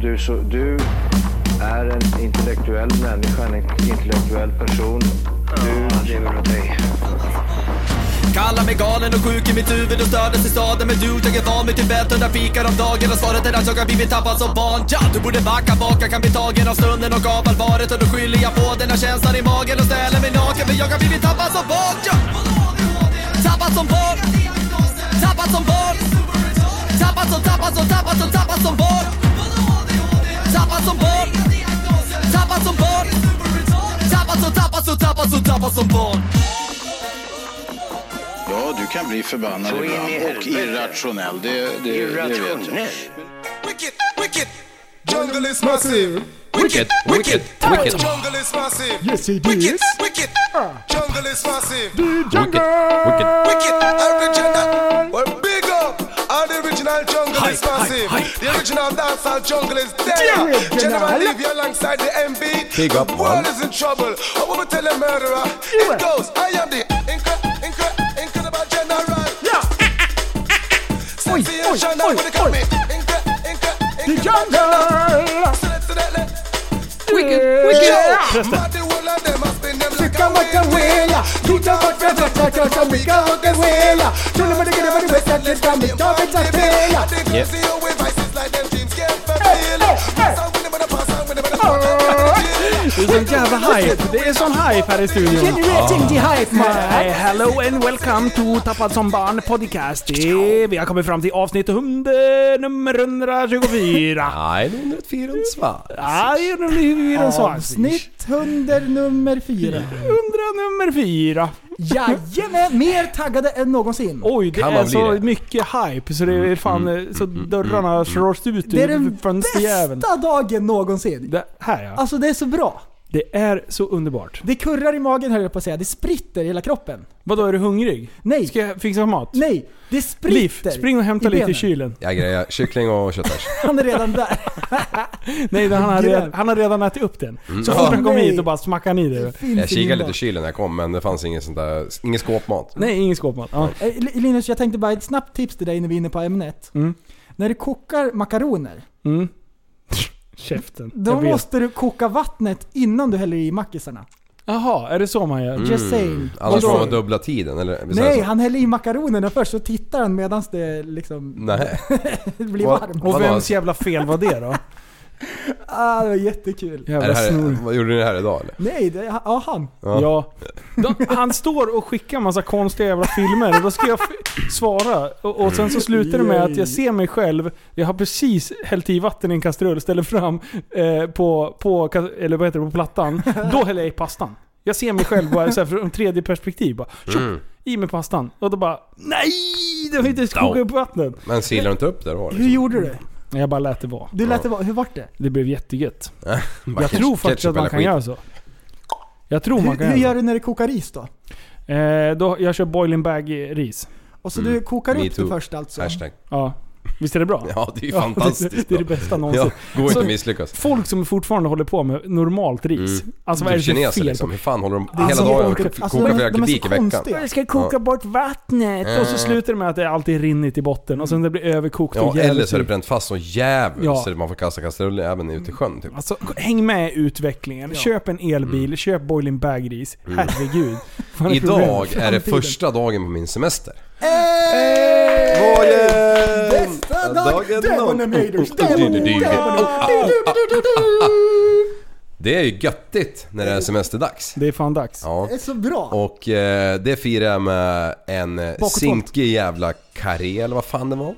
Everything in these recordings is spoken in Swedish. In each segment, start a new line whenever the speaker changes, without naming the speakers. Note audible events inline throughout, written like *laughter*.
du, så, du är en intellektuell människa, en intellektuell person. Du lever av dig.
Kallar mig galen och sjuk i mitt huvud och stördes i staden Men du, jag är van vid Tibet och där fikar om dagen Och svaret är att jag har blivit tappad som barn ja, Du borde backa bak, jag kan bli tagen av stunden och av allvaret Och då skyller jag på den här känslan i magen och ställer mig naken För jag har blivit tappad som barn ja. Tappad som barn Tappad som barn Tappad som, tappad som, tappad som, tappad som barn Tappad som barn Tappad som barn Tappad som, tappad som, tappad som, tappad som barn
Ja, du kan bli förbannad
Så in i
ibland och
helvete.
irrationell. Det, det, det vet jag.
Irrationell.
Wicked, wicked. Jungle is
Massive.
massive. Wicked, wicked, wicked. Jungle is massive.
Yes, it
Wicked,
is.
wicked. Jungle is massive.
Jungle.
Wicked, original. Well, big up. All the original jungle is massive. The original dancehall jungle is there.
original.
Gentlemen, leave you alongside the MB.
Big up,
The world
man.
is in trouble. I want to tell a murderer. It goes. I am the incre- incre- incredible general.
Yeah. Oj,
Sensation,
oj,
I
oj,
wanna call
oj.
me. Incre- incre-
The
incredible
Jungle.
general.
Wicked. Fica
Fica
uma cahuela, tudo a volta da tata, tá me cahuela. Tudo a volta da tata, tá me cahuela. Tá me cahuela.
Yep. Det är sån jävla hype. Det är sån hype här i studion.
Generating the hype,
Hi,
man.
Ah. hello and welcome to Tappad som barn podcast. Det- Vi har kommit fram till avsnitt 100, nummer 124.
Nej, det är 104 en svans.
Ja, det är nog lite en sån.
Avsnitt 100 nummer 4.
100 nummer 4.
*laughs* Jajamän, mer taggade än någonsin.
Oj, det
Kan
är
man bli
så
det?
mycket hype så det
Mm,
är fan eh, så dörrarna slås ut
Det är den
ur fönsterjäveln.
bästa dagen någonsin.
Det här ja.
Alltså det är så bra.
Det är så underbart.
Det kurrar i magen höll jag på att säga. Det spritter i hela kroppen.
Vadå, är du hungrig?
Nej.
Ska jag fixa mat?
Nej, det
Liv,
spritter.
spring och hämta lite i
benen.
kylen.
Jag grejar kyckling och
*laughs*
köttfärs.
Han är redan där.
Nej, han har,
Grön.
redan, han har redan ätit upp den. Så
Ja.
fort han kom
Nej.
hit och bara smackade han i det.
Finns
Jag kikade
ingen
lite i
mat.
kylen när jag kom men det fanns ingen, sånt där, ingen skåpmat.
Nej, ingen skåpmat. Ja.
Eh, Li- Linus, jag tänkte bara ett snabbt tips till dig när vi är inne på ämnet.
Mm.
När du kokar makaroner,
Mm. Käften.
då
Jag vet.
måste du koka vattnet innan du häller i mackisarna.
Jaha, är det så man gör?
Mm.
Just saying.
Annars
Just
får man
saying.
dubbla tiden eller? visst är det
Nej,
så?
han häller i makaronerna först så tittar han medan det liksom
Nej.
*laughs* blir
Vad-
varmt.
Och
Vadå?
vems jävla fel var det då?
Ah, det var jättekul.
Är det
Jävla snor.
här, vad gjorde ni det här idag eller?
Nej, det, ja han.
Ja. De, han står och skickar massa konstiga jävla filmer och då ska jag f- svara. Och, och sen så slutar det med att jag ser mig själv. Jag har precis hällt i vatten i en kastrull, ställer fram eh, på, på, ka- eller vad heter det, på plattan. Då häller jag i pastan. Jag ser mig själv bara så här, från tredje perspektiv. Bara, tjock, I med pastan. Och då bara NEJ! Det har inte kokat upp vattnet.
Men silar du inte upp där liksom? då?
Hur gjorde
mm.
du?
Men Jag bara lät det vara.
Du lät det vara, hur vart det?
Det blev jättegött. Jag tror faktiskt att man kan göra så. Jag tror man
Hur,
kan
hur gör *laughs*
göra
du när du kokar ris då?
så. Eh, då, jag kör boiling bag ris.
Och så
Mm.
du kokar
Me
upp
too.
det först alltså?
Hashtag.
Ja. Visst är det bra?
Ja, det är ju
Ja,
fantastiskt
det, det är det
bra.
bästa
Ja,
någonsin.
går inte
Så-
att misslyckas.
Folk som fortfarande håller på med normalt ris. Alltså vad är
Typ
det för
kineser
fel
liksom.
på?
Hur fan håller de
är
hela
så
dagen och
folk-
kokar
alltså, de är-
flera
de är så
kubik i veckan? Mm.
konstiga.
Jag ska koka bort vattnet. Och så slutar det med att det alltid rinnit i botten och sen det blir överkokt
Ja,
och typ. jävligt
eller så är det
dyrt.
bränt fast så jävligt
Alltså, Ja.
så att man får kasta kastrullen även ute i sjön typ.
Alltså häng med i utvecklingen. Köp en elbil,
Mm.
köp boiling bag ris.
*laughs*
Herregud. Vad är problemet?
Idag Mm. är det första dagen på min semester.
Bästa dagen! Demon Invaders!
*laughs*
Demon
Det är ju göttigt när det är semesterdags.
Det är fan dags.
Ja.
Det är så bra!
Och eh, det firar jag med en eh,
och
zinkig jävla karé eller vad fan det var.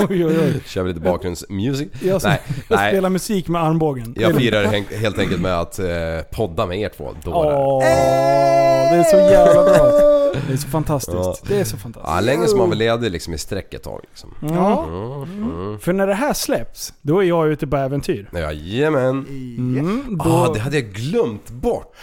Oj, oj, oj.
Kör vi lite bakgrundsmusik.
Jag,
Nej,
jag
nej.
spelar musik med armbågen.
Jag firar hen- helt enkelt med att eh, podda med er två dårar.
Åh, det är så jävla bra. Det är så fantastiskt. Det är så fantastiskt.
Ja, länge som man väl ledig liksom i sträck ett tag liksom.
Ja. För när det här släpps, då är jag ute på äventyr.
Jajamän.
Mm, då,
Ah, det hade jag
*gasps*
glömt bort.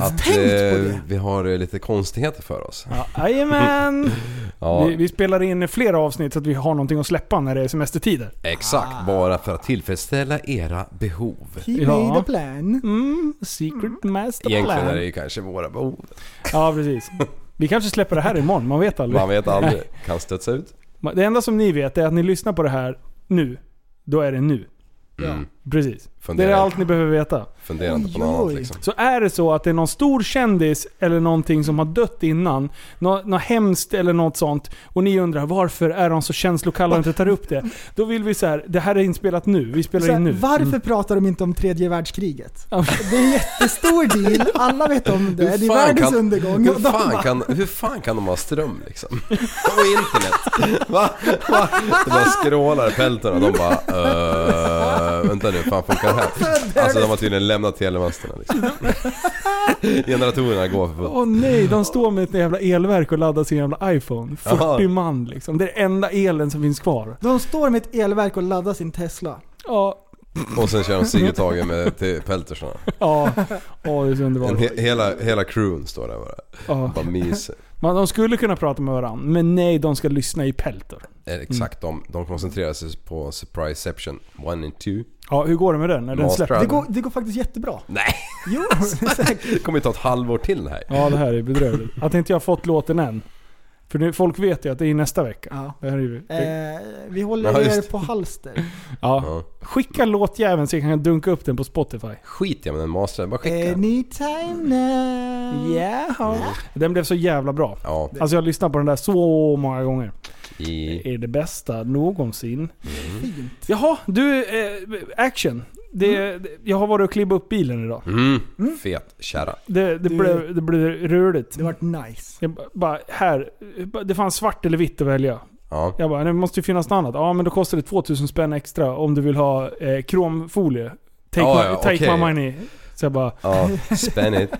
Att eh, vi har eh, lite konstigheter för oss.
Ja, Jajamän!
*laughs* Ja,
Vi, vi spelar in flera avsnitt så att vi har någonting att släppa när det är semestertider. Ah.
exakt. Bara för att tillfredsställa era behov.
He
Ja.
made a plan.
Mm, secret master
Egentligen är
plan.
det ju kanske våra behov.
Ja, precis. Vi kanske släpper det här imorgon, man vet aldrig.
Man vet aldrig. Kan studsa ut.
Det enda som ni vet är att ni lyssnar på det här nu. då är det nu.
Mm.
Precis. Det
Fundera,
är allt ni behöver veta.
fundera inte på
Oj,
något
oj.
annat liksom.
Så är det så att det är någon stor kändis eller någonting som har dött innan, något, något hemskt eller något sånt, och ni undrar varför är de så känslokalla och inte tar upp det? Då vill vi så här, det här är inspelat nu, vi spelar
Så
in nu. Mm.
här, varför
Mm.
pratar de inte om tredje världskriget?
*laughs* Ja.
Det är en jättestor deal, alla vet om det. Det är
fan
världens
kan-
undergång.
Hur
Och de
fan,
bara,
kan, hur fan kan de ha ström liksom? Och internet. Va? Va? Det bara skrålar i pälten och de bara "Eh, Vänta nu, hur fan funkar det här? Alltså de har tydligen lämnat telemasterna liksom. Generatorerna går för fullt.
Åh nej, de står med ett jävla elverk och laddar sin jävla iPhone. 40
Jaha.
man liksom. Det är den enda elen som finns kvar.
De står med ett elverk och laddar sin Tesla.
Ja,
Och sen kör de Sigge-taget med till peltersarna.
ja. Åh, det är så
En
underbart.
he- hela, hela crewen står där bara.
Ja.
Bara myser.
Man, de skulle kunna prata med varandra, men nej, de ska lyssna i peltor.
Eh, Exakt, de, de koncentrerar sig på surpriseception 1 and 2.
Ja, hur går det med den? När den
Master
släpps?
Det går, det går faktiskt jättebra.
Nej!
Jo, säkert.
Det kommer ju ta ett halvår till det här.
Ja, det här är bedrövligt. Att inte jag har fått låten än. För nu, folk vet ju att det är nästa vecka.
Ja.
Det här är ju,
Eh, vi
Ja,
håller er
just det.
på halster.
ja.
Ja.
Skicka låtjäveln så jag kan dunka upp den på Spotify.
Skit jag med den mastern, bara skicka.
Eh, Anytime now.
Yeah. Den blev så jävla bra.
Ja,
Alltså jag har lyssnat på den där så många gånger.
i...
är det bästa någonsin. Jaha, du eh, action. Det,
Mm.
det- Jag har varit och klibbat upp bilen idag.
Mm, fet kärra.
Det, det,
Du-
blev, det blev rörigt.
Det vart nice.
Jag ba- bara, här. eh, Det fanns svart eller vitt att välja.
Ja.
Jag bara, det måste ju finnas något annat. Ja, men då kostar det 2000 spänn extra om du vill ha eh, kromfolie. Take,
Ja,
my,
ja,
take
okej.
my money. Så jag bara,
Ja, spänn *laughs* it.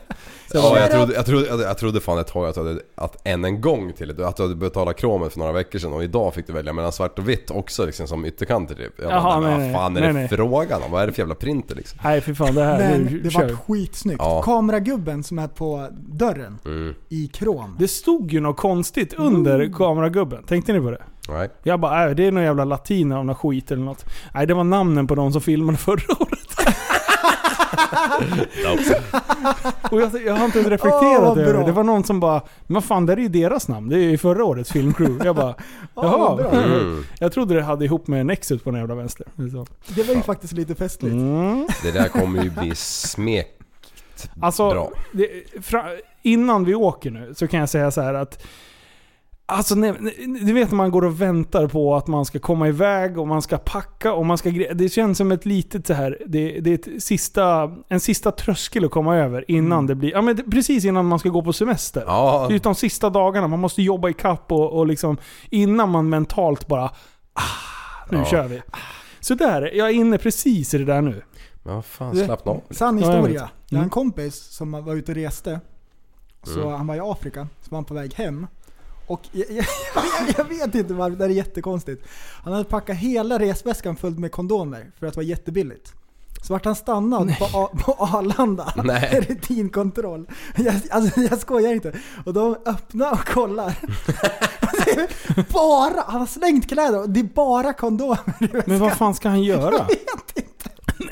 Ja, jag, trodde, jag, trodde, jag, jag trodde fan ett tag att, du hade, att än en gång till att du hade betalat kromen för några veckor sedan och idag fick du välja mellan svart och vitt också liksom som ytterkanter typ. Jag bara,
Jaha,
nej, men
nej,
vad fan
nej,
är
nej.
det frågan om? Vad är det för jävla printer liksom?
nej för fan det här. nu
Men det
kör vi.
vart skitsnyggt.
Ja.
Kameragubben som är på dörren
Mm.
i krom.
det stod ju något konstigt under kameragubben. Tänkte ni på det?
Nej.
Jag bara, äh, det är någon jävla latin av någon skit eller något. Nej, det var namnen på de som filmade *laughs* förra året. Och jag, jag har *laughs* inte ens
Åh,
reflekterat
vad
över det.
bra.
Det var någon som bara, men vad fan det är ju deras namn. Det är ju förra årets filmcrew. Jag *laughs* bara,
vad
jaha.
bra.
Mm.
Jag trodde det hade ihop med Nexus på den jävla vänster. Det är så.
Det var ju faktiskt lite festligt.
Mm.
*laughs* Det där kommer ju bli smek.
Alltså,
Bra.
det, fra, innan vi åker nu så kan jag säga så här att Alltså, nej, nej, du vet när man går och väntar på att man ska komma iväg och man ska packa och man ska gre- Det känns som ett litet så här det, det är ett sista, en sista tröskel att komma över innan det blir... Ja, men det- precis innan man ska gå på semester.
Mm. Ja,
Det är de sista dagarna, man måste jobba i kapp och, och liksom innan man mentalt bara ah, Nu
Ja.
kör vi. Så där, jag är inne precis i det där nu.
*laughs* men vad fan slappna av.
Sann
Ja, jag
historia.
vet.
jag, har
Mm.
en kompis som var ute och reste. Så Han var i Afrika, så var han på väg hem. Och jag, jag, *laughs* jag vet inte varför, det här är jättekonstigt. Han hade packat hela resväskan full med kondomer för att det var jättebilligt. Så vart han stannad på, A- på Arlanda.
Nej.
*laughs* Rutinkontroll. Jag, alltså, jag skojar inte. Och de öppnar och kollar. *laughs* Det är bara, han har slängt kläder och det är bara kondomer *laughs* i väskan.
Men vad fan ska han göra?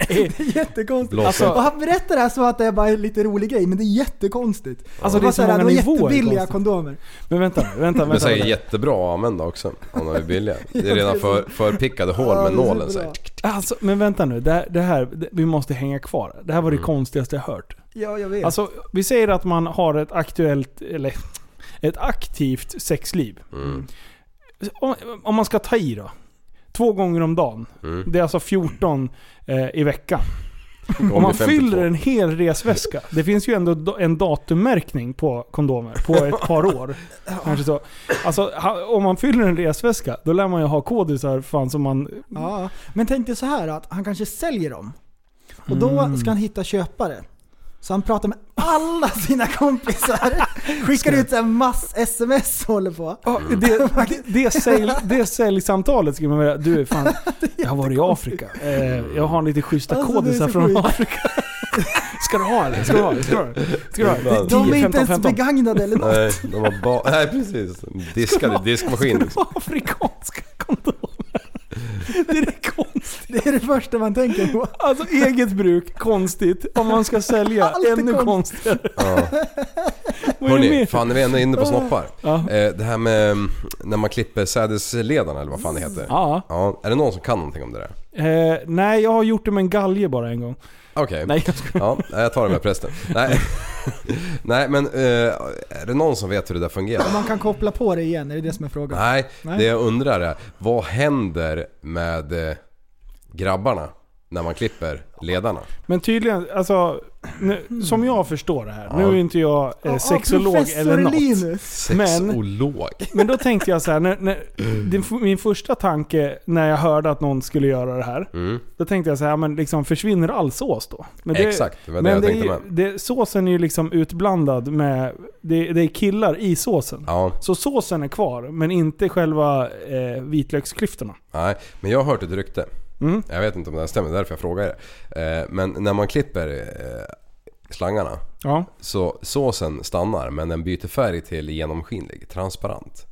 Det är jättekonstigt.
Blåsa
Alltså-
Och han berättar det här som att det är bara en lite rolig grej, men det är jättekonstigt.
Alltså, det är
var
så
här,
många
var
nivåer
jättebilliga
konstigt.
kondomer.
Men vänta nu, vänta,
Men
vänta.
säkert
vänta.
jättebra att använda också om de
*laughs*
är billiga. Det är redan
precis.
för, förpickade hål
Ja,
med
det är så
nålen
bra.
såhär.
Alltså, men vänta nu, det här, det här, det- vi måste hänga kvar. Det här var det
Mm.
konstigaste jag hört.
Ja, jag vet.
Alltså, vi säger att man har ett aktuellt, eller ett aktivt sexliv.
Mm.
Om, om man ska ta i då. Två gånger om dagen.
Mm.
Det är alltså 14 eh, i veckan. Om
Gånger
man
52.
fyller en hel resväska. Det finns ju ändå do- en datummärkning på kondomer på
*laughs*
ett par år. Kanske så. Alltså, ha- om man fyller en resväska, då lär man ju ha kodisar fan som man...
ja. Men tänk dig så här att han kanske säljer dem. Och då
Mm.
ska han hitta köpare. Så han pratar med alla
*laughs*
sina kompisar. Skickar ut så här mass-sms och håller på.
Ja, det, det, det,
*laughs*
sälj, det säljsamtalet skulle man vilja... Du, fan, jag har varit i Afrika. Eh, jag har lite schyssta
Alltså, det är
kodisar
så
från
sjukt. *laughs*
Afrika. Ska du ha eller? Ska du ha? Ska du ha? Ska du ha? Det är 10,
De
15,
är inte ens
15.
begagnade
*laughs*
eller något.
Nej, de har bara... Nej precis. Diskade diskmaskin.
Ska du
Liksom.
ha afrikanska kondomer? Det är det konstiga.
Det är det första man tänker på.
Alltså eget bruk, konstigt. Om man ska sälja,
Allt är
ännu *laughs*
konst-
konstigare.
Ja.
är det
Hörni,
med?
fan när vi ändå är inne på snoppar.
Ja.
Eh, det här med mm, när man klipper sädesledarna eller vad fan det heter.
Ja.
Ja, är det någon som kan någonting om det där?
Eh, nej, jag har gjort det med en galge bara en gång.
Okej.
Nej, jag skojar.
Ja, jag tar det
*laughs*
med prästen. Nej, Nej men eh, är det någon som vet hur det där fungerar?
Om man kan koppla på det igen, är det det som är frågan?
Nej,
Nej.
det jag undrar är vad händer med eh, grabbarna när man klipper ledarna?
Men tydligen, alltså, nu, som jag förstår det här. Nu är inte jag eh,
Ja,
sexolog
professor
eller något.
Linus.
Men-
Sexolog.
Men då tänkte jag så här, när,
*clears throat*
när,
Mm.
din, min första tanke när jag hörde att någon skulle göra det här.
Mm.
Då tänkte jag så här, men liksom försvinner all sås då? Men
Exakt, det var det
men
jag
det
tänkte
är, ju- det, Såsen är ju liksom utblandad med, det, det är killar i såsen.
Ja,
Så såsen är kvar, men inte själva eh, vitlöksklyftorna.
nej. Men jag har hört ett rykte.
Mm.
Jag vet inte om det här stämmer, därför jag frågar det. Eh, Men när man klipper eh, slangarna
Ja.
så såsen stannar men den byter färg till genomskinlig, transparent.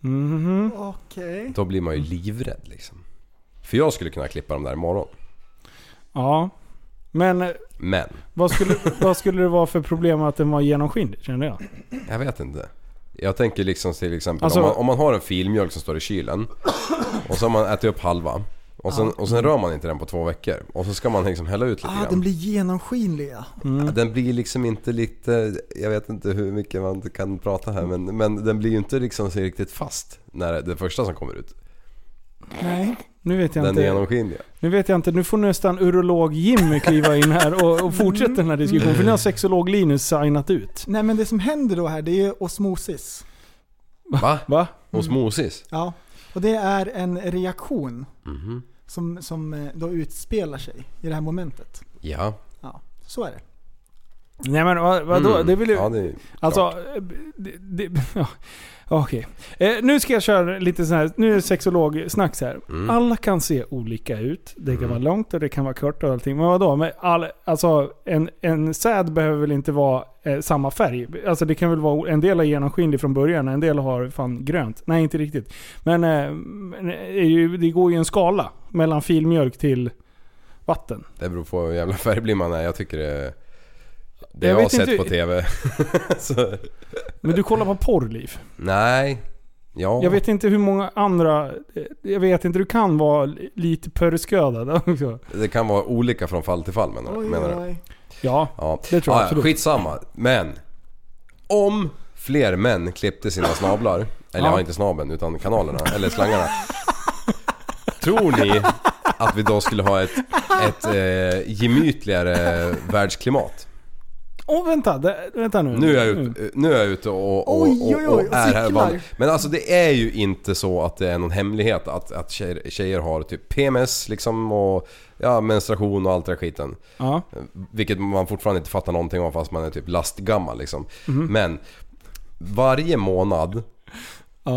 Mhm.
Okej.
Då blir man ju livrädd liksom. För jag skulle kunna klippa dem där imorgon.
Ja. Men eh,
Men,
vad *laughs* skulle, vad skulle det vara för problem att den var genomskinlig, kände jag?
jag vet inte. Jag tänker liksom till exempel
Alltså-
om, man, om man har en filmjölk som står i kylen och så har man ätit upp halva. Och sen, och sen rör man inte den på två veckor. Och så ska man liksom hälla ut lite
Ah, den
grann.
blir genomskinlig ja.
Ja, Den blir liksom inte lite, jag vet inte hur mycket man kan prata här men, men den blir ju inte liksom så riktigt fast när det första som kommer ut.
Nej. Nu vet jag
Den är
inte.
genomskinlig.
Nu vet jag inte, nu får nästan urolog Jimmy kliva in här och, och fortsätta den här diskussionen. För nu har sexolog Linus signat ut.
Nej men det som händer då här det är ju osmosis.
Va?
Va? Mm.
Osmosis?
Ja. Och det är en reaktion
Mhm.
som, som eh, då utspelar sig i det här momentet.
Ja.
Ja, så är det.
Nej men vad, vadå?
Mm.
Det vill ju...
Ja, det är...
alltså... eh, Det, *laughs* det, ja. Okej. Eh, nu ska jag köra lite sån här, nu är det sexologsnacks här. Alla kan se olika ut. Det kan vara långt och det kan vara kort och allting. Men vadå? Men all, alltså en, en säd behöver väl inte vara eh, samma färg? Alltså det kan väl vara, en del är genomskinlig från början, en del har fan grönt. Nej inte riktigt. Men eh, men, eh, är ju- det går ju en skala mellan filmjölk till vatten.
Det beror på hur jävla färgblind man är. Jag tycker det... Det
Jag
jag, har
vet
sett
inte-
på TV. *laughs* så,
Men du kollar på porrliv.
nej. Ja.
Jag vet inte hur många andra... eh, Jag vet inte, du kan vara li- lite pörrsködad också.
Det kan vara olika från fall till fall menar,
Oj,
menar du?
oj.
Ja,
Ja.
Det tror jag
ja, ja,
absolut.
Skitsamma. Men. Om fler män klippte sina snablar. Eller
Ja.
ja. inte snabeln utan kanalerna. Eller slangarna. tror ni att vi då skulle ha ett, ett eh, gemytligare världsklimat?
Åh vänta, det, vänta nu.
Nu är jag ute, nu är jag ute och, och,
Oj, oj, oj,
och, och
och
är här
cyklar.
bland- Men alltså det är ju inte så att det är någon hemlighet att, att tjejer, tjejer har typ PMS liksom och ja, menstruation och allt den här skiten.
Ja.
Vilket man fortfarande inte fattar någonting av fast man är typ lastgammal liksom.
Mhm.
Men varje månad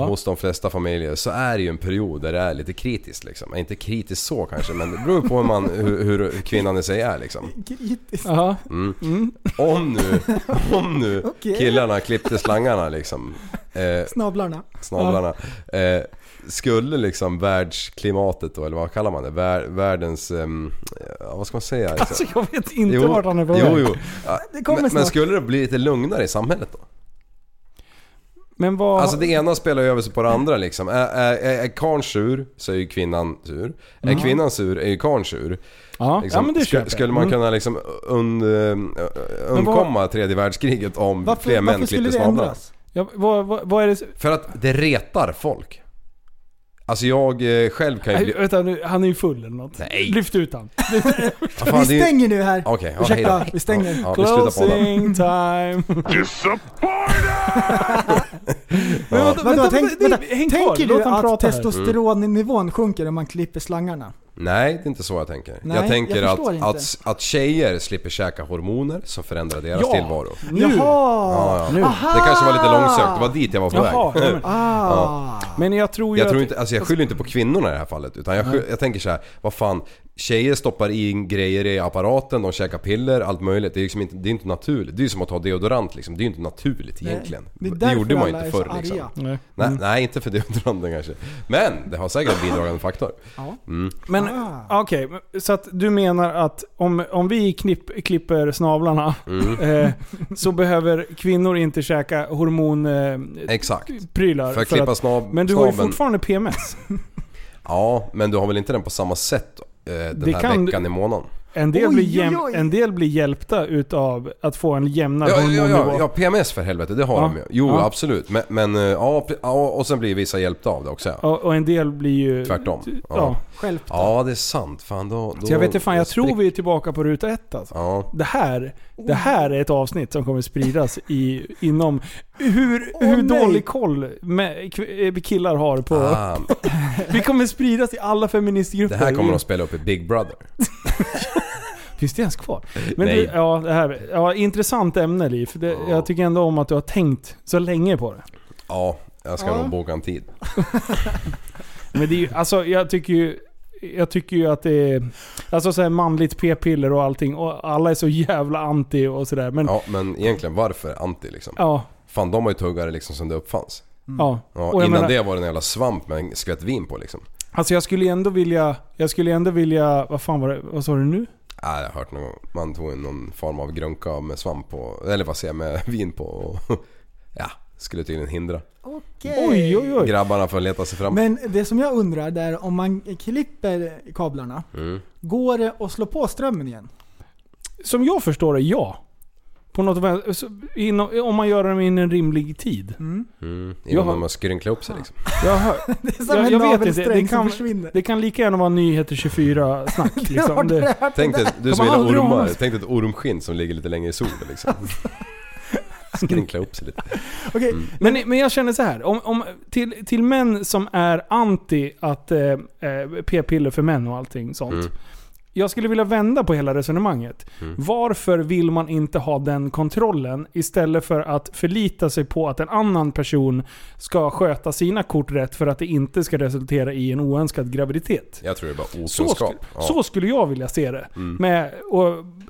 hos de flesta familjer så är det ju en period där det är lite kritiskt liksom. Inte kritiskt så kanske men det beror på hur, man, hur, hur kvinnan i sig är liksom.
Kritiskt.
Aha.
Mm. Om nu,
*laughs*
om nu
Okej.
killarna klippte slangarna liksom, eh,
Snablarna.
snablarna. Eh, skulle liksom världsklimatet då, eller vad kallar man det? Vär, världens, ehm, ja, vad ska man säga?
Alltså jag vet inte
Jo,
vart han är på väg.
jo, jo. Ja,
Det kommer
men, men
snart.
skulle det bli lite lugnare i samhället då?
Men vad...
Alltså det ena spelar ju över sig på det andra liksom. Är, är, är, är karln sur så är ju kvinnan sur. Är kvinnan sur är ju karln sur.
Mm. ja.
Liksom,
ja, men det
sku-
köper jag.
skulle man
Mm.
kunna liksom und, eh, undkomma tredje världskriget om fler
Varför,
män
varför skulle
klippte
det
snablarna?
ändras?
Ja, vad, vad, vad är det...
För att det retar folk. Alltså jag eh, själv kan
Nej,
ju
Äh,
bli...
vänta nu, han är ju full eller något.
Nej.
Lyft ut han.
Ah, fan, det är
vi
ju-
stänger nu här.
Okej, ja, hej
Ursäkta,
då.
vi stänger.
Ja, vi slutar på den.
Closing time. *laughs* Men vänta,
Vadå,
vänta,
tänk,
vänta,
vänta,
nej, häng kvar.
tänker
Låt
du
han
att
prata här.
testosteronnivån sjunker om man klipper slangarna?
Nej, det är inte så jag tänker.
Nej,
jag tänker
jag förstår
att,
inte.
att, att tjejer slipper käka hormoner som förändrar deras
Ja.
tillvaro.
Nu.
Jaha!
Ja, ja. Det kanske var lite långsökt, det var dit jag var på
Jaha,
väg.
ja, men,
Ah.
men jag tror ju
Jag,
att...
tror inte, alltså jag skyller inte på kvinnorna i det här fallet utan jag, skyll, jag tänker så här, vad fan, Tjejer stoppar in grejer i apparaten, de käkar piller, allt möjligt. Det är, liksom inte, det är inte naturligt. Det är ju som att ha deodorant liksom. Det är ju inte naturligt egentligen.
Det är
Det,
därför
gjorde man ju
alla
inte
är så
förr liksom.
arga.
Nej.
Nej, nej, inte för deodoranten kanske. Men det har säkert en bidragande faktor.
Men
Ah.
okej, men- så att du menar att om, om vi knipp, klipper snavlarna *laughs*
Mm.
eh, så behöver kvinnor inte käka hormonprylar.
Exakt.
Eh,
För att
för
klippa
att-
snab,
men du har ju
snaben.
fortfarande PMS.
Ja, men du har väl inte den på samma sätt eh, den
Det
här
kan-
veckan i månaden?
En del,
Oj,
blir,
oj,
jäm,
oj.
en del blir hjälpta utav att få en jämnare
Ja, ja,
hormonnivå.
ja, ja, PMS för helvete, det har
Ja.
de ju. Jo,
Ja.
absolut. Men, men eh, ja, pre- ja, och sen blir vissa hjälpta av det också. Ja,
Och, och en del blir ju...
Tvärtom.
Typ, Ja.
Ja.
Själv.
ja det är sant. Fan, då, då,
Så jag vet inte fan,
då
jag tror
sprick-
vi är tillbaka på ruta ett alltså.
Ja.
Det här, det här är ett avsnitt som kommer spridas i, inom hur, hur
nej.
dålig koll med, kv- eh, killar har på...
Ah,
Vi kommer spridas i alla
det
feministgrupper. *laughs*
här kommer
Vi-
de spela upp i Big Brother.
Finns det ens kvar? Men
Eh, Nej.
du, ja, det här, ja, intressant ämne Liv. Det, Jag tycker ändå om att du har tänkt så länge på det.
Ja, jag ska
Ja.
nog boka en tid.
Men det är ju, alltså jag tycker ju... Jag tycker ju att det är... Alltså så här manligt p-piller och allting. Och alla är så jävla anti och sådär. Men ja,
Ja, men egentligen varför anti liksom?
ja.
Fan, de har ju tuggare liksom som det uppfanns. Mm. Ja,
Och jag
innan
menar-
det var det en jävla svamp med en skvätt vin på liksom.
Alltså jag skulle ändå vilja... Jag skulle ändå vilja... Vad fan var det? Vad sa du nu?
Nej, Äh, jag har hört någon gång. Man tog in någon form av grönka med svamp på, eller vad säger jag, med vin på och *laughs* ja, skulle tydligen hindra.
Okej.
Oj, oj, oj.
Grabbarna får leta sig fram.
Men det som jag undrar det är om man klipper kablarna,
Mm.
går det att slå på strömmen igen?
Som jag förstår det, ja. På något vän- så inom, om man gör dem in en rimlig tid.
Mm,
Jag
innan
har-
man skrynklar upp sig liksom.
Jag hör,
*laughs* Det är som
Jag-
en
jag vet inte,
navelsträng
det kan-
som försvinner.
det kan lika gärna vara Nyheter 24-snack.
*laughs* har
Liksom.
du
Det,
hört
Tänk
det
dig, du som
De har
gillar
aldrig
ormar,
ordnat.
tänk dig ett ormskinn som ligger lite längre i solen
*laughs*
liksom.
Alltså.
Skrynkla upp sig lite. Mm.
där? Okej,
men, men jag känner så här. Om, om, till, till män som är anti att eh, eh, p-piller för män och allting sånt.
Mm.
Jag skulle vilja vända på hela resonemanget. Varför vill man inte ha den kontrollen istället för att förlita sig på att en annan person ska sköta sina kort rätt för att det inte ska resultera i en oönskad graviditet?
Jag tror det är bara
Så,
okunskap. Mm.
sku, så skulle jag vilja se det. Med, och,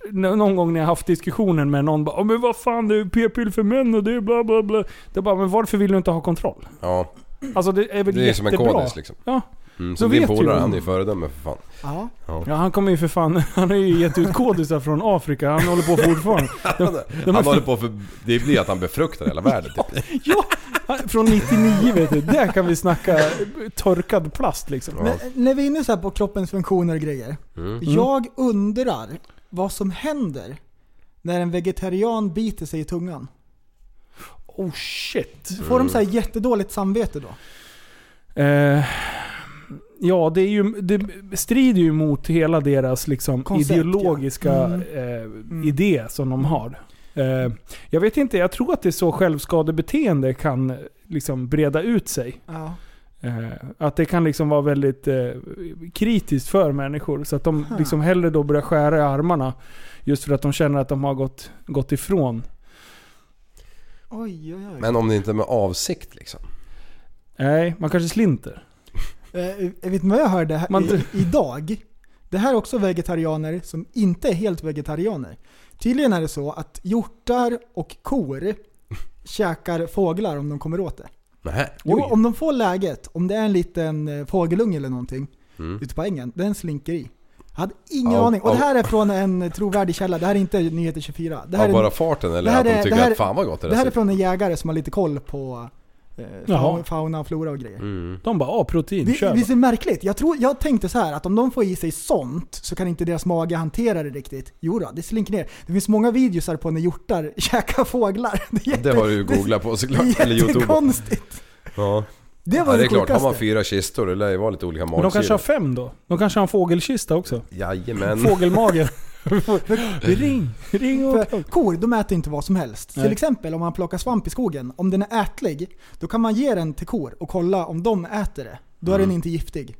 n- någon gång när jag haft diskussionen med någon bara "Ja, men vad fan det är ju p-pill för män och det är bla bla bla. Det är bara, men varför vill du inte ha kontroll?
ja,
Alltså det är väl
det är som
jättebra.
en kodis liksom.
Ja.
Mm,
Då
så din
vet ju
polare
de.
han är ju föredöme för fan.
ja.
ja, han kommer ju för fan, *laughs* han har ju gett ut kodisar från Afrika. Han håller på fortfarande. *laughs*
Han håller på för, det blir att han befruktar hela världen typ.
Ja, han- från 99 vet du. Där kan vi snacka torkad plast liksom.
Ja.
Men när vi är inne så här på kroppens funktioner och grejer.
Mm.
Mm. Jag undrar vad som händer när en vegetarian biter sig i tungan.
Oh shit.
Får de
Mm.
så här jättedåligt samvete då?
Eh, ja, det, är ju, det strider ju mot hela deras liksom,
Koncept,
ideologiska
ja. Mm.
Eh, idé som de har. Eh, jag vet inte, jag tror att det är så självskadebeteende kan eh, liksom, breda ut sig.
Ja.
Eh, att det kan liksom vara väldigt eh, kritiskt för människor. Så att de liksom hellre då börjar skära i armarna. Just för att de känner att de har gått, gått ifrån.
Oj, oj, oj.
Men om det inte är med avsikt liksom.
Nej, man kanske slinter.
Eh, vet ni vad jag hörde här,
Man-
i, idag? Det här är också vegetarianer som inte är helt vegetarianer. Tydligen är det så att hjortar och kor käkar fåglar om de kommer åt det.
Nej.
Jo, om de får läget, om det är en liten eh, fågelunge eller någonting
Mm.
ute på ängen, den slinker i. Jag hade ingen
Au,
aning. Och det
au.
här är från en trovärdig källa, det här är inte Nyheter 24. Det här
Av
är,
bara farten eller
det här
att de
är-
tycker
det här-
att fan vad gott det,
det här
ser
är
ut.
från en jägare som har lite koll på eh,
Jaha.
fauna, fauna och flora och
Mm.
grejer.
De bara ah, protein,
Vi,
kör.
visst är det märkligt? Jag, tror, jag tänkte så här att om de får i sig sånt så kan inte deras mage hantera det riktigt. Jo då, det slinker ner. Det finns många videos här på när hjortar *laughs* käkar fåglar. Det, är jätte,
Det har du ju googlat på
det
såklart.
är
Eller youtube.
jättekonstigt.
Ja.
Det var
ja, det
det
är klart. Har man
sjukaste.
fyra kistor det lär ju vara lite olika
Men de kanske har
magsyror.
fem då? De kanske har en fågelkista också?
Jajamän.
*laughs*
Fågelmage. ring, ring och...
För kor, de äter inte vad som helst.
Nej.
Till exempel om man plockar svamp i skogen, om den är ätlig, då kan man ge den till kor och kolla om de äter det. Då är den inte giftig.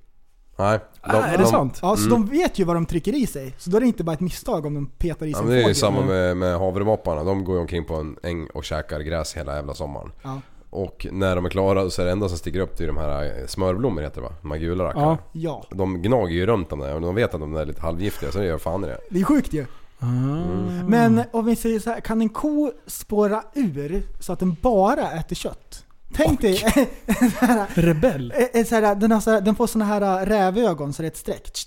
Nej. De,
Ah, är det
de,
sant?
Ja, så de vet ju vad de trycker i sig. Så då är det inte bara ett misstag om de petar i
Ja,
sig en
men det är ju
fågel. Mm.
samma med, med havremopparna. De går ju omkring på en äng och käkar gräs hela jävla sommaren.
Ja.
Och när de är klara så är det enda som sticker upp det är de här eh, smörblommor heter det va? De här gula rackarna.
Ja.
Ja,
De gnager ju runt dem där och de vet att de där är lite halvgiftiga så det gör fan i det.
det är sjukt ju. Men om vi säger så här, kan en ko spåra ur så att den bara äter kött? Tänk dig
Rebell.
Eh, eh, såhär, den, har såhär, den får såna här eh, rävögon så det är ett streck. Tsch.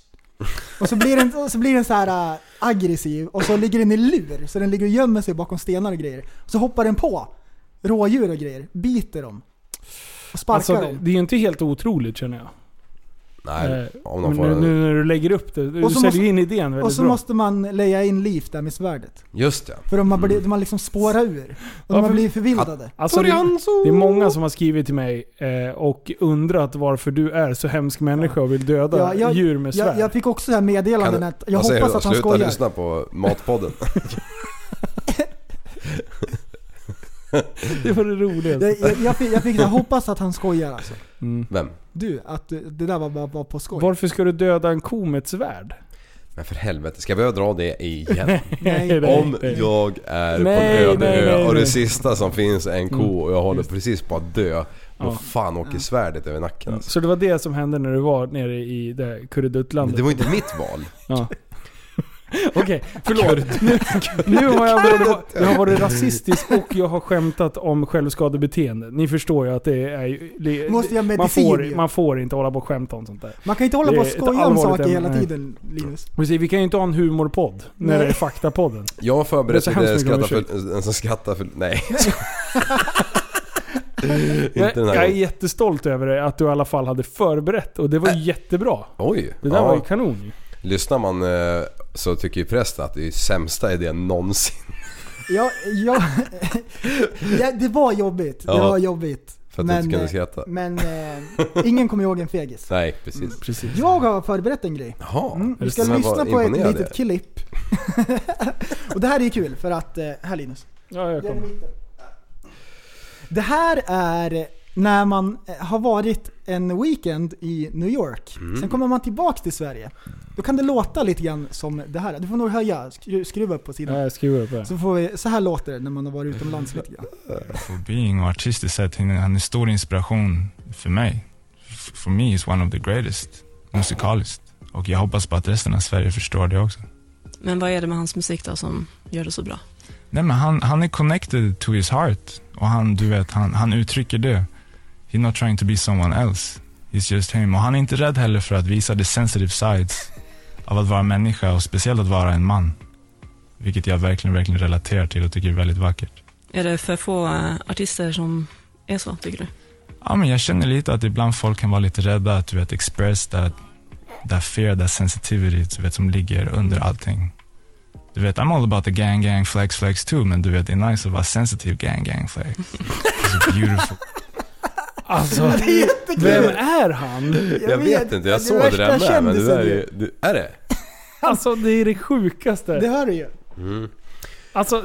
Och så blir den, och så blir den så här eh, aggressiv och så ligger den i lur. Så den ligger och gömmer sig bakom stenar och grejer. Så hoppar den på rådjur och grejer, biter dem. Och sparkar
Alltså, det,
dem.
det är ju inte helt otroligt känner jag.
Nej,
Eh,
om de
men
får
nu,
en...
nu när du lägger upp det. Du
Och så
säljer
måste-
ju in idén
Och
väldigt
så
bra.
måste man leja in liv där med svärdet.
Just det.
För de har, blivit, de har liksom spårat ur. Och de har
för-
blivit förvildade.
Alltså, det, det är många som har skrivit till mig eh, och undrat varför du är så hemsk människa och vill döda
Ja, jag,
djur med svärd.
jag, jag fick också så här meddelanden att jag
Vad säger
hoppas
du?
att han
Alltså, Sluta
skojar.
lyssna på Matpodden.
Det var det roligaste. Mm.
Jag, jag, jag fick, jag fick så här, hoppas att han skojar alltså.
Vem?
Du, att eh, det där var bara var på skoj.
Varför ska du döda en ko med ett svärd?
Men för helvete, ska vi behöva dra det igen?
Nej.
*laughs* Nej,
Om
nej.
jag är på en
Nej,
öde
nej,
ö
nej,
och
nej.
det sista som finns är en ko och jag håller precis på att dö. Då
Ja. Mm.
fan åker svärdet över nacken alltså.
Så det var det som hände när du var nere i det här
Men
kurreduttlandet?
det var ju inte mitt val.
*laughs*
Ja. Okej, förlåt. Nu, *laughs* nu har jag, varit, jag har varit rasistisk och jag har skämtat om självskadebeteende. Ni förstår ju att det är ju... det-
Måste jag
man,
medicin
får,
ju?
man får inte hålla på och skämta om sånt där.
Man kan inte hålla
Det
på
är
och
ett
skoja om
allvarligt
saker
ämne.
hela
Nej.
tiden Linus.
Precis, Vi kan ju inte ha en humorpodd när
Nej.
det är faktapodden.
Jag har förberett
Det är så
lite
hemskt mycket om
skratta för, en som skrattar för... Nej.
Jag,
*laughs* inte den här
jag är
gången.
jättestolt över det, att du i alla fall hade förberett och det var ju
Äh.
jättebra.
Oj.
Det där
ja.
var ju kanon ju.
Lyssnar man eh, så tycker ju prästen att det är sämsta idén någonsin. *laughs*
Ja, ja, ja, det var jobbigt. Det
Ja.
var jobbigt.
För att du inte kunde
eh,
skratta.
Men eh, ingen kommer ihåg en fegis.
Nej, precis.
Precis.
Jag har förberett en grej.
Jaha.
Mm, vi ska
Men vad
lyssna på ett
imponerad jag
litet
är.
klipp. *laughs* och det här är ju kul för att, eh, här Linus.
Ja, jag kommer.
Det här är när man eh, har varit en weekend i New York. Sen kommer man tillbaka till Sverige. Då kan det låta lite grann som det här. Du får nog höja, skru- skruva upp på sidan.
Nej, skruva upp det.
Så, får vi, så här låter det när man har varit utomlands lite grann.
being och artistiskt sett, han han är stor inspiration för mig. F- For me is one of the greatest, musikaliskt. Och jag hoppas på att resten av Sverige förstår det också.
Men vad är det med hans musik då som gör det så bra?
Nej men han, han är connected to his heart. Och han, du vet, han, han uttrycker det. He's not trying to be someone else. He's just him. Och han är inte rädd heller för att visa the sensitive sides av att vara människa och speciellt att vara en man. Vilket jag verkligen, verkligen relaterar till och tycker är väldigt vackert.
Är det för få eh, artister som är så, tycker du?
Ja, men jag känner lite att ibland folk kan vara lite rädda att du vet express that, that fear, that sensitivity du vet, som ligger under allting. Du vet, I'm all about the gang gang flex flex too, men du vet, det är nice att vara sensitive gang gang flex. It's beautiful.
Alltså, vem är
*laughs*
han?
Jag vet inte, jag såg det där med men det där är ju... det- Är det?
Alltså det är det sjukaste.
Det hör du ju.
Alltså,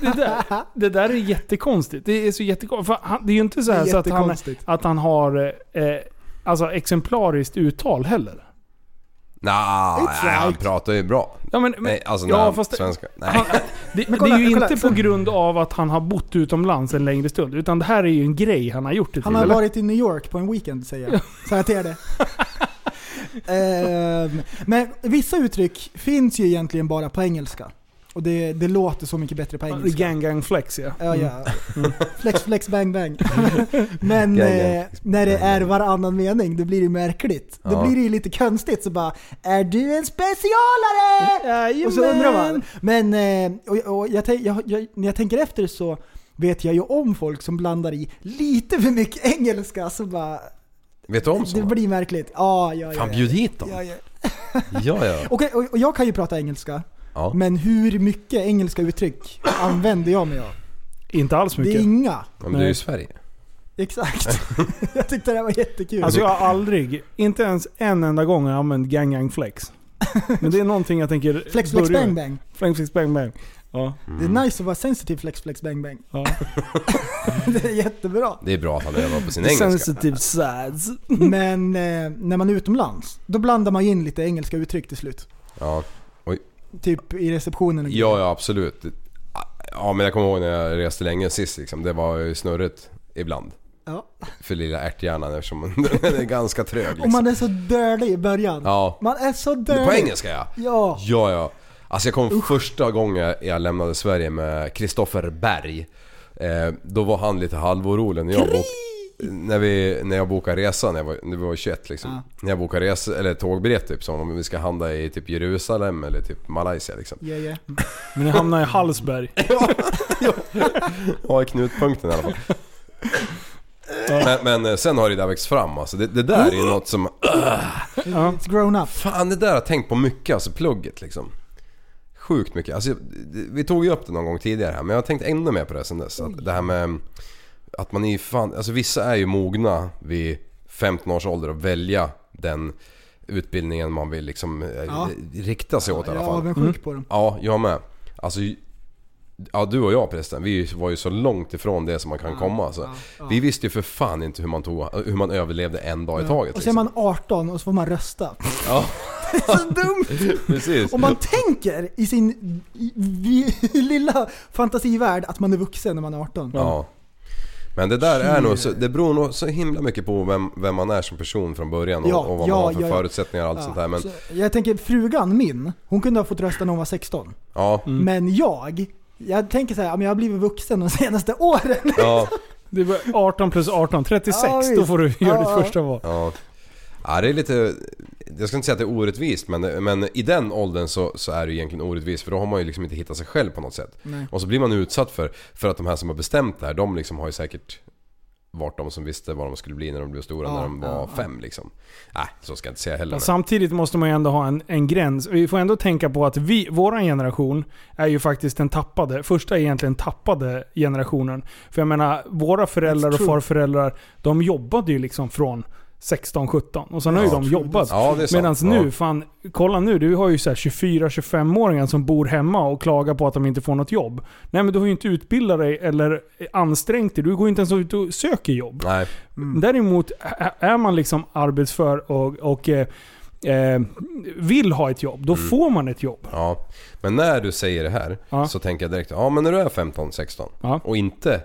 det där, det där är jättekonstigt. Det är så jättekonstigt. För han, det är ju inte så,
Det
här
är
så att, han,
jättekonstigt.
att han har eh, alltså, exemplariskt uttal heller.
Nah, nej,
It's
han
right.
pratar ju bra.
Ja, men, men,
Nej, alltså
ja,
ja,
fast-
svenska. Nej.
han, det,
kolla,
det är ju
kolla.
inte på grund av att han har bott utomlands en längre stund. Utan det här är ju en grej han har gjort det
Han
till,
har
eller?
varit i New York på en weekend säger jag. Så här till er det. Ehm, men vissa uttryck finns ju egentligen bara på engelska. Och det, det låter så mycket bättre på
The
engelska.
Gang Gang Flex ja.
Ja, ja.
Mm.
Flex, flex, bang, bang.
*laughs*
Men
Gang,
eh,
gang, flex,
när det
bang,
är
bang.
varannan mening, då blir det ju märkligt. Då
Ja.
blir det ju lite konstigt. Så bara Är du en specialare?
Mm.
Och så undrar man. Men eh, och, och jag, tänk- jag, jag, när jag tänker efter så vet jag ju om folk som blandar i lite för mycket *laughs* engelska så bara...
Vet du om
Det
såna?
blir märkligt. Ja, ja, ja.
Fan
ja.
bjud hit dem.
Ja, ja.
Ja, ja.
Okej, och, och jag kan ju prata engelska.
Ja.
Men hur mycket engelska uttryck använder jag mig av?
Inte alls
Det är
mycket.
inga.
Ja, Men du är ju i Sverige.
Exakt. *laughs* jag tyckte det här var jättekul.
Alltså jag har aldrig, inte ens en enda gång har jag använt Gang Gang Flex. Men det är någonting jag tänker
flex, flex,
börja
bang,
med.
bang.
Flex Flex Bang Bang. Ja.
Mm.
Det är nice att vara sensitiv, flex, flex, bang, bang. *laughs*
ja.
det är jättebra.
Det är bra att han övar på sin engelska.
Sensitive sides.
Men eh, när man är utomlands, då blandar man ju in lite engelska uttryck till slut.
Ja.
Typ i receptionen och grejer.
ja, ja absolut. Ja men jag kommer ihåg när jag reste länge sist liksom. Det var ju snurrigt. Ibland.
Ja.
För lilla ärthjärnan eftersom *laughs* den är ganska trög
Och
liksom.
man är så dirty i början.
Ja.
Man är så dirty.
På engelska ja.
Ja.
Ja, ja. Alltså jag kom första gången jag lämnade Sverige med Kristoffer Berg. Eh, då var han lite halvorolig när jag, bok, när, vi, när jag bokade resan, när jag var, när vi var 21 liksom. När jag bokade resa, eller tågbiljett typ, som om vi ska handla i typ Jerusalem eller typ Malaysia liksom.
Ja, ja.
Men jag hamnar i Hallsberg.
Ja, i knutpunkten i alla fall. Men, men eh, sen har det där växt fram alltså. Det, det där är ju något som...
It's grown up.
Fan det där har jag tänkt på mycket, alltså plugget liksom. Sjukt mycket. Alltså, det- vi tog ju upp det någon gång tidigare här men jag har tänkt ännu mer på det sen dess. Att det här med att man är ju fan, alltså vissa är ju mogna vid 15 års ålder att välja den utbildningen man vill liksom eh,
Ja.
rikta sig åt i
Jag
alla
är
fall.
avundsjuk
Mm.
på dem.
Ja, jag med. Alltså, ja, du och jag prästen, vi var ju så långt ifrån det som man kan komma. Alltså. Vi visste ju för fan inte hur man, tog, hur man överlevde en dag i taget. liksom.
Och så är man 18 och så får
*laughs*
man rösta.
Ja.
Det är så dumt!
Precis.
Om man tänker i sin i- vi- lilla fantasivärld att man är vuxen när man är 18.
Ja. Men det där är nog så, det beror nog så himla mycket på vem, vem man är som person från början och,
Ja,
och vad
ja,
man har för
ja, ja.
förutsättningar och allt sånt där. Men
Så jag tänker frugan min, hon kunde ha fått rösta när hon var 16.
ja,
Men jag, jag tänker så här, ja, men jag har blivit vuxen de senaste
*laughs*
åren.
ja,
Det var 18 plus 18, 36.
Ja, visst.
då får du göra
Ja,
ditt
ja.
första val.
ja. Ja, det är lite... Jag ska inte säga att det är orättvist men, men i den åldern så, så är det ju egentligen orättvist för då har man ju liksom inte hittat sig själv på något sätt. Och så blir man utsatt för, för att de här som har bestämt det här, de liksom har ju säkert varit de som visste vad de skulle bli när de blev stora
Ja,
när de var
ja, ja.
fem liksom. Nej, så ska jag inte säga heller.
Men samtidigt måste man ju ändå ha en, en gräns. Vi får ändå tänka på att vi, våran generation är ju faktiskt den tappade, första egentligen tappade generationen. För jag menar, våra föräldrar
That's
och
true.
farföräldrar, de jobbade ju liksom från 16, 17 och sen har ju
Ja.
de jobbat.
Ja, det är sant.
Medan
Ja.
nu, fan, kolla nu, du har ju så här 24-25-åringar som bor hemma och klagar på att de inte får något jobb. Nej men du har ju inte utbildat dig eller ansträngt dig, du går ju inte ens ut och söker jobb.
Nej.
Däremot ä- är man liksom arbetsför och, och eh, eh, vill ha ett jobb, då
Mm.
får man ett jobb.
Ja, men när du säger det här
Ja.
så tänker jag direkt, ja men när du är 15-16
Ja.
och inte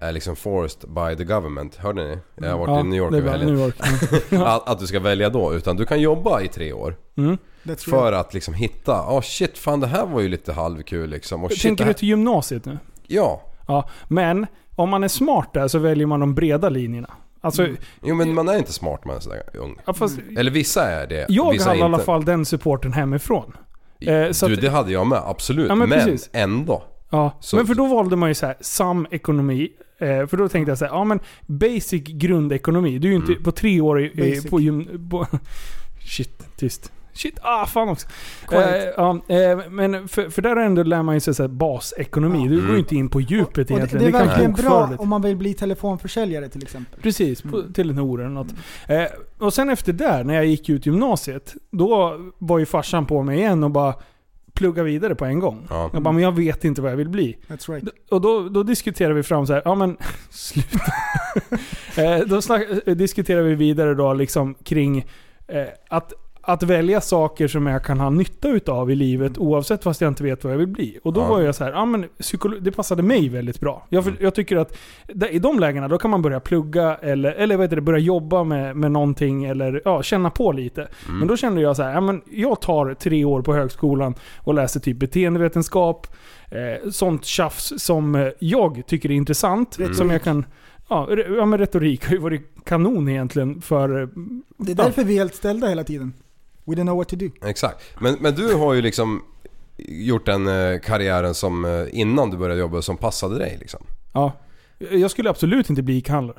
är liksom forced by the government, hörde ni? Jag har varit
Ja,
i New York
det
i
är bra, New
helgen. *laughs*
York.
Att, att du ska välja då, utan du kan jobba i tre år
Mm.
That's
för att liksom hitta, ja shit fan det här var ju lite halvkul liksom. Och shit,
Tänker
det
du
här,
till gymnasiet nu?
Ja,
Ja, men om man är smart där så väljer man de breda linjerna. Alltså,
jo men man är inte smart man är sådär ung.
ja, fast
Eller vissa är det,
jag
Mm. vissa
har
är
i alla
inte.
fall den supporten hemifrån. eh, så
du
att-
det hade jag med, absolut.
Ja, men
men
precis.
ändå.
Ja,
Så-
men för då valde man ju så här, sam ekonomi. Eh, för då tänkte jag så här, ja men basic grundekonomi. Du är ju inte på tre år i, i,
Mm. Basic.
på, gym, på Shit, tyst. Shit, ah fan också. Eh,
Quiet.
ja, eh, men för, för där ändå lär man ju sig så här, basekonomi. Du går ju inte in på djupet
Mm. Och det,
egentligen.
det är
kan
verkligen
bokföra
bra
lite.
om Mm. man vill bli telefonförsäljare till exempel.
Precis, på, till en hora eller något. Eh, och sen efter där, när jag gick ut gymnasiet, då var ju farsan på mig igen och bara plugga vidare på en gång.
Ja.
Jag bara, men jag vet inte vad jag vill bli.
That's right.
Och då, då diskuterar vi fram så här, ja men *laughs* sluta. eh, då snack, eh, diskuterar vi vidare då liksom kring eh, att, att välja saker som jag kan ha nytta utav i livet oavsett fast jag inte vet vad jag vill bli. Och då
Ja.
var jag så här, ja men psykolo- det passade mig väldigt bra. Jag, för- jag tycker att där, i de lägena då kan man börja plugga eller, eller vad heter det, börja jobba med, med någonting eller ja, känna på lite. Men då kände jag så här, ja, men jag tar tre år på högskolan och läser typ beteendevetenskap. Eh, sånt tjafs som eh, jag tycker är intressant. Som jag kan... Ja, re- ja, men retorik har ju varit kanon egentligen för... eh,
Det är
ja.
därför vi är helt ställda hela tiden. We don't know what to do.
Exakt. Men, men du har ju liksom gjort den eh, karriären som eh, innan du började jobba som passade dig liksom.
Ja. Jag skulle absolut inte bli ICA-handlare.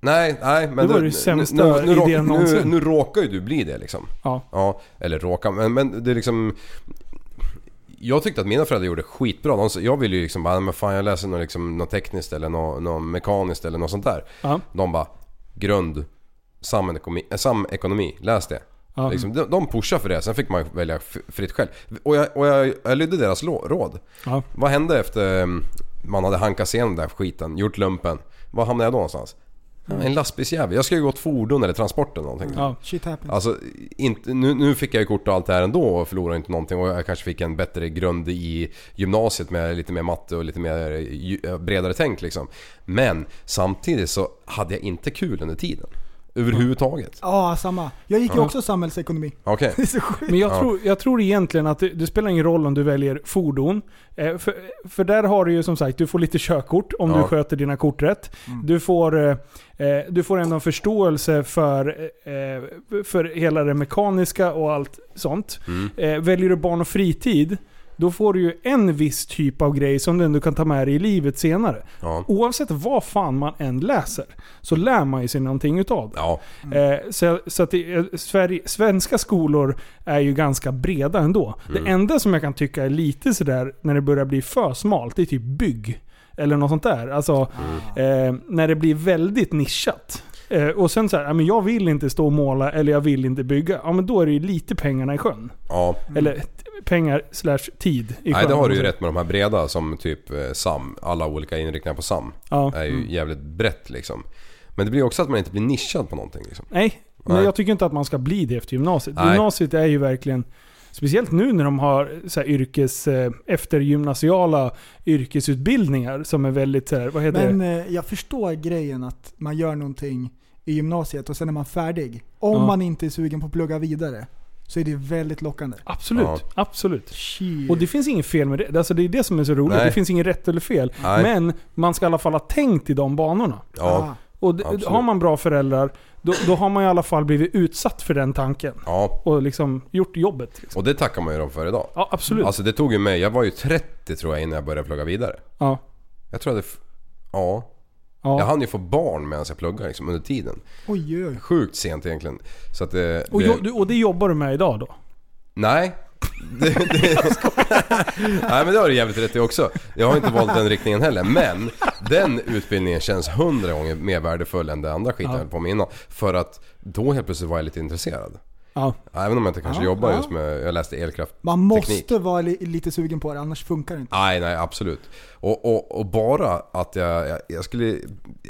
Nej, nej men
Det var
du-
det sämsta
nu, råk-
idén
nu,
någonsin.
nu råkar ju du bli det liksom.
Ja.
Ja, eller råka, men, men det är liksom... Jag tyckte att mina föräldrar gjorde skitbra. De, sa- jag ville ju liksom bara, "Nej, men fan jag läser något, liksom, något tekniskt eller något, något mekaniskt eller något sånt där.
Ja.
De bara, grund, samekonomi, äh, samekonomi läs det.
Ja.
Liksom, de, de pushade för det, sen fick man ju välja f- fritt själv. Och jag, och jag, jag lydde deras lå- råd.
Ja.
Vad hände efter mm, man hade hankat sig igenom den där skiten, gjort lumpen? Var hamnade jag då någonstans? En lastbilsjävel. Jag ska ju gå åt fordon eller transport eller någonting.
Ja.
Shit happens.
Alltså, inte, nu, nu fick jag ju kort och allt det här ändå och förlorade inte någonting och jag kanske fick en bättre grund i gymnasiet med lite mer matte och lite mer ju- bredare tänk liksom. Men samtidigt så hade jag inte kul under tiden. Överhuvudtaget.
Ja, samma. Jag gick ju också samhällsekonomi. *laughs*
Okej.
Det är så sjukt.
Men jag,
Ja.
tror, jag tror egentligen att det, det spelar ingen roll om du väljer fordon. Eh, för, för där har du ju som sagt, du får lite körkort om
Ja. Mm.
du sköter dina kort rätt. Du, får, eh, eh, du får ändå en förståelse för, eh, för hela det mekaniska och allt sånt.
Mm.
Eh, väljer du barn och fritid, då får du ju en viss typ av grej som du ändå kan ta med dig i livet senare.
Ja.
Oavsett vad fan man än läser, så lär man ju sig någonting utav det.
Ja.
Eh, så så att det, eh, Sverige, svenska skolor är ju ganska breda ändå.
Mm.
Det enda som jag kan tycka är lite sådär, när det börjar bli för smalt, det är typ bygg. Eller något sånt där. Alltså,
Mm.
eh, när det blir väldigt nischat. Eh, och sen så här, ja, men jag vill inte stå och måla eller jag vill inte bygga. Ja men då är det ju lite pengarna i sjön.
ja.
Eller t- pengar slash tid i sjön.
Mm.
alltså.
Nej det har du ju rätt med de här breda som typ eh, SAM. Alla olika inriktningar på SAM.
Ja. Mm.
Är ju jävligt brett liksom. Men det blir också att man inte blir nischad på någonting liksom.
Nej, men
Nej.
jag tycker inte att man ska bli det efter gymnasiet.
Nej.
Gymnasiet är ju verkligen, speciellt nu när de har så här yrkes, eh, eftergymnasiala yrkesutbildningar som är väldigt så här, vad heter
Men
det?
eh, jag förstår grejen att man gör någonting i gymnasiet och sen är man färdig. Om
Ja.
man inte är sugen på att plugga vidare så är det väldigt lockande.
Absolut,
Ja.
absolut.
Shit.
Och det finns inget fel med det. Alltså det är det som är så roligt.
Nej.
Det finns inget rätt eller fel.
Nej.
Men man ska i alla fall ha tänkt i de banorna.
Ja.
Ah,
Och d-
Absolut.
har man bra föräldrar, då, då har man i alla fall blivit utsatt för den tanken.
Ja.
Och liksom gjort jobbet. Liksom.
Och det tackar man ju dem för idag.
Ja, absolut.
Alltså det tog ju mig, jag var ju 30 tror jag innan jag började plugga vidare.
ja.
Jag tror att det... f- Ja.
Ja.
Jag hann ju få barn medan jag pluggade liksom, under tiden.
oj, oj.
Sjukt sent egentligen. Så att det...
Och,
det
jo, du- och det jobbar du med idag då?
Nej. *laughs* Det, det, nej men det har du jävligt rätt i också. Jag har inte valt den riktningen heller. Men den utbildningen känns hundra gånger mer värdefull än det andra skiten jag höll på med innan. För att då helt plötsligt var jag lite intresserad.
Ja.
Även om jag inte kanske
Ja,
jobbar
ja.
just med... Jag läste elkraft.
Man måste
teknik.
vara li- lite sugen på det, annars funkar det inte.
Nej, nej absolut. Och, och, och bara att jag, jag, jag skulle...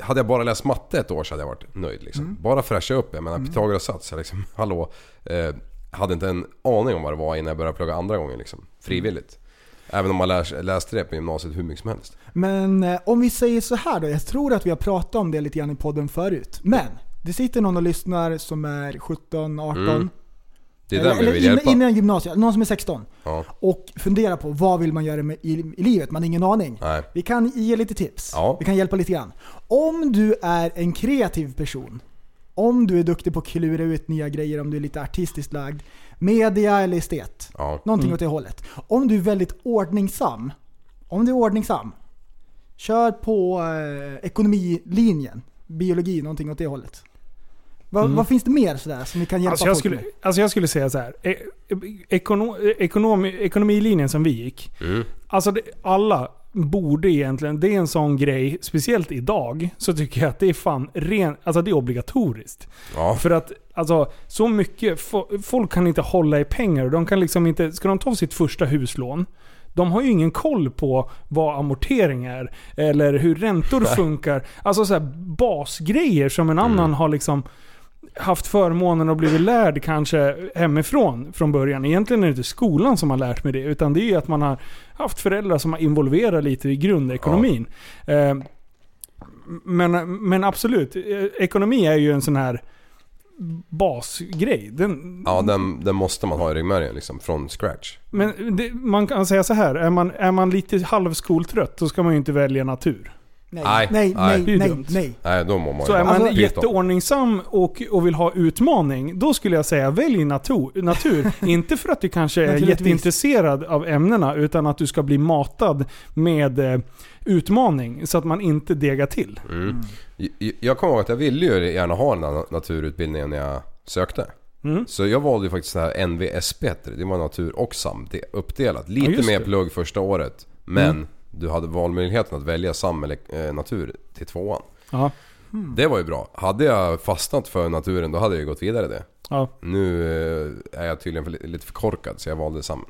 Hade jag bara läst matte ett år så hade jag varit nöjd liksom.
Mm.
Bara fräscha upp. Jag menar Pythagoras sats, jag liksom, *laughs* hallå. Eh, hade inte en aning om vad det var innan jag började plugga andra gången liksom. Frivilligt. Även om man lär, läste det på gymnasiet hur mycket som helst.
Men eh, om vi säger så här då, jag tror att vi har pratat om det lite grann i podden förut. Men det sitter någon och lyssnar som är 17, 18.
Mm. Det är
eller,
den vi
eller
vill
innan-
hjälpa.
Innan gymnasiet, någon som är 16.
Ja.
Och funderar på vad vill man göra med, i, i livet? Man har ingen aning.
Nej.
Vi kan ge lite tips.
Ja.
Vi kan hjälpa lite grann. Om du är en kreativ person, om du är duktig på att klura ut nya grejer, om du är lite artistiskt lagd, media eller estet.
Ja.
Någonting åt det hållet. Om du är väldigt ordningsam, om du är ordningsam, kör på eh, ekonomilinjen, biologi, någonting åt det hållet. Va, Vad finns det mer sådär som vi kan hjälpa
Alltså jag,
folk
skulle,
med?
alltså jag skulle säga så här. E- Ekonom, ekonom, ekonomilinjen som vi gick. Alltså det, alla borde egentligen, det är en sån grej, speciellt idag, så tycker jag att det är fan ren, alltså det är obligatoriskt.
Ja.
För att alltså, så mycket, fo- folk kan inte hålla i pengar. och De kan liksom inte, ska de ta sitt första huslån, de har ju ingen koll på vad amortering är. Eller hur räntor funkar. Alltså så här, basgrejer som en annan har liksom haft förmånen att bli lärd kanske hemifrån från början. Egentligen är det inte skolan som har lärt mig det, utan det är ju att man har haft föräldrar som har involverat lite i grundekonomin. Eh, Men, men absolut, eh, ekonomi är ju en sån här basgrej. Den,
Ja, den, den måste man ha i ryggmärgen liksom. Från scratch.
Men det, man kan säga så här, är man, är man lite halvskoltrött då ska man ju inte välja natur.
Nej,
Nej,
nej,
nej.
nej,
Det är
nej,
dumt.
nej.
Nej, då mår man
Så är man
Alltså,
jätteordningsam och, och vill ha utmaning, då skulle jag säga välj natur.
*laughs*
natur. inte för att du kanske är
Naturligtvis.
jätteintresserad av ämnena, utan att du ska bli matad med eh, utmaning så att man inte degar till.
Mm. Jag- Jag kommer ihåg att jag ville ju gärna ha den här naturutbildningen när jag sökte.
Mm.
Så jag valde ju faktiskt den här NVSP heter det. Det var natur och SAM det- uppdelat. Lite
Ja, just
mer
det. Mm.
plugg första året. Men du hade valmöjligheten att välja SAM eller eh, natur till tvåan.
Ja, Mm.
Det var ju bra. Hade jag fastnat för naturen då hade jag ju gått vidare i det.
ja.
Nu eh, är jag tydligen för, li- lite för korkad så jag valde SAM.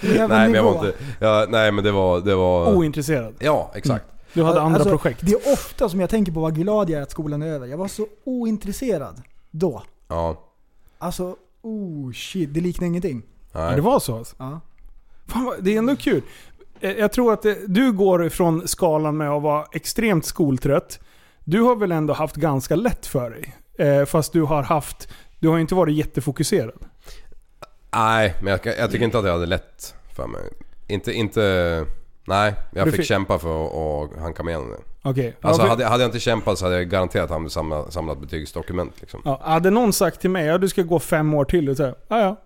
Jävla
Nej men, jag var
nivå.
inte, ja, nej men det var... Det var
Ointresserad.
ja exakt.
Du hade andra
Alltså,
projekt.
Det är ofta som jag tänker på vad glad jag är att skolan är över. Jag var så ointresserad då.
Ja.
Alltså, oh shit. Det liknar ingenting.
Ja,
Nej.
det var så alltså.
Ja. *laughs*
Fan, vad- det är ändå kul. Eh, Jag tror att eh, du går från skalan med att vara extremt skoltrött. Du har väl ändå haft ganska lätt för dig? Eh, Fast du har haft... Du har ju inte varit jättefokuserad.
Nej, men jag, jag tycker inte att jag hade lätt för mig. Inte, inte... Nej, jag
Du
fick
fick-
kämpa för att, att hanka mig igenom det.
Okej.
Alltså
Ja, för-
hade, hade jag inte kämpat så hade jag garanterat hamnat samlat, samlat betygsdokument liksom.
Ja, hade någon sagt till mig att du ska gå fem år till, och så här, ja ja.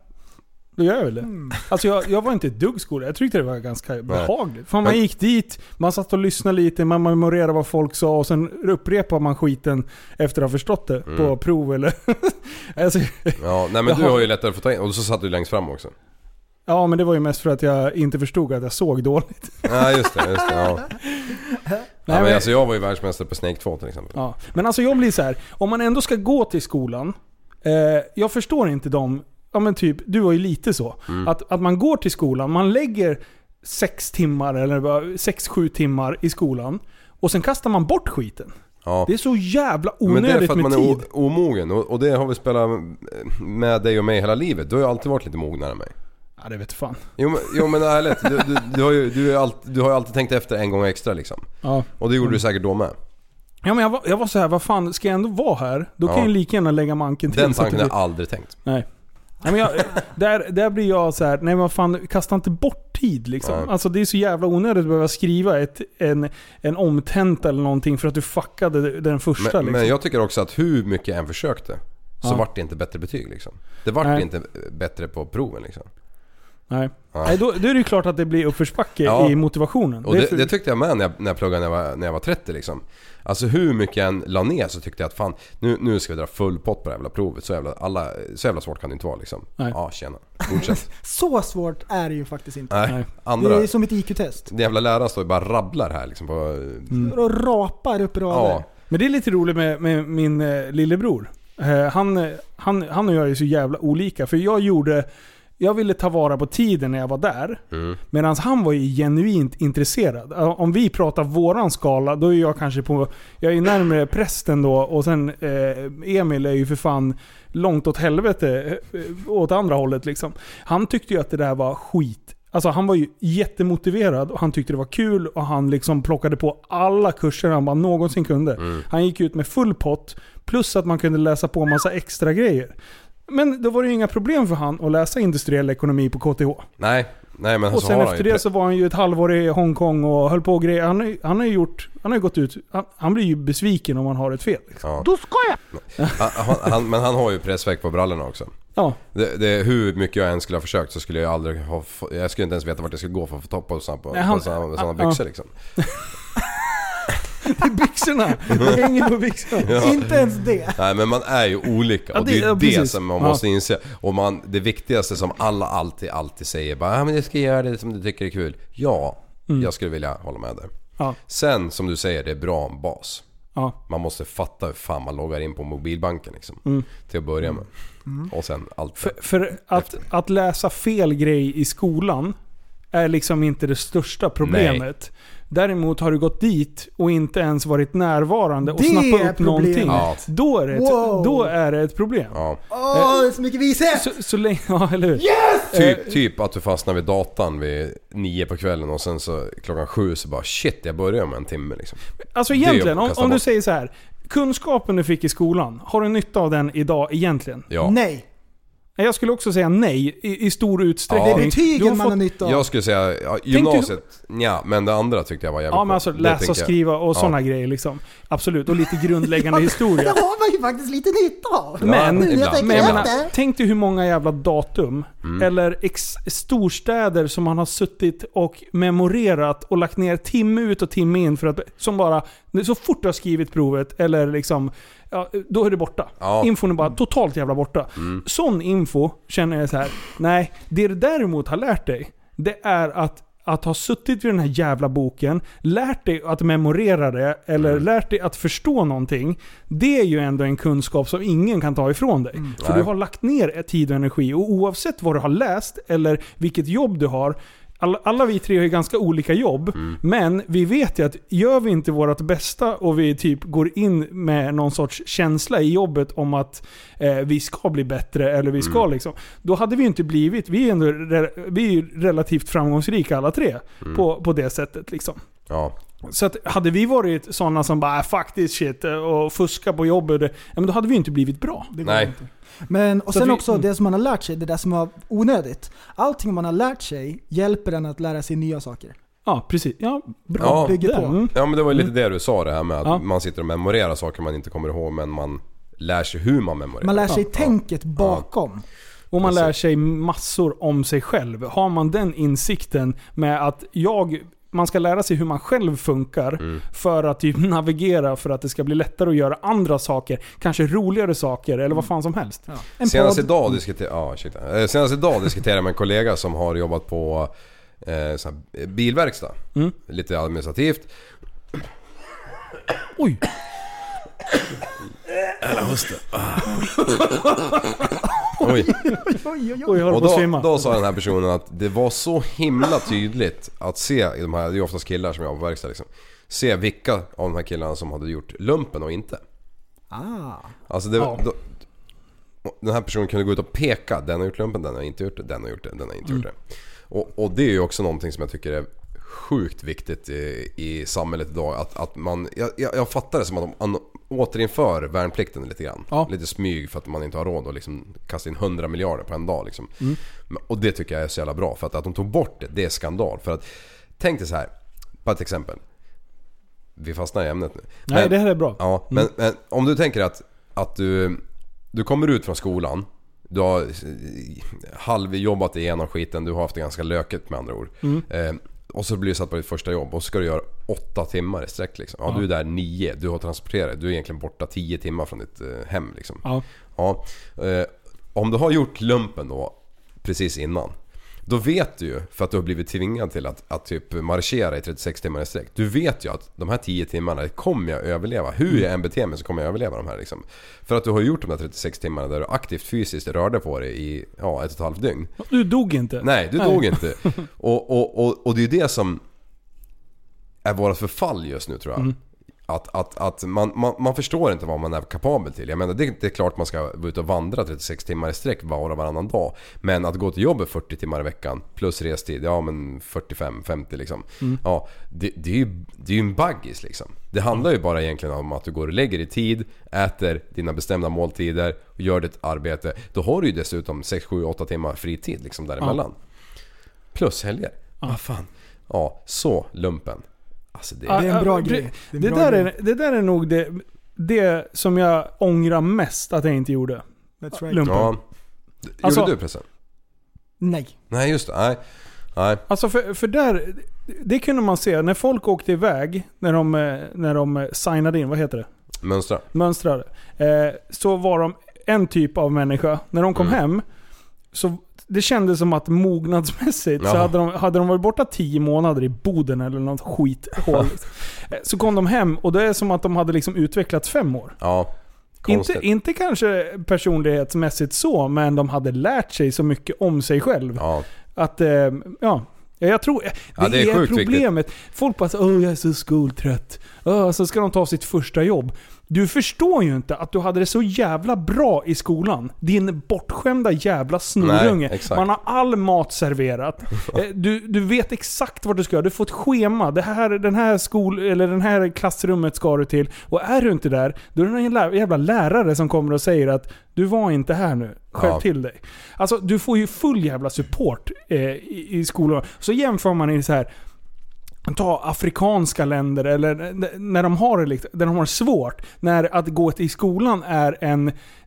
Då gör jag väl det.
Mm.
Alltså jag, jag var inte ett dugg skolad. Jag tyckte det var ganska behagligt. Fan, man
Men-
gick dit, man satt och lyssnade lite, man memorerade vad folk sa och sen upprepar man skiten efter att ha förstått det
Mm.
på prov eller... *laughs* alltså,
Ja, nej men du
Jaha.
har ju lättare att få ta in. Och så satt du längst fram också.
ja men det var ju mest för att jag inte förstod att jag såg dåligt.
Ja just det, just
*laughs*
det. Ja.
Nej,
ja, men
men-
alltså jag var ju världsmästare på Snake 2 till exempel.
Ja. Men alltså jag blir så här. om man ändå ska gå till skolan. Eh, jag förstår inte dem. Ja men typ, du var ju lite så.
Mm.
Att, att man går till skolan, man lägger sex timmar eller vad- sex, sju timmar i skolan. Och sen kastar man bort skiten.
Ja.
Det är så jävla
Men det är för
onödigt
att
med
man är
tid.
o- omogen och, och det har vi spelat med dig och mig hela livet. Du har ju alltid varit lite mognare än mig.
Ja det vet fan.
Jo men, jo, men ärligt, du, du, du, har ju, du, är allt- du har ju alltid tänkt efter en gång extra liksom.
Ja.
Och det gjorde du säkert då med.
Ja men jag var, jag var så här, vad fan, ska jag ändå vara här? Då kan
Ja.
jag ju lika gärna lägga manken till.
Den
så att
tanken
det
har
blir-
jag aldrig tänkt.
Nej. nej men jag, där, där blir jag så här, nej men fan, kasta inte bort tid liksom.
Nej.
Alltså det är så jävla onödigt att behöva skriva ett, en, en omtenta eller någonting för att du fuckade den första
Men,
liksom.
men jag tycker också att hur mycket jag än försökte så
Ja.
vart det inte bättre betyg liksom. Det vart
Nej.
inte bättre på proven liksom.
Nej.
Ja.
Nej, då, då är det ju klart att det blir uppförsbacke
Ja.
i motivationen.
Och
är
det,
för-
det tyckte jag med när jag, när jag pluggade när jag, var, när jag var 30 liksom. Alltså hur mycket jag än la ner så tyckte jag att fan nu, nu ska vi dra full pott på det här jävla provet. Så jävla, alla, så jävla svårt kan det inte vara liksom.
Nej.
Ja tjena, fortsätt.
Så svårt är det ju faktiskt inte.
*laughs*
Nej.
Nej.
Äh, Andra,
Det är som ett IQ-test.
den jävla läraren står ju bara och rabblar här liksom på...
Mm.
Och rapar upp
Ja.
rader.
Men det är lite roligt med, med min eh, lillebror. Eh, han, eh, han, han och jag är så jävla olika. För jag gjorde... Jag ville ta vara på tiden när jag var där.
Mm.
Medan han var ju genuint intresserad. Eh, Om vi pratar våran skala, då är jag kanske på... Jag är närmare prästen då och sen eh, Emil är ju för fan långt åt helvete. Eh, eh, åt andra hållet liksom. Han tyckte ju att det där var skit. Alltså han var ju jättemotiverad och han tyckte det var kul och han liksom plockade på alla kurser han bara någonsin kunde.
Mm.
Han gick ut med full pott plus att man kunde läsa på massa extra grejer. Men då var det ju inga problem för han att läsa industriell ekonomi på KTH.
Nej, nej men
Och
så
sen
har han
efter
ju...
det så var han ju ett halvår i Hongkong och höll på och grejer. Han, har ju- han har ju gjort... Han har ju gått ut... Han, han blir ju besviken om han har ett fel. Liksom.
Ja. Då ska jag! *laughs* Han, han, men han har ju pressväck på brallorna också.
Ja.
Det, det, hur mycket jag än skulle ha försökt så skulle jag aldrig ha... få- Jag skulle inte ens veta vart jag skulle gå för att få topp på sådana på,
Nej, han-
på såna, såna
ja.
byxor liksom.
Det är byxorna! Det hänger på
*laughs*
byxorna.
Inte ens det.
Nej men man är ju olika
Ja,
och
det-
det är
ja,
ju det
precis.
som man
Ja.
måste inse. Och man, det viktigaste som alla alltid, alltid säger bara ah, men du ska göra det som du tycker är kul. Ja, jag skulle vilja hålla med där.
Mm. Ja.
Sen som du säger, det är bra en bas.
Ja.
Man måste fatta hur fan man loggar in på mobilbanken liksom. Till att börja med. Och sen allt
Mm. För, för att, att läsa fel grej i skolan är liksom inte det största problemet. Däremot har du gått dit och inte ens varit närvarande och
Det är
snappat upp
problemet.
någonting.
Ja.
Då, är det ett,
Wow.
då är det ett problem.
Ja,
Åh, det är så mycket vishet!
Så, så länge, *laughs* ja, eller hur?
typ, typ att du fastnar vid datan vid nio på kvällen och sen så klockan sju så bara shit jag börjar med en timme liksom.
Alltså
är
egentligen,
att
om,
kasta
om du
bort.
säger så här. Kunskapen du fick i skolan, har du nytta av den idag egentligen?
Ja.
Nej.
Nej, Jag skulle också säga nej i, i stor utsträckning.
Det
Du
Ja.
är
har
betygen man har
fått-
nytta av.
Jag skulle säga ja, gymnasiet, nja, men det andra tyckte jag var jävligt
Ja men alltså
coolt. Det
läsa och
tänker jag.
skriva och
Ja.
sådana grejer liksom. Absolut, och lite grundläggande
Det
historia.
har man ju faktiskt lite nytta av.
Men,
ibland.
Nu jag tänker
Men jag
Ibland.
efter.
menar, tänk dig hur många jävla datum, eller ex- storstäder som man har suttit och memorerat och lagt ner timme ut och timme in för att, som bara, så fort du har skrivit provet eller liksom, ja, då är det borta.
Ja.
Infon är bara totalt jävla borta. Sån info känner jag så här. nej, det du däremot har lärt dig, det är att att ha suttit vid den här jävla boken, lärt dig att memorera det eller lärt dig att förstå någonting. Det är ju ändå en kunskap som ingen kan ta ifrån dig. För du har lagt ner tid och energi och oavsett vad du har läst eller vilket jobb du har. alla, alla vi tre har ju ganska olika jobb, men vi vet ju att gör vi inte vårt bästa och vi typ går in med någon sorts känsla i jobbet om att eh, vi ska bli bättre, eller vi ska liksom. Då hade vi ju inte blivit, vi är, ändå, re- vi är ju relativt framgångsrika alla tre på, på det sättet liksom.
Ja.
Så att hade vi varit sådana som bara "Ah, 'fuck this shit' och fuska på jobbet, eh, ja, men då hade vi ju inte blivit bra.
Det går
Nej.
inte. Men, och
Så
sen
att vi-
också det som man har lärt sig, det där som var onödigt. Allting man har lärt sig hjälper en att lära sig nya saker.
Ja, precis. Ja, bra.
Ja.
Bygger på.
Mm.
Ja men det var ju lite det du sa det här med att
Ja.
man sitter och memorerar saker man inte kommer ihåg men man lär sig hur man memorerar.
Man lär sig
Ja.
tänket bakom.
Och man
Precis.
lär sig massor om sig själv. Har man den insikten med att jag, man ska lära sig hur man själv funkar
Mm.
för att typ *laughs* navigera för att det ska bli lättare att göra andra saker. Kanske roligare saker eller vad fan som helst.
En
Mm. Senast
podd.
idag, diskuter- ja, shit. Eh, Senast idag diskuterade jag med en kollega som har jobbat på eh, så här, bilverkstad. Lite administrativt.
Oj!
Oj.
Oj, oj, oj.
Oj, jag håller
Och
på att
då,
svimma.
då sa den här personen att det var så himla tydligt att se i de här, det är ju oftast killar som jobbar på verkstad liksom. Se vilka av de här killarna som hade gjort lumpen och inte.
Ah.
Alltså det,
Ja.
då, den här personen kunde gå ut och peka. Den har gjort lumpen, den har inte gjort det, den har gjort det, den har inte
Mm.
gjort det. Och, och det är ju också någonting som jag tycker är sjukt viktigt i, i samhället idag. Att, att man, jag, jag jag fattar det som att de an, återinför värnplikten lite grann.
Ja.
Lite smyg för att man inte har råd att liksom kasta in 100 miljarder på en dag. Liksom.
Mm.
Men- Och det tycker jag är så jävla bra. För att, att de tog bort det, det är skandal. För att, tänk dig så här, bara ett exempel. Vi fastnar i ämnet nu.
Nej,
Men-
det här är bra.
Ja, Mm. men, men om du tänker att, att du, du kommer ut från skolan. Du har eh, halvjobbat igenom skiten, du har haft det ganska löket med andra ord. Eh, och så blir du satt på ditt första jobb och så ska du göra åtta timmar i sträck. Liksom. Ja, Du är där nio, du har transporterat, du är egentligen borta tio timmar från ditt eh, hem. Liksom.
Ja.
Ja, eh, om du har gjort lumpen då precis innan. Då vet du ju, för att du har blivit tvingad till att, att typ marschera i 36 timmar i sträck. Du vet ju att de här 10 timmarna kommer jag överleva. Hur jag än beter mig så kommer jag överleva de här liksom. För att du har gjort de här 36 timmarna där du aktivt fysiskt rörde på dig i ja, ett och ett halvt dygn.
Du dog inte.
Nej, du dog inte. Och, och, och, och det är ju det som är vårt förfall just nu tror jag. Att, att, att man, man, man förstår inte vad man är kapabel till. Jag menar det, det är klart man ska vara ute och vandra 36 timmar i sträck var och varannan dag. Men att gå till jobbet 40 timmar i veckan plus restid, ja men 45-50 liksom. Ja, det, det är ju det är ju en baggis liksom. Det handlar ju bara egentligen om att du går och lägger i tid, äter dina bestämda måltider och gör ditt arbete. Då har du ju dessutom 6-7-8 timmar fritid liksom däremellan. Plus helger. Vad fan. Ja, så lumpen. Alltså det...
Ja,
Det är en
ja,
bra
det-
grej.
Det,
är en
där
bra grej.
är, det där är nog det, det som jag ångrar mest att jag inte gjorde.
That's right.
Lugn.
Ja. Gjorde
Alltså-
du pressen?
Nej.
Nej just det, nej. Nej.
Alltså för, för där, det kunde man se. När folk åkte iväg, när de, eh, när de eh, signade in, vad heter det?
Mönstra.
Mönstrade. Eh, så var de en typ av människa. När de kom
Mm.
hem, så det kändes som att mognadsmässigt så
Ja.
hade de, hade de varit borta 10 månader i Boden eller något
*laughs*
skithål. Eh, så kom de hem och det är som att de hade liksom utvecklats fem år.
Ja. Konstigt.
Inte, inte kanske personlighetsmässigt så, men de hade lärt sig så mycket om sig själv.
Ja.
Att, eh, ja. Ja, jag tror, det,
Ja, det är
är,
sjukt
problemet. Folk bara så, åh jag är så skoltrött. Åh, så ska de ta sitt första jobb. Du förstår ju inte att du hade det så jävla bra i skolan. Din bortskämda jävla snorunge.
Nej, exakt.
Man har all mat serverat. Eh, Du, du vet exakt vad du ska göra. Du får ett schema. Det här, den, här skol, eller den här klassrummet ska du till. Och är du inte där, då är det en lä- jävla lärare som kommer och säger att du var inte här nu. Skärp
Ja.
till dig. Alltså du får ju full jävla support eh, i, i skolan. Så jämför man i så här ta afrikanska länder eller eh, n- när de har det, likt- när de har det svårt. När att gå till skolan är en...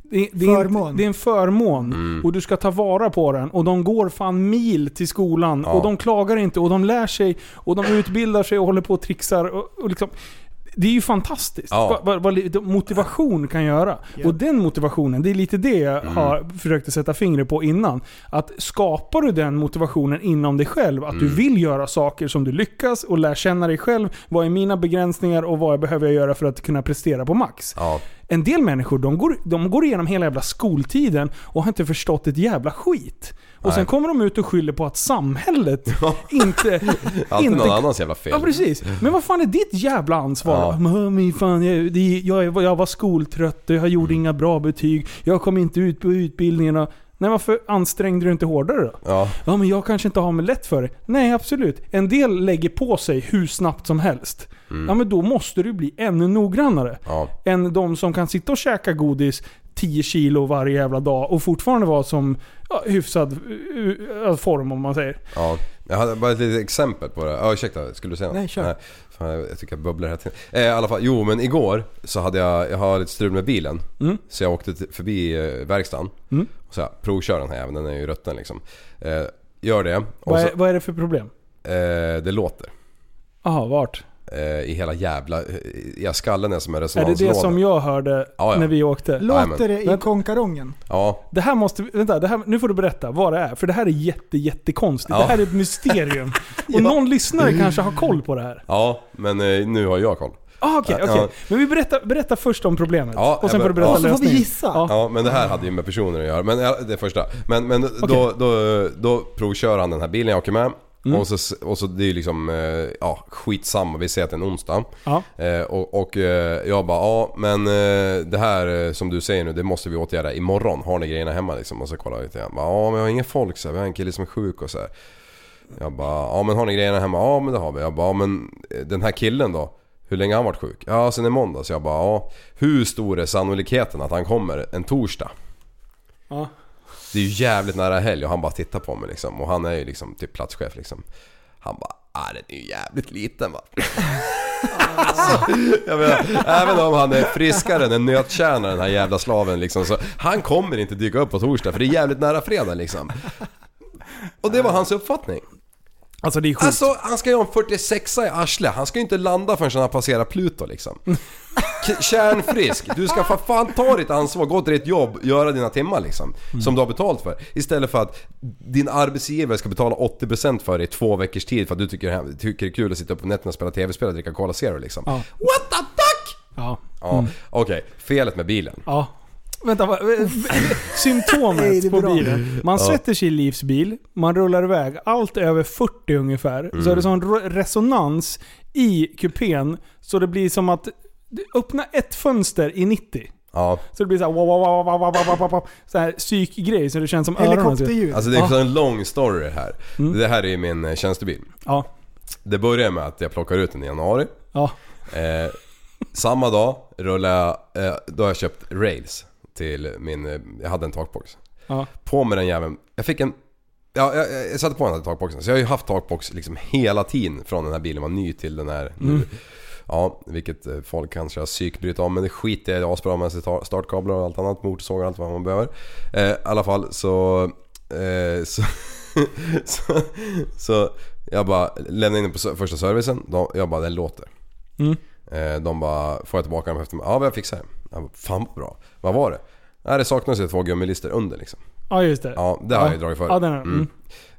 Det, det, är, inte,
Förmån.
det är en förmån
Mm.
och du ska ta vara på den. Och de går fan mil till skolan och de klagar inte och de lär sig och de utbildar sig och håller på och trixar. Och, och liksom, det är ju fantastiskt
Ja.
vad, vad, vad li- motivation kan göra. Och den motivationen, det är lite det jag
Mm.
har försökt att sätta fingret på innan. Att skapar du den motivationen inom dig själv, att
Mm.
du vill göra saker som du lyckas och lär känna dig själv. Vad är mina begränsningar och vad behöver jag göra för att kunna prestera på max?
Ja.
En del människor de går, de går igenom hela jävla skoltiden och har inte förstått ett jävla skit. Och sen
Nej.
kommer de ut och skyller på att
*laughs*
samhället inte...
Alltid
inte
någon annans jävla fel.
Ja precis. Men vad fan är ditt jävla ansvar
Ja.
då? Men, men fan, jag, det- jag, jag, jag var skoltrött, jag gjorde
Mm.
inga bra betyg, jag kom inte ut på utbildningarna. Nej varför ansträngde du inte hårdare då?
Ja,
Ja men jag kanske inte har mig lätt för det. Nej absolut. En del lägger på sig hur snabbt som helst. Ja men då måste du bli ännu noggrannare.
Mm. ja.
Än de som kan sitta och käka godis 10 kilo varje jävla dag och fortfarande vara som ja, hyfsad eh, eh, form om man säger.
Ja, jag hade bara ett litet exempel på det. Ja, ursäkta, skulle du säga något?
Nej, kör.
Fan, jag, jag tycker jag bubblar hela tiden. Eh, I alla fall, jo men igår så hade jag, jag har lite strul med bilen.
Mm.
Så jag åkte till, förbi eh, verkstaden. Och så här, provkör den här även den är ju rutten liksom. Eh, gör det. Och
Vad
så,
är, vad är det för problem?
eh, det låter.
Jaha, vart?
Eh, I hela jävla, ja skallen är som
Är
en
det
resonanslåda.
det som jag hörde
Ja, ja.
när vi åkte?
Låter det i
Vänta.
konkarongen?
Ja,
Det här måste vi- vänta, det här, nu får du berätta vad det är. För det här är jätte, jättekonstigt.
Ja.
Det här är ett
*laughs*
mysterium. Och någon lyssnare kanske har koll på det här.
ja men eh, nu har jag koll.
Ah, okej, okej.
Ja.
Men vi berättar, berätta först om problemet.
Ja,
och sen
ja,
får du
men-
berätta
ja.
Så Alltså, får vi
lösningen.
gissa.
Ja.
Ja men det här hade ju med personer att göra, men ja, det första. Men, men då, då, då provkör han den här bilen jag åker med.
Mm.
Och, så, och så det är ju liksom, eh, ja skitsamma, vi säger att det är en onsdag.
Ja.
Eh, och och eh, jag bara, ja men eh, det här eh, som du säger nu, det måste vi åtgärda imorgon. Har ni grejerna hemma liksom? Och så kollar jag lite grann. Bara, Ja men jag har ingen folk så här. vi har en kille som är sjuk och så här. Jag bara, ja men har ni grejerna hemma? Ja men det har vi. Jag bara, ja, men eh, den här killen då? Hur länge har han varit sjuk? Ja sen i måndags. Jag bara, ja hur stor är sannolikheten att han kommer en torsdag?
Ja.
Det är ju jävligt nära helg och han bara tittar på mig liksom. Och han är ju liksom typ platschef liksom. Han bara, ah den är ju jävligt liten va. alltså, jag menar, även om han är friskare än en nötkärna den här jävla slaven liksom. Så han kommer inte dyka upp på torsdag för det är jävligt nära fredag liksom. Och det var hans uppfattning.
Alltså det är sjukt.
Alltså han ska ju ha en 46 i arslet. Han ska ju inte landa förrän han har passerat Pluto liksom. K- Kärnfrisk. Du ska för fan ta ditt ansvar, gå till ditt jobb, göra dina timmar liksom. Som du har betalt för. Istället för att din arbetsgivare ska betala 80% för dig i två veckors tid för att du tycker, tycker det är kul att sitta upp på nätterna och spela tv-spel och dricka Cola Zero liksom.
Ja.
What the fuck!
ja.
Ja, okej. Felet med bilen.
ja. Vänta, vad, symptomet
Nej, det är
på
bra.
bilen. Man sätter sig i Livs bil, man rullar iväg allt över 40 ungefär. Så är det sån re- resonans i kupén så det blir som att öppna ett fönster i 90.
Ja.
Så det blir såhär wow, wow, wow, wow, wow, wow, wow, wow, så här psykgrej så det känns som öronen.
Helikopterljud.
Alltså det är
Ja.
så en lång story det här. Det här är ju min eh, tjänstebil.
Ja.
Det börjar med att jag plockar ut den i januari.
Ja.
Eh, samma dag rullade jag, eh, då har jag köpt rails till min, eh, jag hade en takbox.
Ja.
På med den jäveln, jag fick en, ja, jag, jag satte på den här takboxen. Så jag har ju haft takbox liksom hela tiden från den här bilen var ny till den här nu.
Mm.
Ja, vilket eh, folk kanske har psykbryt om men det skiter jag i. Det är asbra med sig tar- startkablar och allt annat, motorsågar och allt vad man behöver. Eh, I alla fall så... Eh, så, *laughs* så, så jag bara lämnade in den på ser- första servicen. De, jag bara, den låter.
Mm.
Eh, De bara, får jag tillbaka den efter mig? Ja, men jag fixar den. Jag bara, fan vad bra. Vad var det? Nej, det saknas ju två gummilister under liksom.
ja, just det.
Ja, det har jag ju dragit förut.
Ja, den är, mm.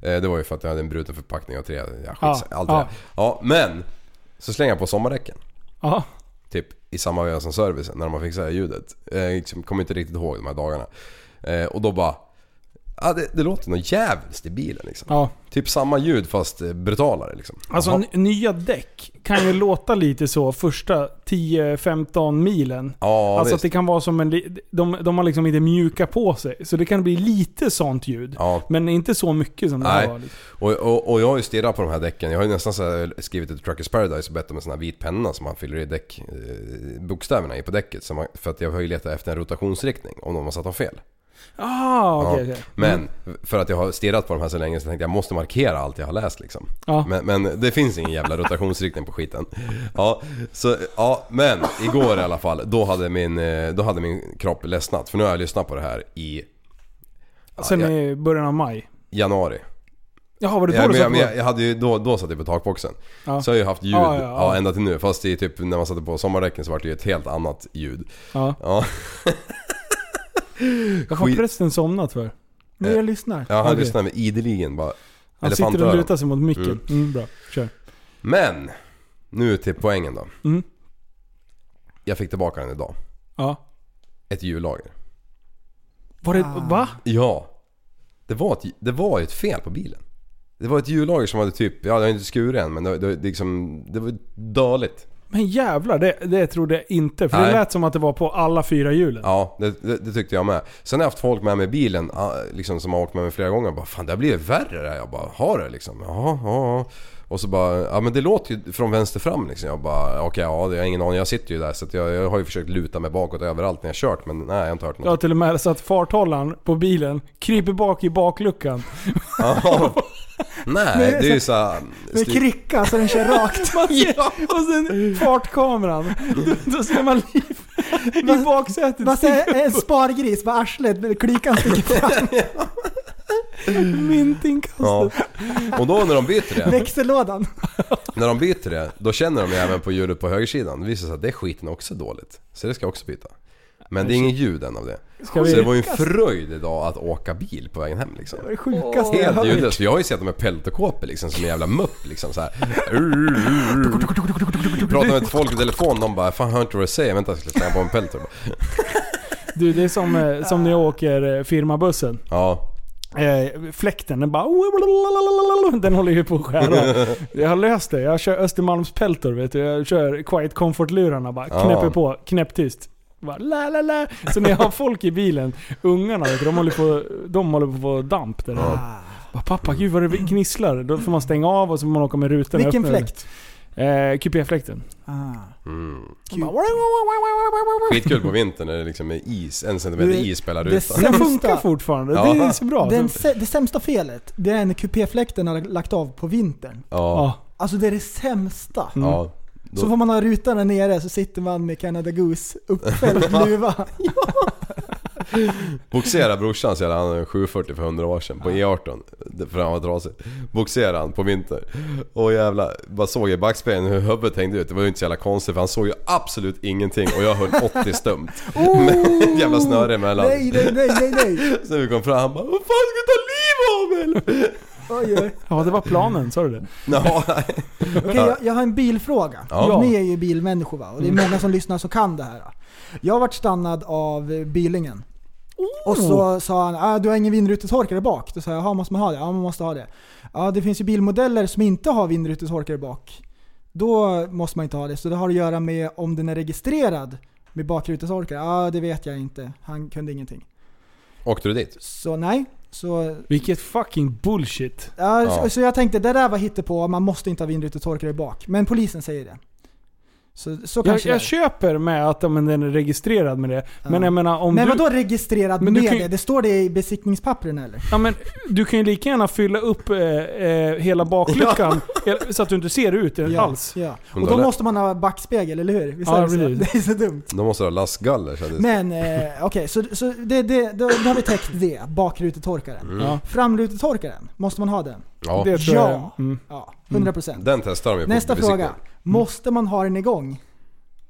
Eh, Det var ju för att jag hade en bruten förpackning och tre, ja, skit,
Ja,
allt det
ja.
där. Ja, men! Så slänger jag på sommardäcken.
ja.
Typ i samma veva som servicen när de har fixat ljudet. Jag liksom, kommer inte riktigt ihåg de här dagarna. Eh, Och då bara... Ja, det, det låter något jävligt i bilen liksom.
ja.
Typ samma ljud fast eh, brutalare liksom.
Alltså
Jaha.
n- nya däck kan ju låta lite så första 10-15 milen.
ja,
alltså
visst.
att det kan vara som en... li- De, de har liksom inte mjuka på sig. Så det kan bli lite sånt ljud.
Ja.
Men inte så mycket som det här
Nej.
var. Liksom.
Och, och, och jag har ju stirrat på de här däcken. Jag har ju nästan så här skrivit ett Truckers Paradise och bett om en sån här vit penna som man fyller i däck, eh, bokstäverna i på däcket. Så man, för att jag har ju letat efter en rotationsriktning om de har satt dem fel.
Ah, okej. okej.
Men
Mm.
för att jag har stirrat på de här så länge så tänkte jag jag måste markera allt jag har läst liksom.
Ja.
Men, men det finns ingen jävla rotationsriktning på skiten. Ja, så, ja, men igår i alla fall då hade min, eh, då hade min kropp ledsnat. För nu har jag lyssnat på det här i
Sen
jag-
i början av maj.
januari.
Jaha, var det då
Ja,
du
men
satte
jag, men
på?
jag, jag hade ju då, då satt jag på takboxen.
Ja.
Så har jag ju haft ljud
Ja,
ja,
ja, ja.
ända till nu. Fast i typ när man satte på sommardäcken så var det ju ett helt annat ljud.
Ja.
Ja,
Vad har
skit- Eh,
prästen somnat för?
Men jag lyssnar.
ja han
Okej.
lyssnar med ideligen bara.
Han sitter och
Elefantöron.
lutar sig mot micken. Mm.
Mm.
bra. Kör.
Men! Nu till poängen då.
Mm.
Jag fick tillbaka den idag.
Ja.
ett hjullager.
Var det,
Ah.
Va?
Ja. Det var, ett, det var ju ett fel på bilen. Det var ett hjullager som hade typ, ja det har inte skurit än men det, det, det, liksom, det var dåligt.
Men jävlar, det, det trodde jag inte. För det
Nej.
lät som att det var på alla fyra hjulen.
Ja, det, det, det tyckte jag med. Sen har jag haft folk med mig i bilen ah, liksom, som har åkt med mig flera gånger. Bara, Fan det har blivit värre det här. Jag bara, har det liksom? Ja, ja, ja. Och så bara, ja men det låter ju från vänster fram liksom. Jag bara, okej ja, det- jag har ingen aning. Jag sitter ju där så att jag, jag har ju försökt luta mig bakåt överallt när jag kört men nej jag har inte hört
Jag har
något.
till och med satt farthållaren på bilen, kryper bak i
*laughs*
bakluckan.
Ja. *laughs* nej,
Men-
det är ju såhär...
Med kricka
*laughs*
så den kör rakt.
Man ser, Och sen fartkameran. Då, då ser man liv i baksätet.
Vad säger en spargris med arslet, med klykan sticker
*laughs*
fram.
Myntinkastet.
Ja. Och då när de
*laughs*
byter det,
Växellådan.
när de byter det, då känner de ju även på hjulet på högersidan. Det visar sig att det är skiten också dåligt. Så det ska jag också byta. Men det är ingen ljud än av det.
Ska
Så det
vi...
var ju en fröjd idag att åka bil på vägen hem liksom.
Det sjukaste jag
Helt
har hört.
ljudlöst. För Jag har ju sett dem med peltokåpor liksom som en jävla mupp liksom så här. Pratar med folk i telefon, de bara 'Fan hör inte vad du säger, vänta jag ska slänga på en peltor'
Du, det är som, eh, som när jag åker eh, firmabussen.
Ja,
Eh, fläkten, den bara... *laughs* Den håller ju på att skära. Jag har löst det. Jag kör Östermalmspeltor, vet du. Jag kör Quiet Comfort-lurarna bara.
Ja.
Knäpper på, knäpptyst. Bara, la, la, la. Så när jag har folk i bilen, ungarna vet du, de håller på, de håller på att få damp där nere.
Ah,
Bara, Pappa, gud vad det gnisslar. Då får man stänga av och så får man åka med rutan
Vilken
öppen.
fläkt?
Eh, QP-fläkten.
Ah.
mm.
Kul.
Skitkul på vintern när det liksom är is, en centimeter
Du,
is spelar
det
rutan.
Den
Sämsta.
funkar fortfarande.
Ja.
Det är så bra.
Den, sä- det sämsta felet, det är när kupéfläkten har lagt av på vintern.
Ja,
ja.
Alltså det är det sämsta.
Mm.
ja. Då-
Så får man ha rutan där nere så sitter man med Canada Goose
*laughs*
uppfälld luva.
Boxera brorsan så jävla- han hade en 740 för 100 år sedan på E18. det- För han var trasig. Boxera han på vinter. Och jävla bara såg jag i backspegeln hur huvudet hängde ut. Det var ju inte så jävla konstigt för han såg ju absolut ingenting och jag höll 80 stumt. Med ett jävla snöre emellan.
Oh! Nej, nej, nej, nej, nej.
Så när vi kom fram han bara Vad fan ska du ta livet av mig eller? *laughs*
Oj, oj.
ja, det var planen. Sa du det?
Nå, nej.
Okej, jag, jag har en bilfråga.
Ja. Mm.
Ni är ju bilmänniskor va? Och det är många som lyssnar som kan det här. Jag har varit stannad av eh, Bylingen. Och
Oh.
så sa han ah, du har ingen vindrutetorkare bak. Då sa jag, jaha måste man ha det? Ja man måste ha det. Ja det finns ju bilmodeller som inte har vindrutetorkare bak. Då måste man inte ha det. Så det har att göra med om den är registrerad med bakrutetorkare. Ja det vet jag inte. Han kunde ingenting.
Åkte du dit?
Så nej. Så
Vilket fucking bullshit.
Ja,
Ja.
Så, så jag tänkte det där var hittepå, man måste inte ha vindrutetorkare bak. Men polisen säger det. Så, så
Jag,
kanske
jag
det är.
köper med att ja, men den är registrerad med det. Men jag menar om
Men
du...
vadå registrerat
Men du
med
kan ju-
det? Det står det i besiktningspappren eller?
Ja, men du kan ju lika gärna fylla upp eh, eh, hela
*laughs*
bakluckan eh, så att du inte ser ut alls.
Ja.
Men
Och
då
då
lä-
måste man ha backspegel, eller hur? Visst
Ja,
är det, så?
precis.
*laughs* det är så dumt.
De måste ha lastgaller så att det...
Men eh, okej, så, så det, det, då, då har vi täckt det. Bakrutetorkaren.
Ja.
Framrutetorkaren, måste man ha den?
Ja.
Det tror jag.
Ja.
Mm.
Ja, 100%.
Den testar de ju på
Nästa
besiktning.
fråga. Måste man ha den igång?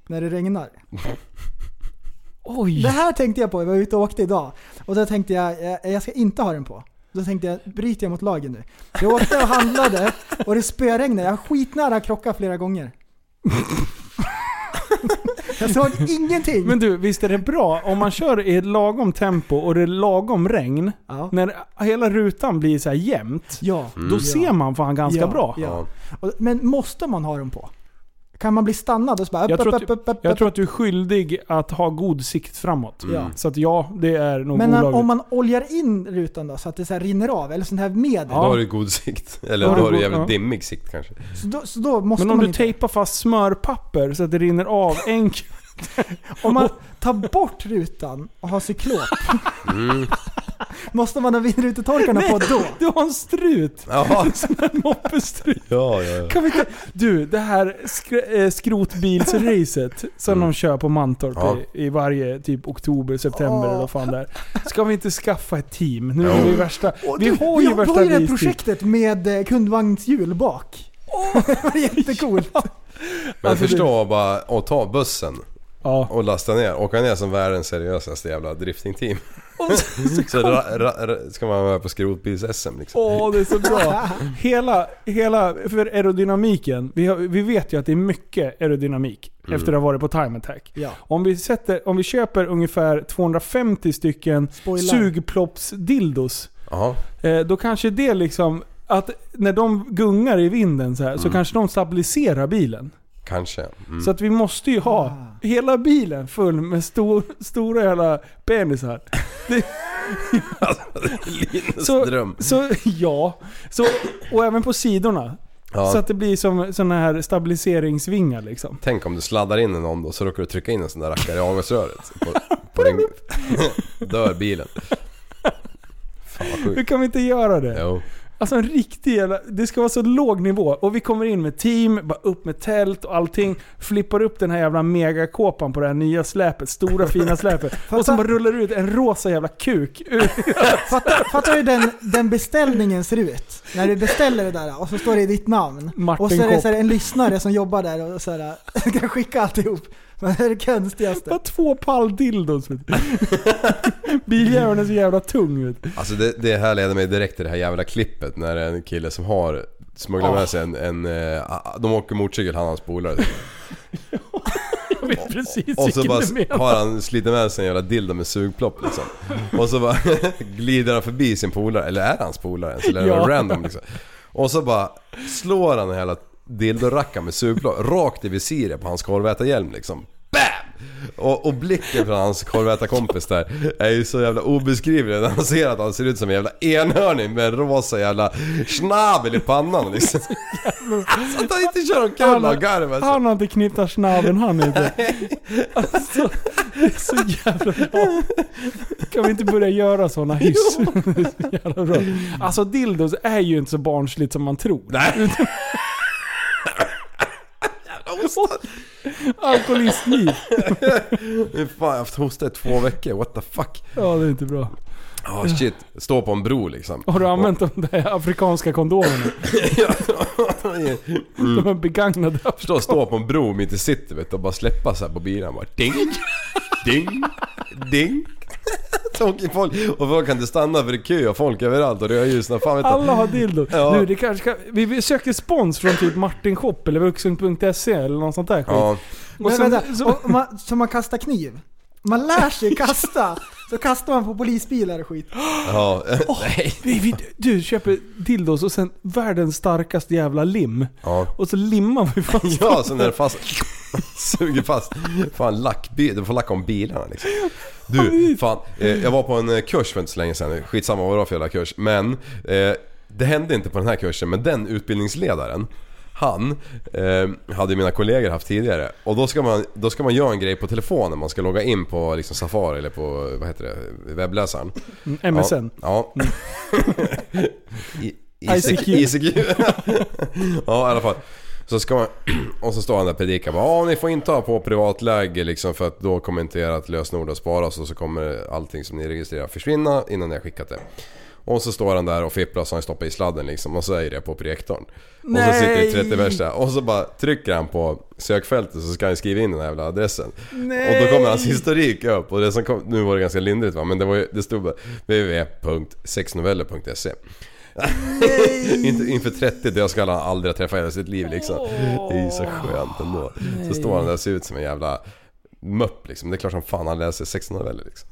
När det regnar?
*laughs* Oj.
Det här tänkte jag på, jag var ute och åkte idag. Och då tänkte jag, eh, jag ska inte ha den på. Då tänkte jag, bryter jag mot lagen nu? Jag åkte
*laughs*
och handlade och det spöregnade. Jag var skitnära att krocka flera gånger. Jag såg ingenting.
Men du, visst är det bra om man kör i ett lagom tempo och det är lagom regn.
ja.
När hela rutan blir så här jämnt.
ja.
Då
ja.
ser man fan ganska
ja.
bra.
Ja. Och, men måste man ha dem på? Kan man bli stannad och så bara upp,
Jag tror
upp,
att-
upp, upp, upp,
Jag
upp?
tror att du är skyldig att ha god sikt framåt.
Ja.
Så att ja, det är nog
Men
olagligt.
om man oljar in rutan då så att det så här rinner av, eller sånt här medel.
Då
Ja.
har du god sikt. Eller
Då har
då
du
har du
god-
jävligt
ja.
dimmig sikt kanske.
Så, då, så då måste
Men om
man
du
inte.
tejpar fast smörpapper så att det rinner av enkelt.
Om man tar bort rutan och har cyklop, *laughs* måste man ha vindrutetorkarna på då?
*laughs* Du har en strut!
Jaha.
En moppestrut.
Ja, ja, ja.
Kan vi inte... Du, det här skr- eh, skrotbilsracet som de kör på Mantorp
Ja.
i, i varje typ oktober, september eller vad fan det är. Ska vi inte skaffa ett team? Nu är
Jo.
vi värsta...
Och
Vi
du,
har ju
vi
värsta
har ju det här
raceteam.
projektet med eh, kundvagnshjul bak. *laughs* det var jättecoolt.
Men
Alltså,
förstå bara att ta bussen
Ja.
och lasta ner. Åka ner som världens seriösaste jävla driftingteam.
*laughs* Och så, så
Så
kom-
ra, ra, ra, ska man vara med på skrotbils-SM liksom.
Åh, det är så
*laughs*
bra. Hela, hela för aerodynamiken. Vi, har, vi vet ju att det är mycket aerodynamik efter att ha varit på time attack.
Ja.
Om vi, sätter, om vi köper ungefär 250 stycken
Spoiler.
sugploppsdildos.
Jaha.
Eh, då kanske det liksom... Att när de gungar i vinden så här, så kanske de stabiliserar bilen.
Kanske. Mm.
Så att vi måste ju ha
Ah.
hela bilen full med stor, stora jävla penisar.
Linus
Så-
dröm.
Så *laughs* ja. Så, och även på sidorna.
Ja.
Så att det blir som sådana här stabiliseringsvingar liksom.
Tänk om du sladdar in i någon då så råkar du trycka in en sån där rackare i avgasröret. På,
*laughs*
på din, *laughs* dör bilen. Fan vad
Hur
sjukt.
kan vi inte göra det?
Jo.
Alltså en riktig jävla... Det ska vara så låg nivå. Och vi kommer in med team, bara upp med tält och allting. Flippar upp den här jävla megakåpan på det här nya släpet. Stora fina släpet. Och sen bara rullar det ut en rosa jävla kuk. ur-
Fattar fattar du hur den, den beställningen ser ut? När du beställer det där och så står det ditt namn.
Martin
och så är det
Kopp.
så här, en lyssnare som jobbar där och så här, *laughs* kan skicka alltihop. Men det är det konstigaste.
Bara två palldildos. vet du. *laughs* Biljäveln är så jävla tung. Vet. *laughs* du.
Alltså det, det här leder mig direkt till det här jävla klippet när det är en kille som har
Ah.
smugglat med sig en... en eh, de åker motorcykel, han och hans polare.
Jag vet precis
Och så
vilken
bara
du menar.
har han slitit med sig en jävla dildo med sugplopp liksom. Och så bara *laughs* glider han förbi sin polare, eller är det hans polare ens? Eller är det
Ja.
någon random liksom? Och så bara slår han en jävla dildoracka med sugplopp rakt i visiret på hans korvätarhjälm liksom. Bam! Och, och blicken från hans korvätarkompis där är ju så jävla obeskrivlig när han ser att han ser ut som en jävla enhörning med en rosa jävla schnabel i pannan liksom. *laughs* Så att han inte kör omkull av garv alltså.
Han har inte knyttat snabben han inte. Alltså, det är så jävla bra. Kan vi inte börja göra
*laughs*
sådana hyss? *laughs* Det är så jävla bra. Alltså dildos är ju inte så barnsligt som man tror.
Nej.
Alkoholistliv.
Fan, jag har haft hosta i två veckor, what the fuck?
Ja, det är inte bra.
Ja shit, stå på en bro liksom.
Har du använt de där afrikanska kondomerna?
*laughs* Mm.
De här begagnade.
Förstå, stå på en bro mitt i city vet du, och bara släppa så här på bilen bara ding, ding, ding. Så åker folk, och folk kan inte stanna för det är kö och folk överallt och rödljusna. Fan vet du.
Alla har dildo.
Ja.
Nu, det kanske ska, vi, vi söker spons från typ Martin Shop eller vuxen.se E eller något sånt där skit.
Ja,
Och
Men
sen-
vänta,
så-
och man, så man kastar kniv. Man lär sig kasta. Så kastar man på polisbilar och skit.
ja. Nej.
Vi, vi, du köper dildos och sen världens starkaste jävla lim.
Ja.
Och så limmar vi fast
*laughs* Ja, sen är det fast... Suger fast. Fan lackbil, du får lacka om bilarna liksom. Du, fan. Eh, jag var på en eh, kurs för inte så länge sedan. Skitsamma vad det var för jävla kurs. Men eh, det hände inte på den här kursen. Men den utbildningsledaren. Han eh, hade ju mina kollegor haft tidigare och då ska, man, då ska man göra en grej på telefonen. Man ska logga in på liksom Safari eller på vad heter det, webbläsaren.
MSN.
Ja. ja. I-
ICQ.
ICQ. *laughs* ja i alla fall. Så ska man, *clears throat* och så står han där och predikar bara, "Ja, ni får inte ha på privatläge liksom för att då kommer inte ert lösenord att sparas och så kommer allting som ni registrerar försvinna innan ni har skickat det. Och så står han där och fipplar så han stoppar i sladden liksom och så är det på projektorn. Och så sitter det 30 pers där och så bara trycker han på sökfältet så ska han skriva in den här jävla adressen. Och då kommer hans historik upp och det som kom, nu var det ganska lindrigt va men det, var ju, det stod bara www.sexnoveller.se Inte- Inför 30 dödskallar han aldrig har träffat i hela sitt liv liksom. Det är ju så skönt ändå. Så står han där och ser ut som en jävla möpp liksom. Det är klart som fan han läser sexnoveller liksom.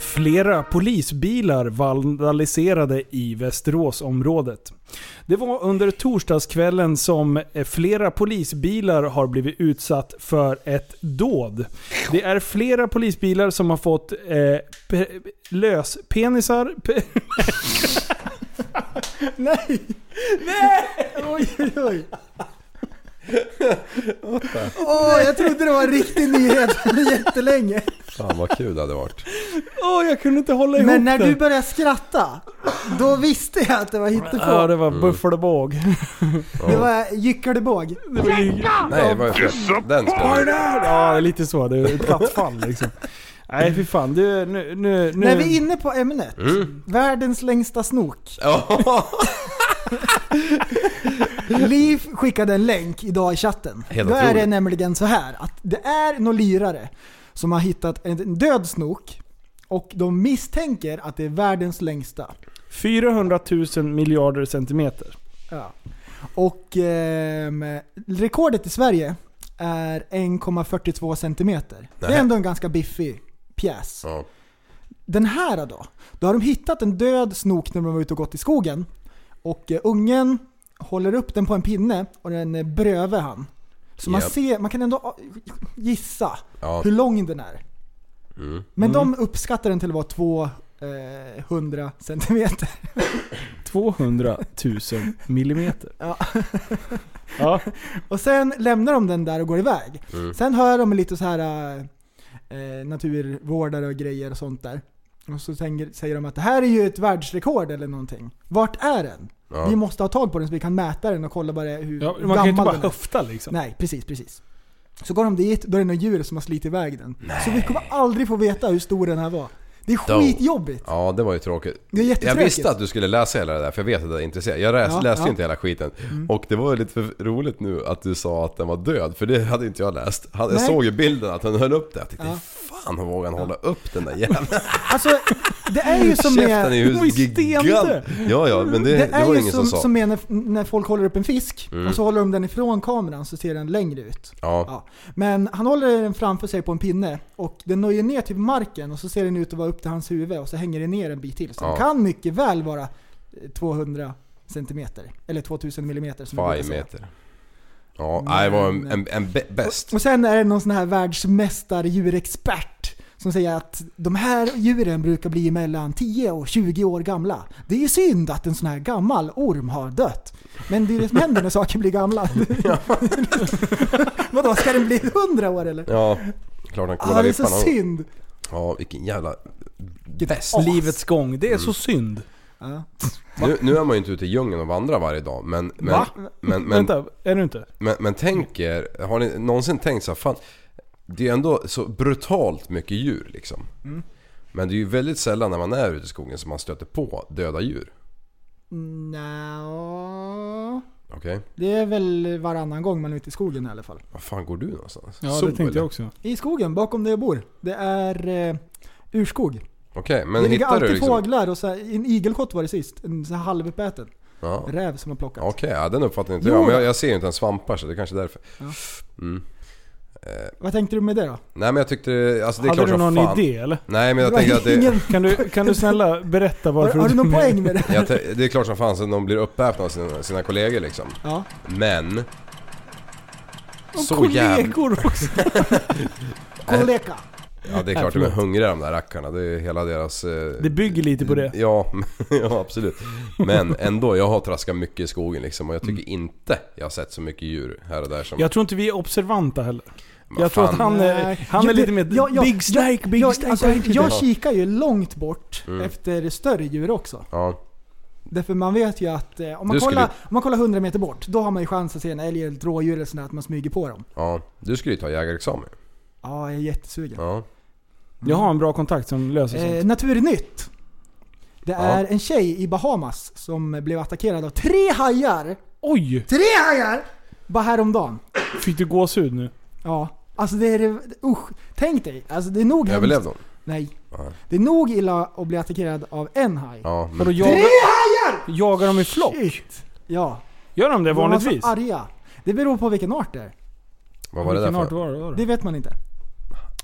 Flera polisbilar vandaliserade i Västeråsområdet. Det var under torsdagskvällen som eh, flera polisbilar har blivit utsatt för ett dåd. Det är flera polisbilar som har fått eh, pe- löspenisar... Pe- *laughs*
Nej! Nej! Oj, oj, oj. Åh, jag trodde det var en riktig nyhet jättelänge.
Fan vad kul det hade varit.
Åh, jag kunde inte hålla ihop
Men när
den.
du börjar skratta, Då visste jag att det var hittepå.
Ja, det
Mm.
var Buffalebåg.
Det var gyckelbåg.
*laughs* Det var ju-
Nej, vad är fel? Den ska vi.
Ja, det är lite så. Det är ett
*laughs*
plattfall liksom. Nej fy fan. Du, nu, nu, nu.
När vi är inne på ämnet,
Mm.
världens längsta snok.
Ja,
Liv skickade en länk idag i chatten.
Helt
Då är det
otroligt.
nämligen så här att det är några lirare som har hittat en död snok och de misstänker att det är världens längsta.
400 000 miljarder centimeter.
Ja. Och ehm, rekordet i Sverige är 1,42 centimeter. Det
Nähä.
är ändå en ganska biffig pjäs.
Ja.
Den här då? Då har de hittat en död snok när de var ute och gått i skogen. Och eh, ungen håller upp den på en pinne och den eh, brövar han. Så man
Japp.
ser, man kan ändå ah, gissa
Ja. Mm.
hur lång den är. Men de uppskattar den till att vara 200 centimeter. *laughs*
200 000 millimeter.
Ja.
*laughs* Ja.
Och sen lämnar de den där och går iväg. Sen hör de lite så här eh, eh, naturvårdare och grejer och sånt där. Och så tänker, säger de att det här är ju ett världsrekord eller någonting. Vart är den? Vi
Ja.
måste ha tag på den så vi kan mäta den och kolla bara hur
Ja, man
gammal
kan ju inte bara
den är.
höfta liksom.
Nej, precis, precis. Så går de dit, då är det några djur som har slitit iväg den. Så vi kommer aldrig få veta hur stor den här var. Det är
Don't.
skitjobbigt.
ja, det var ju tråkigt.
Det är
Jag
jättetråkigt.
visste att du skulle läsa hela det där för jag vet att du är intresserad. Jag läs,
Ja,
läste
ja. Mm.
ju inte hela skiten. Och det var ju lite för roligt nu att du sa att den var död för det hade inte jag läst. Han, jag
Nej.
såg ju bilden att han höll upp det. Jag tänkte
Ja.
fan hur vågar han hålla upp den där jäveln?
Alltså, det är
*laughs*
ju som
Käften är
med...
ju
*laughs*
de är ju
gigant.
stendöd.
Ja, ja, men det,
Det
det,
är
var
ju
ingen som,
som,
sa. Mm.
som med när, när folk håller upp en fisk och så håller de den ifrån kameran så ser den längre ut.
Ja,
Ja. Men han håller den framför sig på en pinne och den når ju ner till marken och så ser den ut att vara upp till hans huvud och så hänger den ner en bit till. Så den
Ja.
kan mycket väl vara eh, 200 centimeter. Eller 2000 millimeter som jag brukar
five
säga.
meter. Ja, nej, det var en, en, en bä- bäst.
Och sen är det någon sån här världsmästardjurexpert som säger att de här djuren brukar bli mellan 10 och 20 år gamla. Det är ju synd att en sån här gammal orm har dött. Men det är det som händer när saker
*laughs*
blir gamla. *laughs* Vadå, ska den bli 100 år eller?
Ja, klart han
Ah,
kollar
det är så
vippan. och-
synd.
Ja, vilken jävla bäst.
As. Livets gång. Det är
Mm.
så synd.
Ja.
Nu, nu är man ju inte ute i djungeln och vandrar varje dag, men... men
Va?
*laughs*
Men, men, men,
Vänta, är du inte?
men, tänk er, har ni någonsin tänkt så här, fan, det är ju ändå så brutalt mycket djur liksom.
Mm.
Men det är ju väldigt sällan när man är ute i skogen som man stöter på döda djur.
Nja,
Okej?
det är väl varannan gång man är ute i skogen i alla fall.
Var fan går du någonstans?
Ja,
Sol,
det tänkte
eller?
jag också.
I skogen, bakom där jag bor. Det är eh, urskog.
Okej, men
det ligger
hittar
alltid
du liksom...
fåglar och så här, en igelkott var det sist. En så här halväten.
Ja.
Räv som har plockat.
Okej, ja, den uppfattningen inte
Jo.
jag. Men jag, jag ser ju inte ens svampar så det är kanske är därför. Mm.
Vad tänkte du med det då?
Nej men jag tyckte alltså, det är
Hade
klart
du
som
någon
fan.
idé eller?
Nej men jag
Det var
tänker att det...
ingen-
Kan du, kan du snälla berätta
har,
varför
har du någon
*laughs*
poäng med det?
Jag te- det är klart som fan så de blir uppätna av sina, sina kollegor liksom.
Ja.
Men... Så jävla...
Kollegor också.
Kollega.
Ja det är klart de är hungriga de där rackarna. Det är ju hela deras... eh,
Det bygger lite på det.
*laughs* Ja, ja absolut. Men ändå, jag har traskat mycket i skogen liksom och jag tycker inte jag har sett så mycket djur här och där som...
Mm. Jag tror inte vi är observanta heller.
Vad
Jag tror att
fan.
han är,
Nej.
han
Ja,
är
det-
lite mer
ja, ja,
big snake, big
jag,
snake.
alltså,
big snake.
jag kikar ju långt bort
Mm.
efter större djur också.
Ja,
Därför man vet ju att eh, om man,
Du skulle-
kollar, om man kollar 100 meter bort, då har man ju chans att se en älg eller ett rådjur eller sådär, att man smyger på dem.
ja. Du skulle ju ta jägarexamen.
Ja, jag är jättesugen.
Ja.
Jag har en bra kontakt som löser sånt.
Eh, Naturnytt. Det
Ja.
är en tjej i Bahamas som blev attackerad av tre hajar.
Oj!
Tre hajar! Bara häromdagen.
Fick du gåshud nu?
Ja. Alltså det är det- usch. Tänk dig. Alltså det är nog
Överlevde hon?
Nej.
Nej.
Det är nog illa att bli attackerad av en haj.
Ja, men...
Vadå jagar... Jagar de i flock?
Shit. Ja.
Gör de det
De var
vanligtvis?
så Arga. Det beror på vilken art det är.
Vad var det där
Vilken
för?
art var det? Var
Det
det?
vet man inte.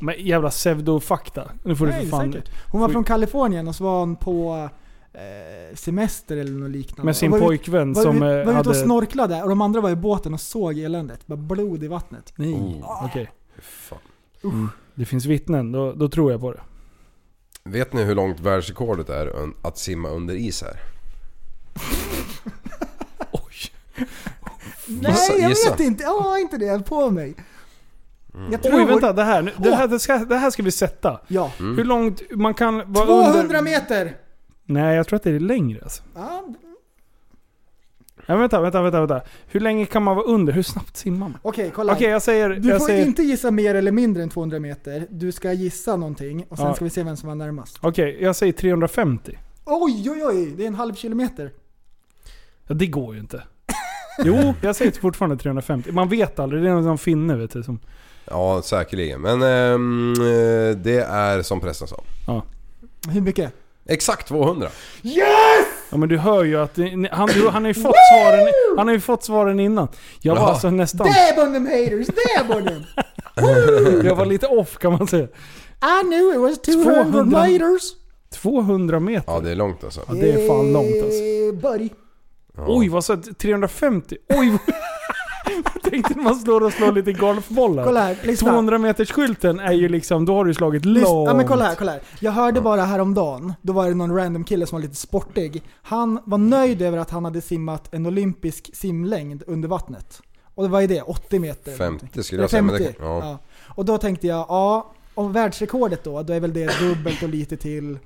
Men jävla pseudofakta. Nu får
Nej,
du för fan...
säkert. Hon var
får-
från Kalifornien och så var hon på eh, semester eller något liknande.
Med sin
Och var ut-
pojkvän
var,
som
ut-
eh,
var ute och
hade...
snorklade och de andra var i båten och såg eländet. Bara blod i vattnet.
Nej,
Oh.
okej.
Fan.
Det finns vittnen, då, då tror jag på det.
Vet ni hur långt världsrekordet är un- att simma under
*laughs*
is här? Gissa,
Nej, jag
gissa.
vet inte. Jag har inte det på mig. Jag tror...
Oj, vänta. Det här,
Mm.
nu- det här, det ska, det här ska vi sätta.
Ja.
Hur långt man kan vara
200
under...
meter!
Nej, jag tror att det är längre alltså.
Ja,
Ja, vänta, vänta, vänta, vänta. Hur länge kan man vara under? Hur snabbt simmar man?
Okej, kolla.
Okej, jag säger...
du
jag
får
säger,
inte gissa mer eller mindre än 200 meter. Du ska gissa någonting och sen
Ja.
ska vi se vem som var närmast.
Okej, jag säger 350.
Oj, oj, oj! Det är en halv kilometer.
Ja, det går ju inte. Jo, jag säger fortfarande 350. Man vet aldrig. Det är någon finne vet du. Som,
Ja, säkerligen. Men ehm, eh, det är som prästen sa.
Hur mycket?
Exakt 200.
ja, men du hör ju att... det- Han, du- han, har, ju fått svaren, han har ju fått svaren innan. Jag var
Jaha.
alltså nästan...
Där var de haters! Där var de!
Jag var lite off kan man säga.
I knew it was 200,
200.
meters!
200 meter.
Ja, det är långt alltså.
Ja, det är fan långt alltså.
Eh, Buddy.
Ja.
Oj, vad sa 350? Oj! vad- *laughs* Jag tänkte när man står och slår lite golfbollar.
Kolla här, lyssna.
200 meters skylten är ju liksom, då har du slagit långt.
Lyssna, ja, men kolla här, kolla här. Jag hörde bara häromdagen, då var det någon random kille som var lite sportig. Han var nöjd över att han hade simmat en olympisk simlängd under vattnet. Och vad är det? 80 meter?
50 skulle
Eller
jag säga. Men
50.
det,
ja.
ja.
Och då tänkte jag, ja, om världsrekordet då, då är väl det dubbelt och lite till.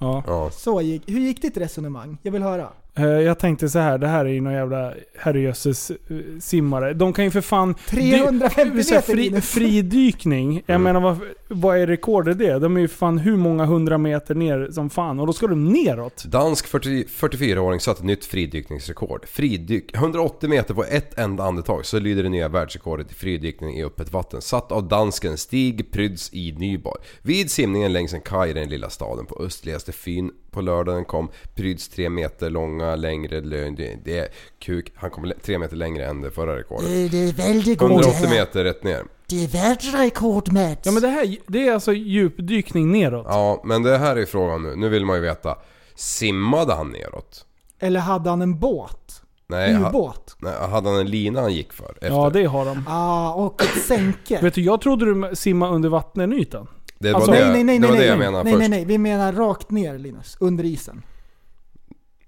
Ja.
Ja.
Så gick, hur gick ditt resonemang? Jag vill höra.
Eh, Jag tänkte så här, det här är ju någon jävla herrejösses eh, simmare. De kan ju för fan...
350
Du- så här,
meter,
fri,
Linus.
Fridykning, jag
Mm.
menar vad, vad är rekordet i det? De är ju för fan hur många hundra meter ner som fan och då ska de neråt.
Dansk 40 44-åring satte nytt fridykningsrekord. Fridyk 180 meter på ett enda andetag så lyder det nya världsrekordet i fridykning i öppet vatten. Satt av dansken Stig Pryds i Nyborg. Vid simningen längs en kaj i den lilla staden på östligaste Fyn på lördagen kom Pryds 3 meter långa längre lön. det- Det är kuk. Han kom 3 meter längre än det förra rekordet.
Det är väldigt god det här.
180 meter rätt ner.
Det är världsrekord Mats.
Ja men det här, det är alltså djupdykning neråt.
Ja, men det här är frågan nu. Nu vill man ju veta. Simmade han neråt?
Eller hade han en båt?
Nej, ha-
Ubåt?
Nej, hade han en lina han gick för? Efter?
Ja det har de.
Ah, och ett sänke.
Vet du, jag trodde du simma under vattenytan.
det var
alltså,
det,
nej, nej, nej,
det, var
nej,
det jag
nej,
menade
nej,
först.
nej, nej. Vi menar rakt ner Linus, under isen.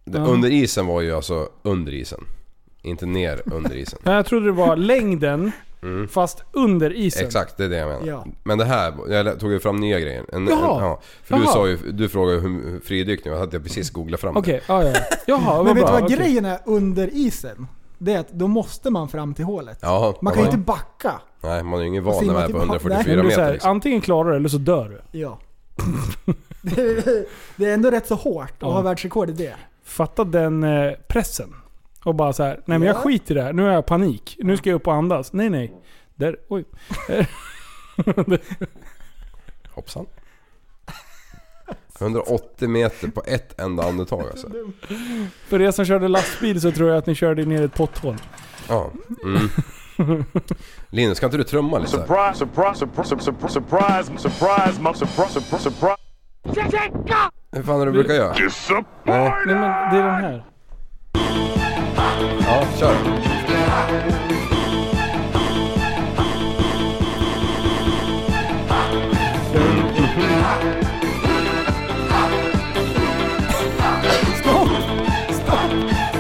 Det,
Ja.
Under isen var ju alltså under isen. Inte ner under
*laughs*
isen.
Nej, jag trodde det var längden,
Mm.
fast under isen.
Exakt, det är det jag menar.
Ja.
Men det här, jag tog ju fram nya grejer. En,
Jaha.
en, ja, för du,
Jaha.
sa ju, du frågade ju hur hur fridykning och hade jag precis googlat fram
Okej, ja, ja. Jaha,
*laughs*
vad
Men vet du
bra.
vad
okej.
grejen är under isen? Det är att då måste man fram till hålet.
det. Ja,
Man kan ju
var-
inte backa.
Nej, man är ju ingen
Och
van när
simma
man är
till
på
ba-
144
Men det är så
meter
här,
liksom.
Antingen klarar du eller så dör du.
Ja.
*laughs*
Det- det är ändå rätt så hårt att
Ja.
ha världsrekord i det.
Fatta den eh, pressen. Och bara så här, nej men jag
Ja.
skiter i det här. Nu har jag panik. Nu ska jag upp och andas. Nej nej. Där, oj.
Hoppsan. 180 meter på ett enda andetag alltså.
För er som körde lastbil så tror jag att ni körde ner i ett potthål.
Ja. Mm.
*laughs*
Linus, kan inte du trumma lite? här?
Surprise, surprise, surprise, surprise, surprise, surprise, my surprise, surprise, surprise.
Hur fan är det du brukar göra?
Disappoint!
Nej men det är den *laughs* här.
Ja, kör.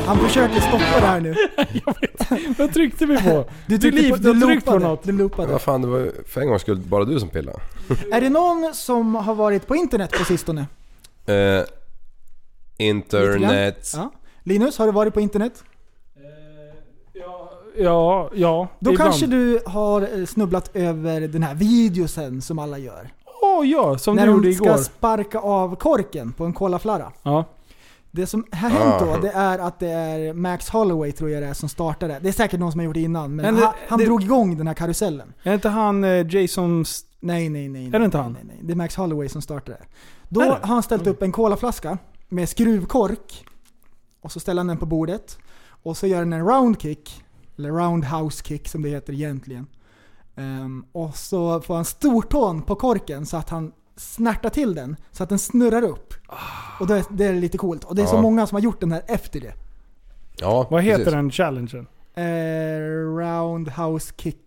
Han försöker stoppa det här nu.
Vad tryckte vi på?
Du
liv- du
du
tryckte på
loopade,
något.
Du loopade.
Vad fan, det var ju för en gångs skull bara du som pillade.
Är det någon som har varit på internet på sistone?
Eh, internet.
Lite grann? Ja. Linus, har du varit på internet?
Ja, ja. ja
Då
ibland.
kanske du har eh, snubblat över den här videosen som alla gör.
Åh ja, som
när
du gjorde
de ska
igår.
sparka av korken på en colaflarra.
Ja.
Det som har hänt
Ah.
då, det är att det är Max Holloway tror jag det är som startade. Det är säkert någon som har gjort det innan, men,
Men det-
han, han
det-
drog igång den här karusellen.
Är inte han eh, Jason... St-
Nej, nej, nej.
det inte han?
Nej, nej. Det är Max Holloway som startade det. Då
Är det? Mm.
har han ställt upp en colaflaska med skruvkork. Och så ställer han den på bordet. Och så gör han en roundkick. Eller roundhouse kick som det heter egentligen. Ehm, och så får han stortån på korken så att han snärtar till den. Så att den snurrar upp. Och det är, det är lite coolt. Och det är så
Ja.
många som har gjort den här efter det.
Ja,
Vad heter
precis.
den challengen?
Eh, roundhouse kick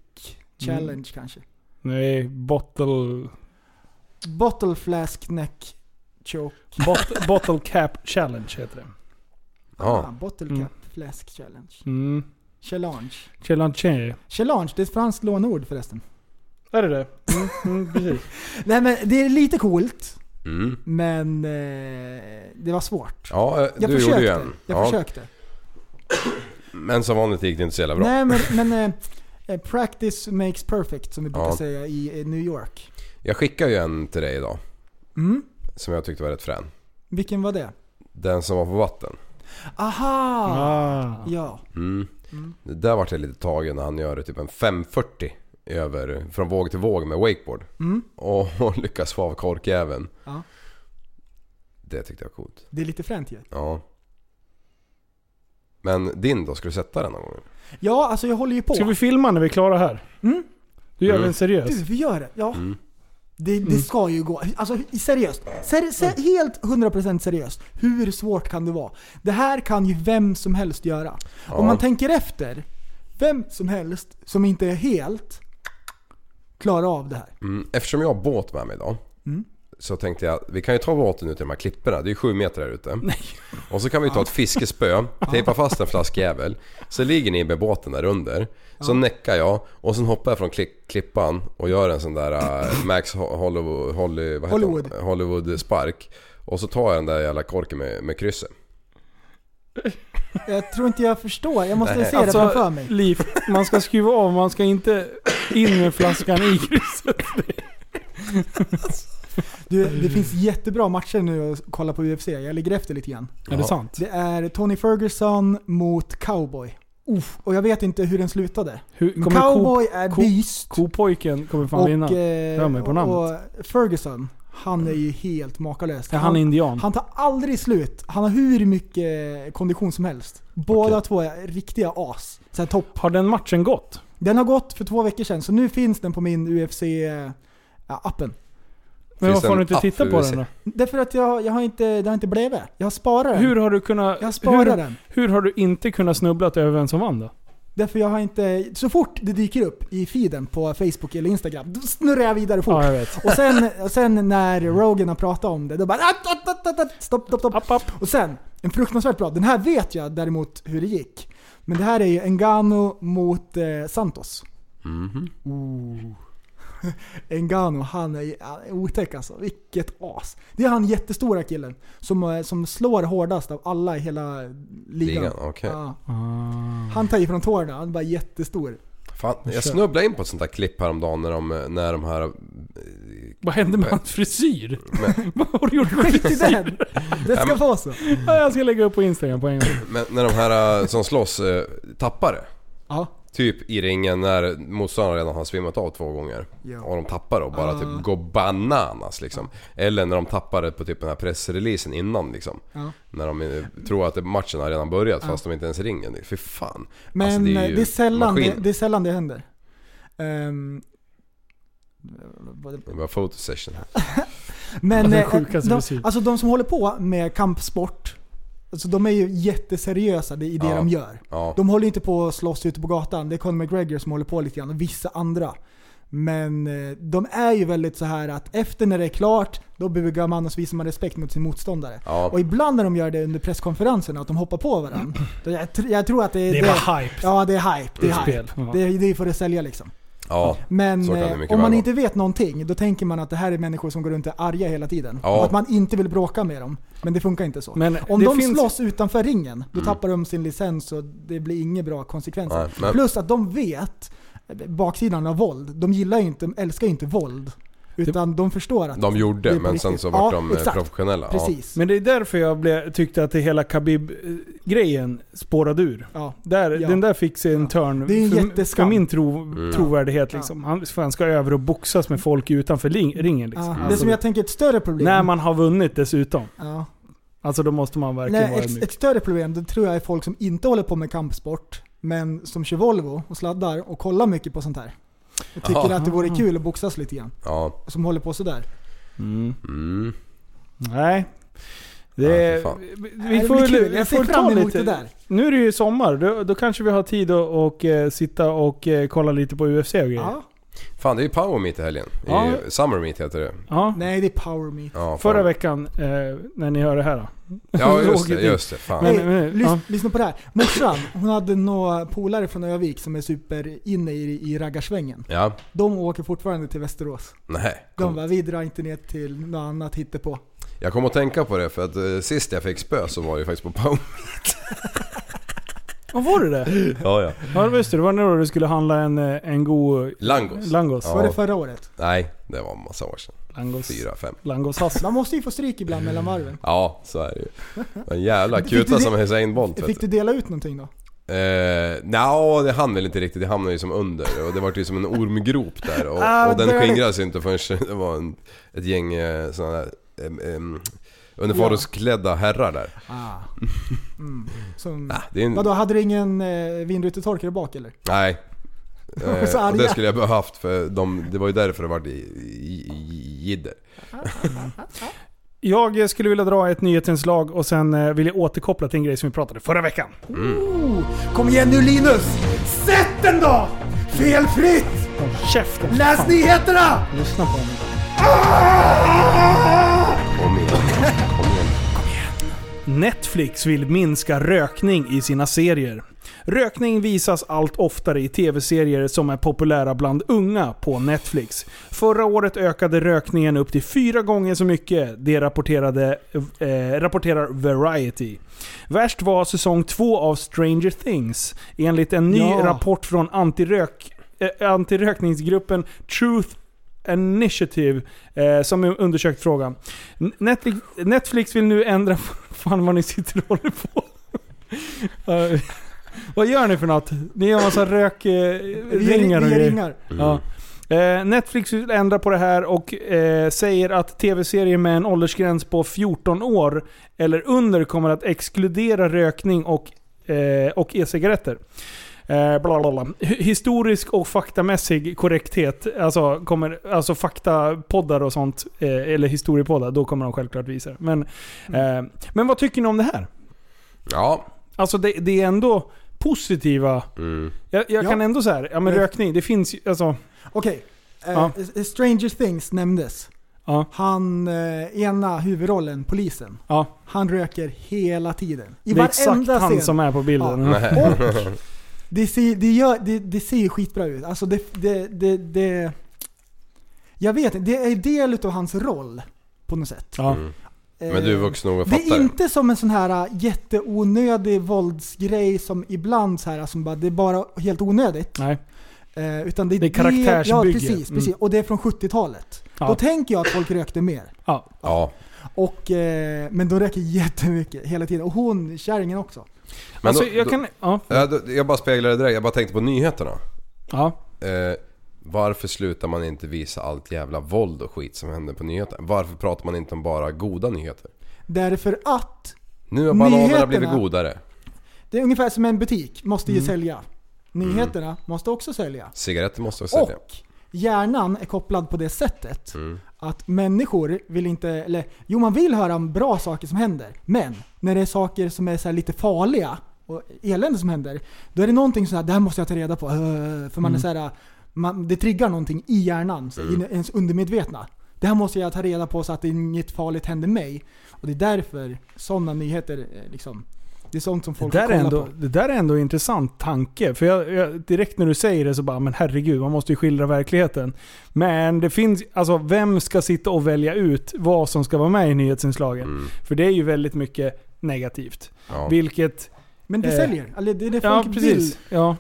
challenge
Mm.
kanske.
Nej, bottle...
Bottle flask neck choke.
*laughs* Bot, bottle cap challenge heter det.
Ah,
Ja.
bottle cap
Mm.
flask challenge.
Mm.
Challenge.
Challenge.
Challenge, det är ett franskt lånord förresten.
Är det det? Mm, mm, precis.
Nej men det är lite coolt.
Mm.
Men eh, det var svårt.
Ja, eh,
Jag
du
försökte.
gjorde ju en.
Jag
ja.
försökte.
Men som vanligt gick det inte så jävla bra.
Nej men, men eh, eh, practice makes perfect som vi brukar
Ja.
säga i eh, New York.
Jag skickade ju en till dig idag.
Mm.
Som jag tyckte var rätt frän.
Vilken var det?
Den som var på vatten.
Aha! Ja.
Mm. Det Där vart jag lite tagen när han gör typ en 540 över, från våg till våg med wakeboard.
Mm.
Och, och *laughs* lyckas få av korkjäveln.
Ja.
Det tyckte jag var coolt.
Det är lite fränt ju.
Ja. Men din då, ska du sätta den någon gång?
Ja, alltså jag håller ju på.
Ska vi filma när vi är klara här?
Mm.
Du gör
Mm.
den seriös?
Du, vi gör det. Ja.
Mm. Mm.
Det, det ska ju gå. Alltså seriöst. Ser, ser, helt 100% seriöst. Hur svårt kan det vara? Det här kan ju vem som helst göra. Om man tänker efter. Vem som helst som inte är helt klarar av det här.
Mm. Eftersom jag har båt med mig idag.
Mm.
Så tänkte jag, vi kan ju ta båten ut till de här klipporna. Det är ju sju meter där ute. Och så kan vi ta ett fiskespö, tejpa fast en flaskjävel. Så ligger ni med båten där under. Så näckar jag och sen hoppar jag från klick, klippan och gör en sån där eh, Max Ho- Hollywood, Holly, vad heter
Hollywood.
hon? Hollywood spark. Och så tar jag den där jävla korken med, med krysset.
Jag tror inte jag förstår. Jag måste
Nej.
se
Alltså,
det framför mig.
Liv, man ska skruva av, man ska inte in med flaskan i
*laughs*
krysset.
Du,
mm.
det finns jättebra matcher nu att kolla på UFC. Jag ligger efter lite grann.
Är det sant?
Det är Tony Ferguson mot Cowboy. Uff, och jag vet inte hur den slutade.
Hur,
Men
kommer
Cowboy
ko,
är
ko,
beast.
Kopojken kommer fan vinna.
Och,
Hör mig
eh,
på namnet.
och Ferguson, han är ju helt makalös.
Ja, han är indian.
Han tar aldrig slut. Han har hur mycket kondition som helst. Båda två är riktiga as. Så här topp.
Har den matchen gått?
Den har gått för två veckor sedan, så nu finns den på min eh, UFC-appen.
Men
Finns
varför har
det
du inte
en app
tittat
för
på
USA?
den då?
Därför att jag, jag har inte, det har inte blivit. Jag sparar den.
Hur har du kunnat...
Jag sparar
hur,
den.
hur har du inte kunnat snubbla över vem som vann då?
Därför jag har inte... Så fort det dyker upp i feeden på Facebook eller Instagram, då snurrar jag vidare fort.
Ja, jag vet.
Och sen, och sen när Rogan har pratat om det, då bara "Ah, att, att, att, att, att, stopp, stopp, stopp.
App, app.
Och sen, en fruktansvärt bra. Den här vet jag däremot hur det gick. Men det här är ju Engano mot eh, Santos.
Mhm.
Ooh. Engano, han är ju han är otäck alltså. Vilket as. Det är han jättestora killen som, eh, som slår hårdast av alla i hela ligan.
Ligan, okej.
Ja. Han tar ifrån tårna, han är bara jättestor.
Fan, jag snubblade in på ett sånt där klipp häromdagen när de, när de här...
Vad hände med
Men-
hans frisyr? *laughs* Vad har du gjort med
Skit i
frisyr?
den! Det ska
men- Alltså,
vara så.
Ja, Jag ska lägga upp på Instagram på en gång.
Men när de här eh, som slåss eh, tappar det.
Ja.
Typ i ringen när motståndaren redan har svimmat av två gånger.
Ja. Ah.
Och de tappar det och bara typ går bananas liksom. Eller när de tappar det på typ den här pressreleasen innan liksom.
Ja.
När de eh, tror att matchen har redan börjat fast de inte ens ringer. Fy fan.
Men eh,
Alltså,
det, är
ju
sällan det,
maskin.
det är sällan det händer. Ehm,
Det var fotosession.
men
Alltså, Det är
eh,
sjukaste
de,
musik.
alltså de som håller på med kampsport, alltså de är ju jätteseriösa i det
Ja.
de gör.
Ja.
De håller ju inte på att slåss ute på gatan. Det är Conor McGregor som håller på lite grann och vissa andra. Men eh, de är ju väldigt så här att efter när det är klart, då bugar man och så visar man respekt mot sin motståndare.
Ja.
Och ibland när de gör det under presskonferenserna, att de hoppar på varandra. då jag, tr- jag tror att det är...
Det är bara hype.
Ja, det är hype. Det är
Utspel,
hype.
ja.
Det, är- det är för att sälja liksom.
Ja.
Men
Så kan det
eh,
mycket
om
väl
man
vara.
inte vet någonting, då tänker man att det här är människor som går runt och är arga hela tiden.
Ja.
Och att man inte vill bråka med dem. Men det funkar inte så.
Men
om
det
de
finns-
slåss utanför ringen, då tappar de sin licens och det blir inga bra konsekvenser.
Mm. Nej, men-
Plus att de vet eh, baksidan av våld. De gillar ju inte, älskar ju inte våld. Utan de förstår att...
De
det är
gjorde
på
men sen
riktigt.
så vart
Ja,
de eh,
exakt.
professionella.
Precis.
Men det är därför jag blev, tyckte att det hela Khabib-grejen spårade ur.
Ja.
Där,
Ja.
Den där fick sig en turn.
Det är en
för,
jätteskam.
för min tro,
Mm.
trovärdighet liksom. Han, för han ska över och boxas med folk utanför ling, ringen liksom.
Ja. Det
Alltså,
som jag tänker är ett större problem.
När man har vunnit dessutom.
ja.
Alltså då måste man verkligen
Nej,
vara
ett,
ödmjuk.
ett större problem det tror jag är folk som inte håller på med kampsport, men som kör Volvo och sladdar och kollar mycket på sånt här. Jag tycker
Jaha.
att det vore kul att boxas lite grann.
Ja.
Som håller på sådär.
Mm.
Mm.
Nej.
Nej,
Det,
för fan.
vi-
Nej,
vi
det
får,
blir
väl-
kul. Jag
vi får
ser fram
ta
emot
lite.
det där.
Nu är det ju sommar. Då, då kanske vi har tid att och, eh, sitta och eh, kolla lite på UFC och grejer.
Ja.
Fan, det är ju Power Meet i helgen.
Ja.
I Summer Meet heter det.
Ja.
Nej, det är Power Meet.
Ja, fan.
Förra veckan, eh, när ni hör det här då.
Ja, just
låg
det.
ju-
Just det. Fan.
Nej,
Men- men-
lys-
ja.
Lyssna på det här. Morsan, hon hade några polare från Övik som är superinne i, i raggarsvängen.
Ja.
De åker fortfarande till Västerås.
Nej.
De bara, vi drar inte ner till något annat hittepå.
Jag kom att tänka på det för att eh, sist jag fick spö så var det ju faktiskt på Power
Vad var det där?
Ja, ja.
Ja, det just det. Det var när du skulle handla en, eh, en god...
Langos.
Langos.
Ja.
Var det förra året?
Nej, det var en massa år sedan.
Langos.
Fyra, fem.
Langoshass.
Man måste ju få stryk ibland mellan varven.
Ja, så är det ju. En
*laughs*
jävla
Fick du
kuta
det-
som Hussein Bolt vet
Fick
du.
du dela ut någonting då?
Eh, Nja, det hann väl inte riktigt. Det hamnade ju som under och det var ju som en ormgrop där.
Ah,
Och, och den
dåligt.
skingrades ju inte förrän *laughs* det var en, ett gäng eh, sådana där em, em, uniformsklädda herrar där.
Ah. Mm. *laughs* Som,
Ah, det är en,
vadå, hade du ingen eh, vindrutetorkare bak eller?
Nej.
*laughs* De var så
Eh, och det
arga.
skulle jag behövt för de, det var ju därför det vart i- i- i- jidder.
Jag eh, skulle vilja dra ett nyhetsinslag och sen eh, vill jag återkoppla till en grej som vi pratade förra veckan.
Mm.
Kom igen nu Linus! Sätt den då! Felfritt!
Käften!
Läs nyheterna!
Lyssna på honom.
Kom igen. Kom igen.
Netflix vill minska rökning i sina serier. Rökning visas allt oftare i tv-serier som är populära bland unga på Netflix. Förra året ökade rökningen upp till fyra gånger så mycket, det rapporterade, eh, rapporterar Variety. Värst var säsong två av Stranger Things, enligt en ny
Ja.
rapport från antirök, eh, antirökningsgruppen Truth Initiative eh, som undersökt frågan. N- Netflix, Netflix vill nu ändra... *laughs* Fan vad ni sitter och håller på. *laughs* Eh, vad gör ni för något? Ni gör massa eh,
Vi är-
rökringar
vi är ringar.
Mm.
Ja. Eh, Netflix vill ändra på det här och eh, säger att tv-serier med en åldersgräns på 14 år eller under kommer att exkludera rökning och, eh, och e-cigaretter. Eh, bla bla bla. H- Historisk och faktamässig korrekthet, alltså, kommer, alltså faktapoddar och sånt, eh, eller historiepoddar, då kommer de självklart visa det. Men, eh, men vad tycker ni om det här?
Ja.
Alltså det, det är ändå positiva...
Mm.
Jag, jag
Ja.
kan ändå så här, ja men
Men-
rökning, det finns ju... Alltså,
Okej. Eh,
Ja.
S- Stranger Things nämndes.
Ja.
Han, eh, ena huvudrollen, polisen.
ja.
Han röker hela tiden. I
det är exakt
varenda
han
scen.
som är på bilden.
Ja.
Nej.
*laughs*
Och det ser, det, gör, det, det ser ju skitbra ut. Alltså det, det, det, det... Jag vet inte, det är del utav hans roll. På något sätt.
Ja.
Mm. Men du är
Eh,
vuxen nog att
Det
fatta
är
det.
inte som en sån här äh, jätteonödig våldsgrej som ibland så här, som bara, det är bara helt onödigt.
Nej.
Eh, utan det är,
Det är
Ja,
karaktärsbygge.
precis.
Mm.
precis. Och det är från 70-talet.
Ja.
Då tänker jag att folk rökte mer.
Ja.
Ja.
Och, eh, men de röker jättemycket hela tiden. Och hon, kärringen också.
Men
alltså,
då-
jag
då-
kan... Ja.
Ja, då- Jag bara speglar det direkt. Jag bara tänkte på nyheterna.
ja.
Eh, varför slutar man inte visa allt jävla våld och skit som händer på nyheterna? Varför pratar man inte om bara goda nyheter?
Därför att,
Nu har bananerna
Nyheterna.
blivit godare.
det är ungefär som en butik, måste
Mm.
ju sälja. Nyheterna måste också sälja.
Cigaretter måste jag sälja.
Och hjärnan är kopplad på det sättet
Mm.
att människor vill inte, eller jo man vill höra om bra saker som händer, men när det är saker som är så här lite farliga och elände som händer, då är det någonting så här, det här måste jag ta reda på. eh, För
Mm.
man är så här, man, det triggar någonting i hjärnan, så i ens undermedvetna. Det här måste jag ta reda på så att inget farligt händer mig. Och det är därför sådana nyheter, eh, liksom, det är sånt som
Det
folk
där, är
kollar
ändå,
på.
det där är ändå en intressant tanke. För jag, jag, direkt när du säger det så bara, men herregud, man måste ju skildra verkligheten. Men det finns, alltså vem ska sitta och välja ut vad som ska vara med i nyhetsinslagen?
Mm.
För det är ju väldigt mycket negativt.
Ja.
Vilket...
Men det
eh,
säljer, eller det är det folk
Ja,
vill
precis. Ja.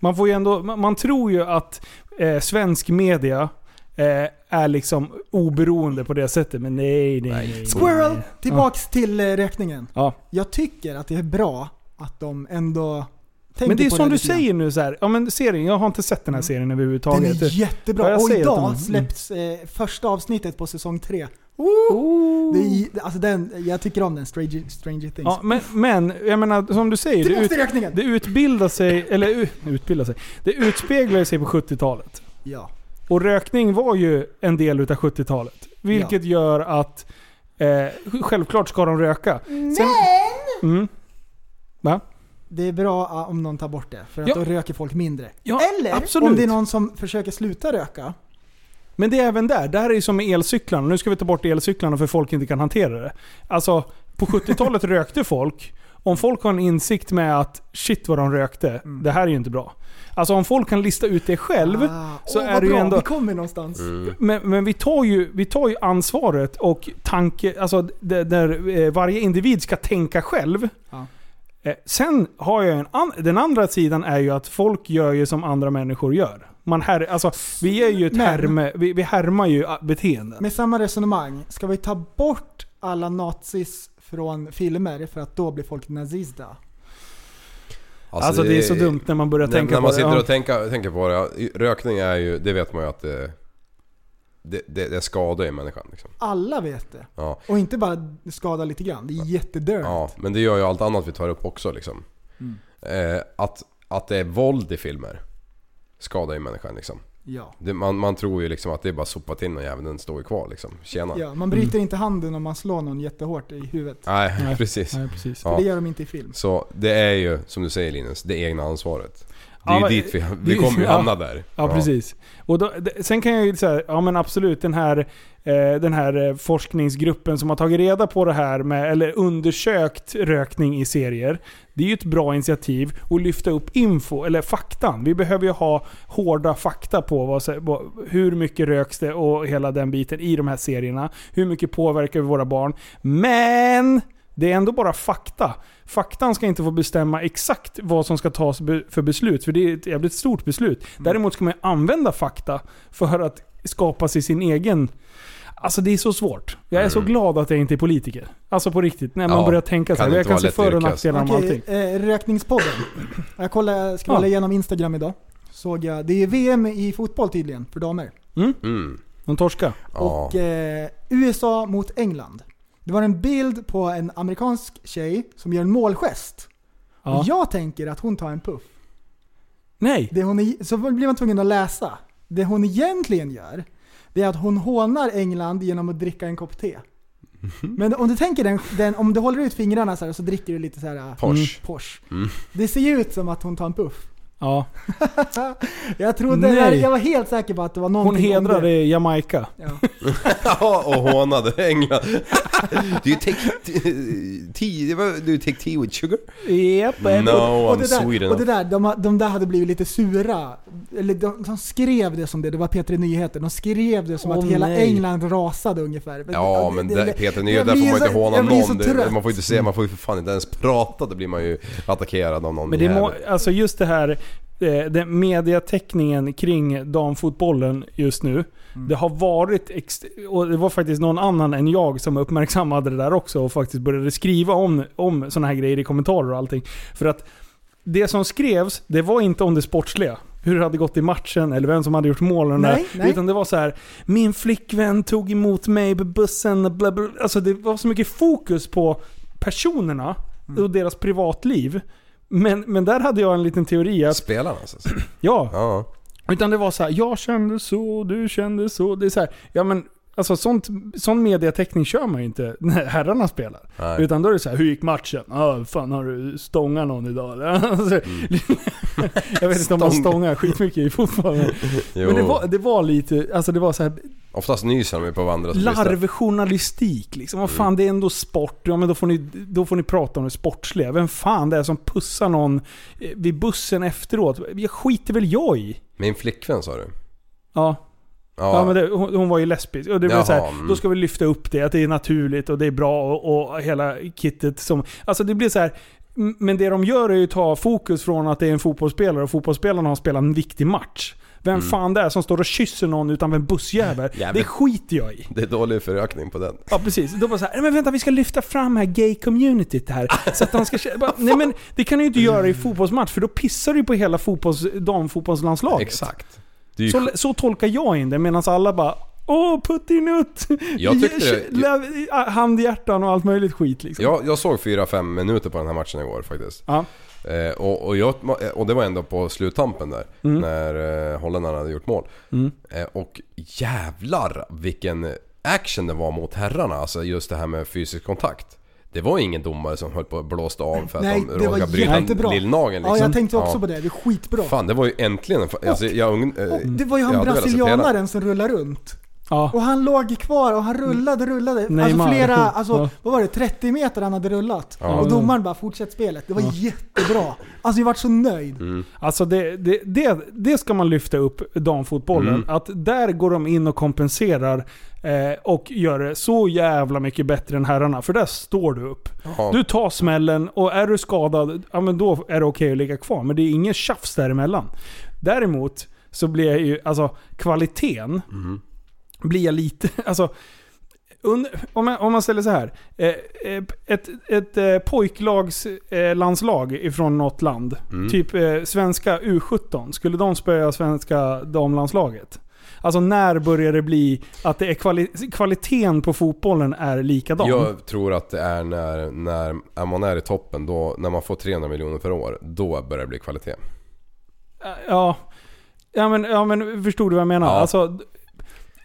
Man, får ju ändå, man, man tror ju att eh, svensk media eh, är liksom oberoende på det sättet, men nej, nej, nej. nej.
Squirrel! Tillbaks till eh, räkningen.
Ja.
Jag tycker att det är bra att de ändå tänker
Men det är
på
som
det
du
lite grann. Mm.
säger nu så här. ja men serien, jag har inte sett den här serien
Den
överhuvudtaget.
är
Ja,
jättebra.
jag
Och
säger att de-
idag
mm.
släpps eh, första avsnittet på säsong tre. Det är, alltså den, jag tycker om den, Stranger, Stranger Things.
Ja, men, men jag menar som du säger, det,
Tillbaks
ut,
till räkningen!
det utbildar sig, eller u- utbildar sig, det utspeglar sig på 70-talet.
Ja.
Och rökning var ju en del utav 70-talet. Vilket gör att, eh, självklart ska de röka. Sen, mm, va?
det är bra ah, om någon tar bort det, för att
Ja.
då röker folk mindre.
Ja,
Eller
absolut.
om det är någon som försöker sluta röka.
Men det är även där. Det här är ju som med elcyklarna. Nu ska vi ta bort elcyklarna för folk inte kan hantera det. Alltså, på 70-talet *laughs* rökte folk. Om folk har en insikt med att shit vad de rökte, det här är ju inte bra. Alltså om folk kan lista ut det själv så
Ah, Åh, vad
är det ju
bra,
ändå...
Vi kommer någonstans.
Mm.
Men, men vi, tar ju, vi tar ju ansvaret och tanke... Alltså d- där eh, varje individ ska tänka själv.
Ja.
Eh, Sen har jag en an- Den andra sidan är ju att folk gör ju som andra människor gör. Man här, alltså, vi är ju ett
Men-
härme, vi, vi härmar ju ah, beteenden.
Med samma resonemang, ska vi ta bort alla nazis från filmer för att då blir folk nazista?
Alltså, det är så dumt när man börjar
när,
tänka
när
på
man
det,
sitter
ja.
och tänker, tänker på det. ja, Rökning är ju, det vet man ju att det, det, det, det skadar ju människan. Liksom.
Alla vet det.
Ja.
Och inte bara skada lite grann, det är jättedörr.
ja, men det gör ju allt annat vi tar upp också liksom.
Mm.
Eh, att, att det är våld i filmer skadar ju människan liksom.
Ja.
Det, man, man tror ju liksom att det är bara sopat in och jäveln den står ju kvar liksom. Tjena.
Ja, man bryter
Mm.
inte handen om man slår någon jättehårt i huvudet.
Nej, *laughs* precis.
nej, precis.
För Det gör de inte i film.
Så det är ju, som du säger Linus, det egna ansvaret. Det är
Ja,
ju
men-
dit vi, vi kommer
*laughs*
ju
ja.
hamna där.
Ja, precis. Och då, d- sen kan jag ju säga, ja men absolut den här, eh, den här eh, forskningsgruppen som har tagit reda på det här med, eller undersökt rökning i serier. Det är ju ett bra initiativ att lyfta upp info, eller faktan. Vi behöver ju ha hårda fakta på vad, se- vad- hur mycket röks det och hela den biten i de här serierna. Hur mycket påverkar vi våra barn? Men! Det är ändå bara fakta. Faktan ska inte få bestämma exakt vad som ska tas be- för beslut, för det är ett jävligt stort beslut. Däremot ska man ju använda fakta för att skapa sig sin egen... Alltså det är så svårt. Jag är så glad att jag inte är politiker. Alltså på riktigt. När man
Mm. Ja,
börjar tänka så
kan
här.
inte
Jag kan
vara
se
lätt
för och
yrke,
nackdelar med allting.
Okej, eh, rökningspodden. Jag kollade, scrollade
Ja.
igenom Instagram idag. Såg jag, det är VM i fotboll tydligen, för damer.
Mm?
Mm.
De torskar.
Ja.
Och eh, USA mot England. Det var en bild på en amerikansk tjej som gör en målgest.
Ja.
Och jag tänker att hon tar en puff.
Nej.
Det hon är, så blir man tvungen att läsa. Det hon egentligen gör, det är att hon hånar England genom att dricka en kopp te.
Mhm.
Men om du tänker den, den om du håller ut fingrarna så här och så dricker du lite så här
Posh.
Mm, Posh.
Mm.
Det ser ju ut som att hon tar en puff.
Ja.
jag trodde,
Nej.
jag, jag var helt säker på att det var
Hon
någonting om det.
hedrade Jamaica.
Ja, och hånade England. Do you take tea, det var- do you take tea with sugar?
Yep,
No, I'm
det där,
Sweden.
eh, Och det där, de, de där hade blivit lite sura. Eller de, de skrev det som det, det var P3 Nyheter. De skrev det som
Åh,
att hela
nej.
England rasade ungefär.
Ja men där, Peter Nye,
jag
där får
blir
man inte
så-
håna
jag blir
någon.
så
Det,
trött.
man får ju inte se, man får ju för fan inte ens prata. Då blir man ju attackerad av någon
Men det må,
jävel.
alltså just det här, eh, den mediateckningen kring damfotbollen just nu.
Mm.
Det har varit, ext- och det var faktiskt någon annan än jag som uppmärksammade det där också och faktiskt började skriva om, om sådana här grejer i kommentarer och allting. För att det som skrevs, det var inte om det sportsliga. Hur det hade gått i matchen eller vem som hade gjort målen.
Nej,
där,
nej.
Utan det var så här. Min flickvän tog emot mig på bussen. Bla bla. Alltså det var så mycket fokus på personerna och deras privatliv. Men, men där hade jag en liten teori att...
Spelarna alltså?
Ja.
Ja.
Utan det var så här, jag kände så, du kände så. Det är så här, ja men alltså sånt, sån mediateckning kör man ju inte *laughs* när herrarna spelar.
Nej.
Utan då är det så här, hur gick matchen? Ja, fan har du stångat någon idag? *laughs* eller?" Alltså, jag vet inte om man
Mm. Stång.
stångar skitmycket i fotboll. men-
*laughs* Jo.
Men det var, det var lite, alltså det var så här
Oftast nyser de ju på varandra. så visst är det.
larvjournalistik liksom. Vad fan, det är ändå sport. Ja men då får, ni, då får ni prata om det sportsliga. Vem fan det är som pussar någon eh, vid bussen efteråt? Jag skiter väl jag i?
Min flickvän sa du?
Ja.
Ja,
Ja, men det, hon, hon var ju lesbisk. Och det blev
Jaha,
så här,
mm.
då ska vi lyfta upp det, att det är naturligt och det är bra och, och hela kittet som... Alltså det blir så här. m- Men det de gör är ju att ta fokus från att det är en fotbollsspelare och fotbollsspelaren har spelat en viktig match. Vem
Mm.
fan det är som står och kysser någon utanför en bussjävel,
Jävel.
det skiter jag i.
det är dålig förökning på den.
Ja precis. Då bara så här, nej men vänta vi ska lyfta fram här gay-communityt här. Så att de ska känna- bara, Nej men det kan du ju inte göra i fotbollsmatch för då pissar du ju på hela fotbolls, damfotbollslandslaget.
Exakt. Det är ju
Så, så tolkar jag in det medan alla bara Åh, puttinutt!
Jag tyckte det-
Handhjärtan och allt möjligt skit
Typ.
liksom.
Jag, jag såg 4-5 minuter på den här matchen igår faktiskt.
Ja.
Eh, och, och, jag, och det var ändå på sluttampen där.
Mm.
När eh, holländarna hade gjort mål. Eh, och jävlar vilken action det var mot herrarna. Alltså just det här med fysisk kontakt. Det var ingen domare som höll på och blåste av för att
Nej,
de
det var
råkade bryta
jättebra.
lillnageln liksom.
Ja, jag tänkte också
Ja.
på det. Det är skitbra.
Fan, det var ju äntligen en... fa- Alltså, jag, ung- eh,
Och det var ju han
jag hade velat sett hela.
brasilianaren som rullade runt. Och han låg kvar och han rullade, rullade.
Neymar.
Alltså flera, alltså,
Ja.
vad var det, 30 meter han hade rullat.
Ja.
Och domaren bara fortsätt spelet. Det var
Ja.
jättebra. Alltså jag vart så nöjd.
Mm.
Alltså det, det, det, det ska man lyfta upp damfotbollen.
Mm.
Att där går de in och kompenserar eh, och gör det så jävla mycket bättre än herrarna. För där står du upp.
Ja.
Du tar smällen och är du skadad, ja men då är det okej att ligga kvar. Men det är inget tjafs däremellan. Däremot så blir jag ju, alltså kvaliteten
Mm.
blir jag lite, *laughs* alltså und- om, man, om man ställer så här. Eh, eh, ett ett eh, pojklags eh, landslag ifrån något land.
Mm.
Typ eh, svenska U17. Skulle de spöa svenska damlandslaget? Alltså när börjar det bli att det är kvali- kvaliteten på fotbollen är likadan?
Jag tror att det är när, när när man är i toppen, då, när man får 300 miljoner per år, då börjar det bli kvalitet.
Ja. Ja men, ja men förstod du vad jag menar?
Ja.
Alltså,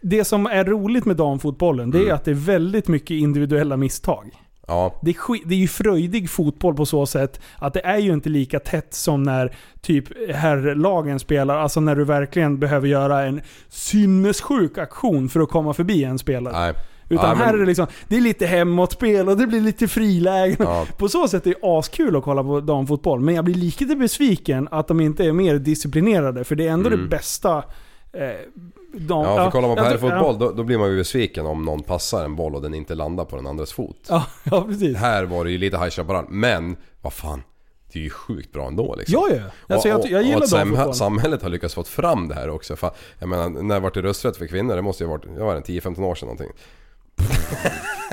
det som är roligt med damfotbollen, det
Mm.
är att det är väldigt mycket individuella misstag.
Ja.
Det, är skit, det är ju fröjdig fotboll på så sätt att det är ju inte lika tätt som när typ herrlagen spelar. Alltså när du verkligen behöver göra en sinnessjuk aktion för att komma förbi en spelare.
Nej.
Utan
Ja, men-
här är det liksom, det är lite hemåtspel och det blir lite frilägen. På så sätt är det askul att kolla på damfotboll. Men jag blir lite besviken att de inte är mer disciplinerade. För det är ändå
Mm.
det bästa eh, dam...
Ja, för kollar man på
jag tror-
herrfotboll då, då blir man ju besviken om någon passar en boll och den inte landar på den andras fot.
Ja, ja precis.
Här var det ju lite High Chaparral, men vad fan. Det är ju sjukt bra ändå liksom.
Ja, ja. Alltså, jag- jag gillar
och att
damfotboll.
samhället har lyckats få fram det här också. Fan, jag menar, när vart det rösträtt för kvinnor? Det måste ju ha varit, jag var det 10-15 år sedan någonting. *laughs*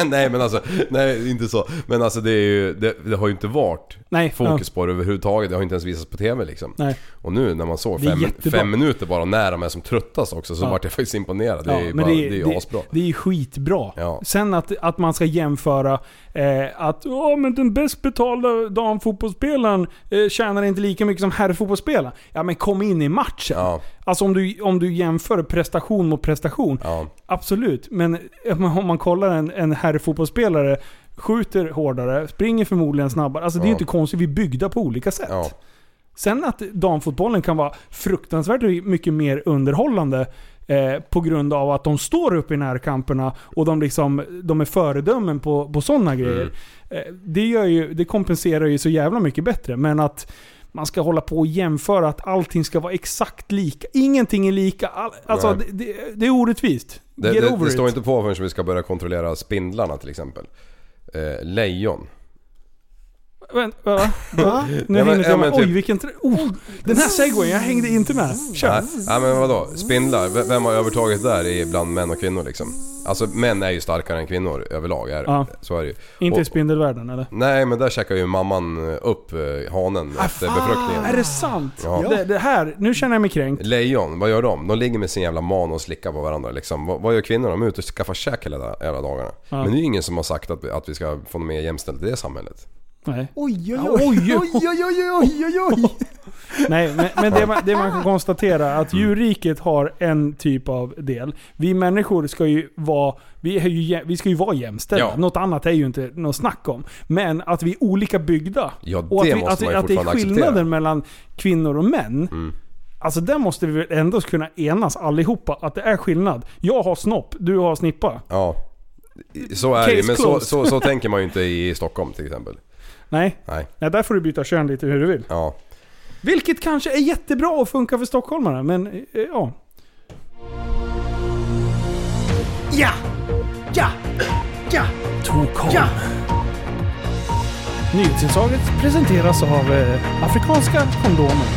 nej men alltså, nej inte så. Men alltså det, är ju, det, det har ju inte varit
Nej,
fokus på det överhuvudtaget. Det har inte ens visats på TV liksom.
Nej.
Och nu när man såg
Det är
fem,
jättebra.
fem minuter bara när de är som tröttast också så
Ja.
vart jag faktiskt imponerad. Det
Ja,
är ju
men
bara,
det
det,
är-
är ju
det-
asbra.
Det är ju skitbra. Sen att, att man ska jämföra eh, att "Åh, men den bäst betalda damfotbollsspelaren eh, tjänar inte lika mycket som herrfotbollsspelaren. Ja men kom in i matchen. Alltså om du, om du jämför prestation mot prestation. Absolut, men eh, om man kollar en, en herrfotbollsspelare skjuter hårdare, springer förmodligen snabbare. Alltså det är ju
Ja.
inte konstigt, vi är byggda på olika sätt. Sen att damfotbollen kan vara fruktansvärt mycket mer underhållande eh, på grund av att de står upp i närkamperna och de, liksom, de är föredömen på, på sådana
Mm.
grejer. Eh, det, gör ju, det kompenserar ju så jävla mycket bättre. Men att man ska hålla på och jämföra att allting ska vara exakt lika. Ingenting är lika. All, alltså, det,
Nej.
det, det är orättvist.
Det,
Get
det,
over
det
it.
står inte på förrän vi ska börja kontrollera spindlarna till exempel. Eh, lejon.
Vänt, va? Va? Nu
Ja, men-
hinner inte
ja,
jag med.
men
Oj,
typ.
vilken... Tre... Oh, den här segwayen, jag hängde inte med. Kör.
Nej, nej men vadå? Spindlar, v- vem har övertaget där i bland män och kvinnor liksom? Alltså män är ju starkare än kvinnor överlag. Är,
Ja.
Så är det ju.
Inte i
Och-
spindelvärlden eller?
Nej men där käkar ju mamman upp eh, hanen
Ah,
efter befruktningen.
Är det sant?
Ja.
Det, det här, nu känner jag mig kränkt.
Lejon, vad gör de? De ligger med sin jävla man och slickar på varandra liksom. Vad, vad gör kvinnorna? De är ute och skaffar käk hela, hela dagarna.
Ja.
Men det är ju ingen som har sagt att, att vi ska få mer jämställt i det samhället.
Nej.
Oj, oj,
Ja,
oj, oj, oj, oj, oj, oj, oj.
Nej, men, men det, man, det man kan konstatera är att
Mm.
djurriket har en typ av del. Vi människor ska ju vara, vi är ju, jä- vi ska ju vara jämställda.
Ja.
Något annat är ju inte något snack om. Men att vi är olika byggda.
Ja, det
och att, vi,
måste
att, vi-
man ju
att det är
fortfarande acceptera. Mm.
skillnader mellan kvinnor och män. Alltså där måste vi väl ändå kunna enas allihopa att det är skillnad. Jag har snopp, du har snippa.
Ja. Så är det ju,
Case
men så,
closed.
så, så tänker man ju inte i Stockholm till exempel.
Nej.
Nej.
Nej, där får du byta kön lite hur du vill.
Ja.
Vilket kanske är jättebra och funkar för stockholmare, men eh, ja.
Ja! Ja! Ja!
Tokholm.
Ja!
Nyhetsinslaget presenteras av eh, afrikanska kondomer.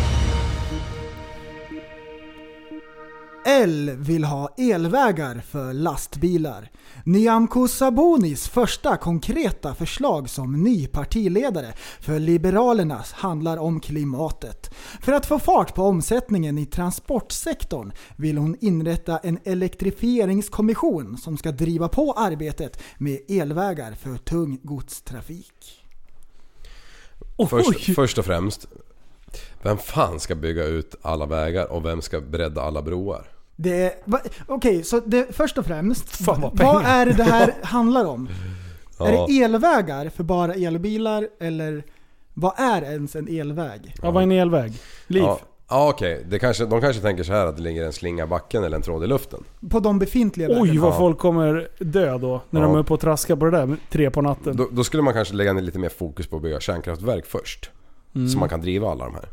L vill ha elvägar för lastbilar. Nyamko Sabonis första konkreta förslag som ny partiledare för Liberalerna handlar om klimatet. För att få fart på omsättningen i transportsektorn vill hon inrätta en elektrifieringskommission som ska driva på arbetet med elvägar för tung godstrafik.
Först, först och främst, vem fan ska bygga ut alla vägar och vem ska bredda alla broar?
Det är- va- Okej, så det, först och främst,
vad
vad
pengar. *laughs*
är det här handlar om?
Ja.
Är det elvägar för bara elbilar eller vad är ens en elväg?
Ja, vad är en elväg?
Liv.
Ja, ja okej. Det Kanske, de kanske tänker så här att det ligger en slinga i backen eller en tråd i luften.
På de befintliga
Oj
vägarna.
vad folk kommer dö då. När de
Ja.
är uppe och traskar på det där tre på natten.
Då, då skulle man kanske lägga ner lite mer fokus på att bygga kärnkraftverk först.
Mm.
Så man kan driva alla de här.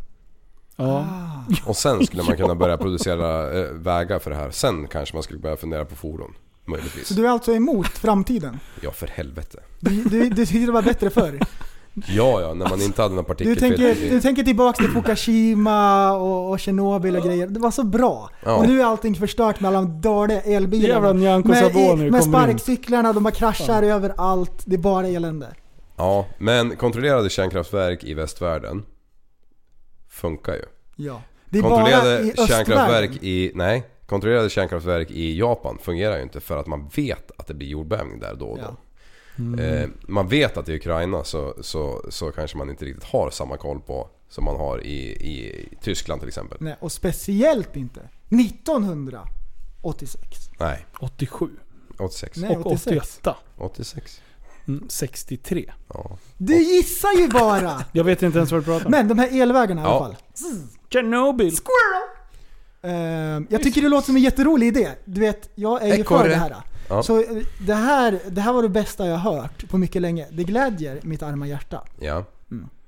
Ja.
Ah.
Och sen skulle
*laughs*
man kunna börja producera eh, vägar för det här. Sen kanske man skulle börja fundera på fordon. Möjligtvis.
Så du är alltså emot framtiden?
Ja, för helvete.
Du, du, du tyckte det var
*laughs*
bättre förr?
Ja, ja, när man inte hade någon
Du
partikelfilter.
tänker,
i-
du tänker tillbaka till Fukushima och, och Tjernobyl och grejer. Det var så bra.
Ja.
Och nu är allting förstört med alla de dåliga elbilarna.
Jävla Nyamko
med,
Sabuni
i- med
kommer in.
sparkcyklarna, de bara kraschar överallt. Det är bara elände.
Ja, men kontrollerade kärnkraftverk i västvärlden funkar ju.
Ja. Det är bara
kontrollerade
i östvärlden.
kärnkraftverk i... Nej. Kontrollerade kärnkraftverk i Japan fungerar ju inte för att man vet att det blir jordbävning där då och då. Eh, man vet att i Ukraina så, så, så kanske man inte riktigt har samma koll på som man har i, i Tyskland till exempel.
Nej, och speciellt inte 1986.
Nej.
87.
86.
Nej,
och
86.
88.
86.
Mm, 63.
Ja.
Du gissar ju bara!
Jag vet inte ens vad du pratar om.
Men de här elvägarna i alla
Ja.
fall.
Tjernobyl.
Ehm, jag tycker det låter som en jätterolig idé. Du vet, jag är ju för
Ekorre.
det här.
Ja.
Så eh, det här, det här var det bästa jag har hört på mycket länge. Det glädjer mitt arma hjärta.
Ja.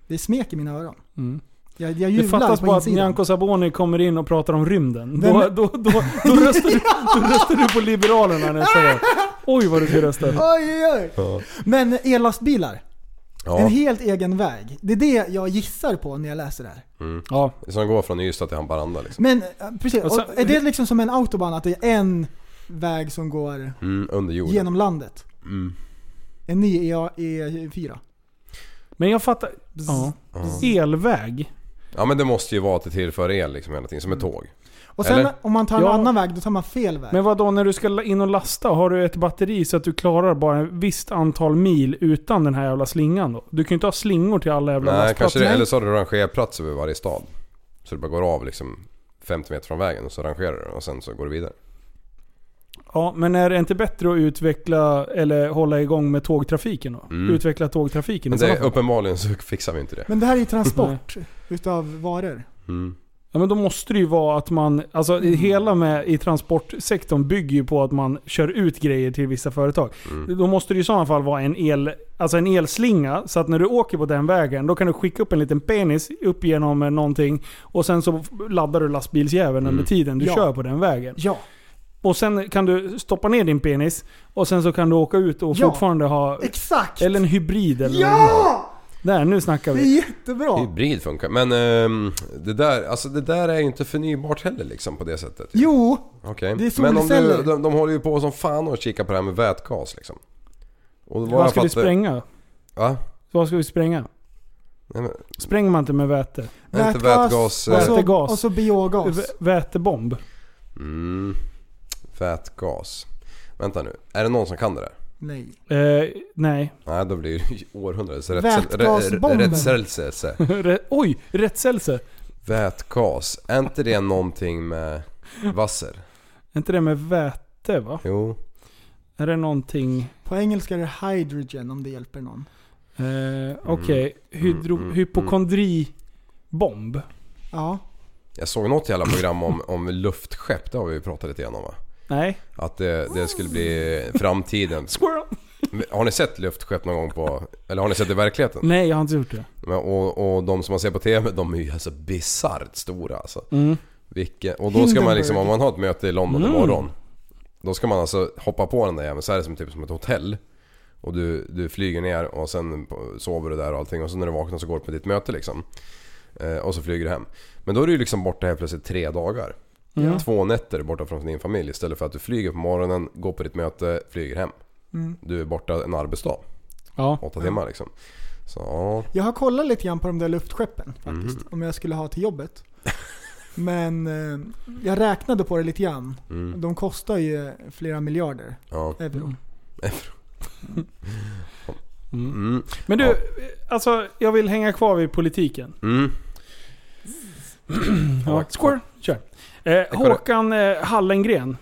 Det är smek i mina öron.
Mm.
Jag, jag
Det
jublar
fattas
på
bara att
insidan.
Nyamko Saboni kommer in och pratar om rymden. Då,
Vem-
då, då, då, röstar du, då röstar du på Liberalerna nästa gång. Oj vad du ska rösta.
Oj, oj, oj.
Ja.
Men ellastbilar.
Ja.
En helt egen väg. Det är det jag gissar på när jag läser det här.
Mm.
ja.
Som går från Ystad till Haparanda liksom.
Men eh, precis,
Och så-
och är det liksom som en autobahn? Att det är en väg som går
Mm, under jorden.
genom landet?
Mm.
En ny E- E4?
Men jag fattar. Ja.
Ja.
Elväg.
Ja men det måste ju vara att det tillför el liksom hela tiden, som ett tåg.
Och sen
Eller?
om man tar en
Ja.
annan väg, då tar man fel väg.
Men vad då när du ska in och lasta, har du ett batteri så att du klarar bara ett visst antal mil utan den här jävla slingan då? Du kan ju inte ha slingor till alla jävla
Nej, kanske det.
Nej.
Eller så har du rangerplats över varje stad. Så du bara går av liksom 50 meter från vägen och så rangerar du och sen så går du vidare.
Ja, men är det inte bättre att utveckla eller hålla igång med tågtrafiken då?
Mm.
Utveckla tågtrafiken
Men
i
det,
sådana fall.
uppenbarligen så *laughs* fixar vi inte det.
Men det här är
*laughs*
ju transport utav varor.
Mm.
Ja, men då måste det ju vara att man, alltså i hela med, i transportsektorn bygger ju på att man kör ut grejer till vissa företag.
Mm.
Då måste det ju i sådana fall vara en, el, alltså en elslinga, så att när du åker på den vägen, då kan du skicka upp en liten penis upp genom eh, någonting och sen så laddar du lastbilsjäveln under tiden du
Ja.
kör på den vägen.
Ja.
Och sen kan du stoppa ner din penis och sen så kan du åka ut och
Ja.
fortfarande ha...
Exakt!
Eller en hybrid eller
Ja!
Där, nu snackar
Det
vi.
är jättebra!
Hybrid funkar. Men ehm, det, där, alltså det där är ju inte förnybart heller liksom på det sättet.
Jo!
Okej.
Det är
Men om du,
solceller.
de, de håller ju på som fan och kikar på det här med vätgas liksom. Och
Vad
jag
ska vi
fattar-
spränga?
Va?
Vad ska vi spränga?
Nej, men,
Spränger man inte med väte?
är inte vätgas... eh,
och så- Vätegas.
Och så biogas.
Vä- Vätebomb? Eh,
Mm. Vätgas. Vänta nu. Är det någon som kan det där?
Nej.
Eh, nej. *laughs*
Nej, då blir det ju *laughs* århundradets
Vätgasbomben.
rättselse.
Re- Oj, rättselse.
Vätgas. Är inte det någonting med vasser?
Är inte det med väte va?
Jo.
Är det någonting...
På engelska är det hydrogen om det hjälper någon.
Eh, Okej, Hydro-
mm,
hypokondribomb.
Ja.
Jag såg något jävla program om, om luftskepp. Det har vi ju pratat lite grann om va?
Nej.
Att det, det skulle bli framtiden.
Squirrel.
Har ni sett luftskepp någon gång på... Eller har ni sett det i verkligheten?
Nej, jag har inte gjort det.
Men, och, och de som man ser på TV, de är ju alltså bisarrt stora alltså.
Mm.
Vilken, och då ska man liksom,
Hindenburg.
om man har ett möte i London
Mm.
imorgon. Då ska man alltså hoppa på den där jäveln, så är det som typ som ett hotell. Och du, du flyger ner och sen på- sover du där och allting och så när du vaknar så går du på ditt möte liksom. Eh, och så flyger du hem. Men då är du ju liksom borta helt plötsligt tre dagar.
Mm.
Två nätter borta från din familj istället för att du flyger på morgonen, går på ditt möte, flyger hem.
Mm.
Du är borta en arbetsdag.
Ja.
Åtta timmar liksom. Så ja.
Jag har kollat lite grann på de där luftskeppen
Mhm.
faktiskt. Om jag skulle ha till jobbet. Men eh, jag räknade på det lite grann.
Mm.
De kostar ju flera miljarder
ja.
euro.
Mm.
Men du,
Ja.
alltså jag vill hänga kvar vid politiken.
Mm.
Ja. Squirrel. Kör. Eh, Håkan eh, Hallengren.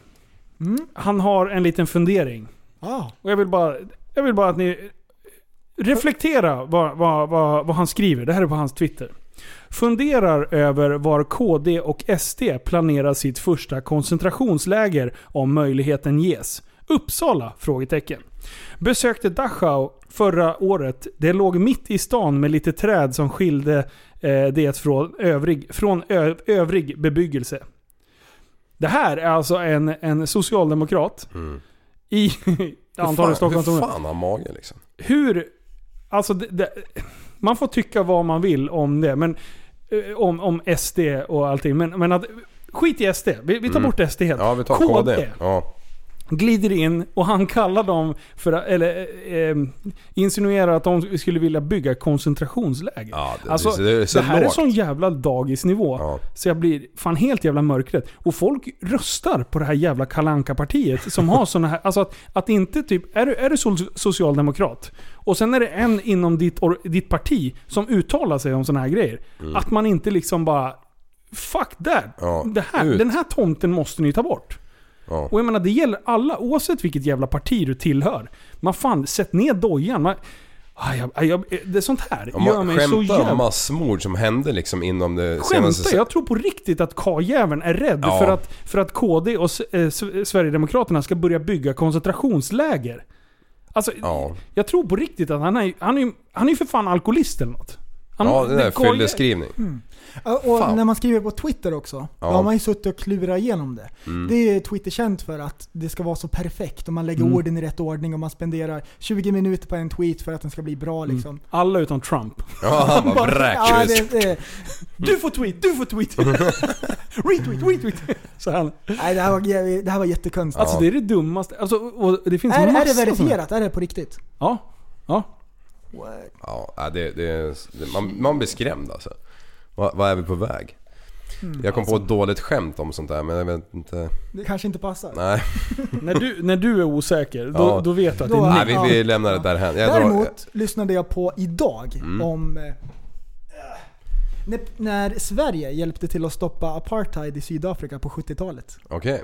Han har en liten fundering.
Ah.
Och jag vill bara, jag vill bara att ni Reflektera vad, vad, vad, vad han skriver. Det här är på hans Twitter. Funderar över var KD och SD planerar sitt första koncentrationsläger om möjligheten ges. Uppsala? Frågetecken. Besökte Dachau förra året. Det låg mitt i stan med lite träd som skilde eh, det från övrig, från ö, övrig bebyggelse. Det här är alltså en, en socialdemokrat
Mm.
i antagligen
hur
Stockholms
fan, hur fan har magen liksom?
hur... Alltså, det, det, man får tycka vad man vill om det. Men, eh, om, om SD och allting. Men, men att, skit i SD. Vi, vi tar
Mm.
bort SD helt.
Ja, vi tar KD.
KD.
Ja.
Glider in och han kallar dem för att- Eller eh, eh, insinuerar att de skulle vilja bygga koncentrationsläger.
Ja, det,
Alltså,
det, är så
det här är
lågt.
sån jävla dagisnivå. Så jag blir fan helt jävla mörkret. Och folk röstar på det här jävla kalanka partiet som har såna här... Alltså att, att inte typ... Är du, är du so- socialdemokrat och sen är det en inom ditt, or, ditt parti som uttalar sig om såna här grejer.
Mm.
Att man inte liksom bara... Fuck that!
Ja,
Det här,
ut.
den här tomten måste ni ta bort.
Ja.
Och jag menar, det gäller alla oavsett vilket jävla parti du tillhör. Man fan, sätt ner dojan. Man, Ah, jag, ah, jag, det är sånt här
Om
gör
man
mig så
skämtar
jävla...
om massmord som hände liksom inom det
Skämtar?
senaste...
Jag tror på riktigt att karljäveln är rädd
Ja.
för, att, för att KD och S- eh, S- Sverigedemokraterna ska börja bygga koncentrationsläger. Alltså,
Ja.
jag tror på riktigt att han är han är, han är ju för fan alkoholist eller något. Han, Mm.
Ja, det där
karljä-
fylleskrivning.
Och
Fan.
när man skriver på Twitter också,
Ja.
då har man ju suttit och klurat igenom det.
Mm.
Det är ju Twitter känt för att det ska vara så perfekt och man lägger
Mm.
orden i rätt ordning och man spenderar 20 minuter på en tweet för att den ska bli bra liksom.
Mm. Alla utom Trump. *laughs*
Ja, han
*laughs*
bara
Ja,
vräker
det, det, du får tweet, du får
*laughs*
tweet! retweet, retweet!
Så han,
Nej det här var, jä- det här var jättekonstigt.
Alltså det är det dummaste. Alltså, och det finns
är, är det
massa såna-
verifierat? Är det på riktigt?
Ja. ja.
Ja, äh, det, det, det, man, man blir skrämd alltså. Vad vad är vi på väg?
Mm.
Jag kom på
Alltså-
ett dåligt skämt om sånt där men jag vet inte...
Det kanske inte passar.
Nej.
När du, när du är osäker, då,
Ja.
då vet du att det
Då-
är
Nej,
nej.
vi, vi lämnar det där hem. Jag drar-
Däremot lyssnade jag på idag
Mm.
om eh, när, när Sverige hjälpte till att stoppa apartheid i Sydafrika på 70-talet
Okej.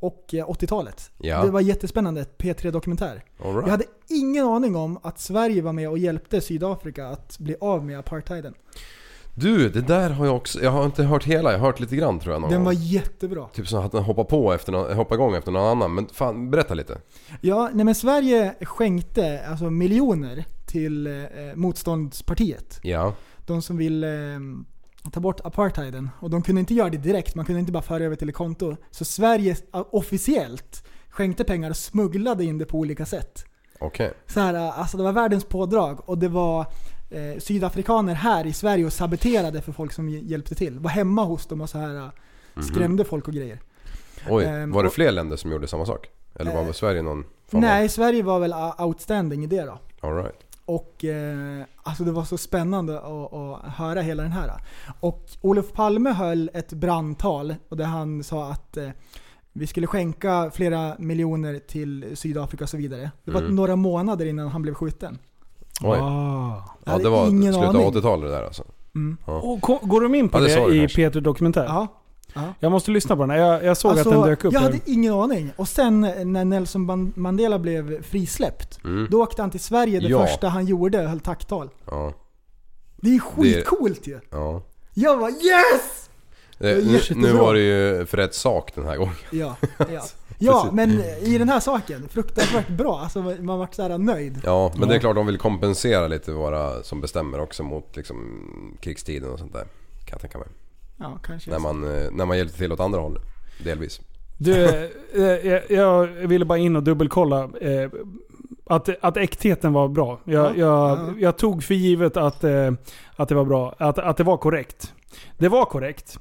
och eh, 80-talet.
Ja.
Det var jättespännande, ett P3-dokumentär.
All right.
Jag hade ingen aning om att Sverige var med och hjälpte Sydafrika att bli av med apartheiden.
Du, det där har jag också... Jag har inte hört hela, jag har hört lite grann tror jag någon
Den var
gång.
jättebra.
Typ så att den hoppar på efter någon, hoppar igång efter någon annan. Men fan, berätta lite.
Ja, nej men Sverige skänkte alltså miljoner till eh, motståndspartiet.
Ja.
de som vill eh, ta bort apartheiden. Och de kunde inte göra det direkt, man kunde inte bara föra över till ett konto. Så Sverige eh, officiellt skänkte pengar och smugglade in det på olika sätt.
Okej.
Så här, eh, alltså det var världens pådrag och det var eh, sydafrikaner här i Sverige och saboterade för folk som hj- hjälpte till. Var hemma hos dem och så här eh,
Mhm.
skrämde folk och grejer.
Oj,
Ehm,
var det
och- Eh,
fler länder som gjorde samma sak? Eller var Sverige någon? form av-
Nej, Sverige var väl eh, outstanding i det då.
All right.
Och eh, alltså det var så spännande att, att höra hela den här. Och Olof Palme höll ett brandtal och där han sa att eh, vi skulle skänka flera miljoner till Sydafrika och så vidare. Det var
Mm.
några månader innan han blev skjuten.
Oj.
Jag
Ja,
hade
det var
ingen
slutet
aning.
av 80-talet det där alltså.
Mm.
Ja.
Ah. Och ko- går de in på
Ja, det sa
det,
du
i
kanske.
P3 Dokumentär?
Ja. Ja.
Jag måste lyssna på den. Jag, jag såg att den dök upp.
Jag
där.
hade ingen aning. Och sen eh, när Nelson Man- Mandela blev frisläppt,
Mm.
då åkte han till Sverige det
Ja.
första han gjorde, höll tacktal.
Ja.
Det är skitcoolt ju!
Ja.
Jag var yes!
Eh,
är
Nu, nu
jättebra.
var det ju för rätt sak den här gången.
Ja, ja. ja men i den här saken, fruktansvärt bra. Alltså, man vart så här nöjd.
Ja, men det är klart de vill kompensera lite våra som bestämmer också mot liksom, krigstiden och sånt där. Kan jag tänka mig.
Ja, kanske.
När man, eh, när man hjälpte till åt andra hållet. Delvis.
Du, eh, jag, jag ville bara in och dubbelkolla eh, att, att äktheten var bra. Jag, jag, jag tog för givet att, eh, att det var bra. Att, att det var korrekt. Det var korrekt.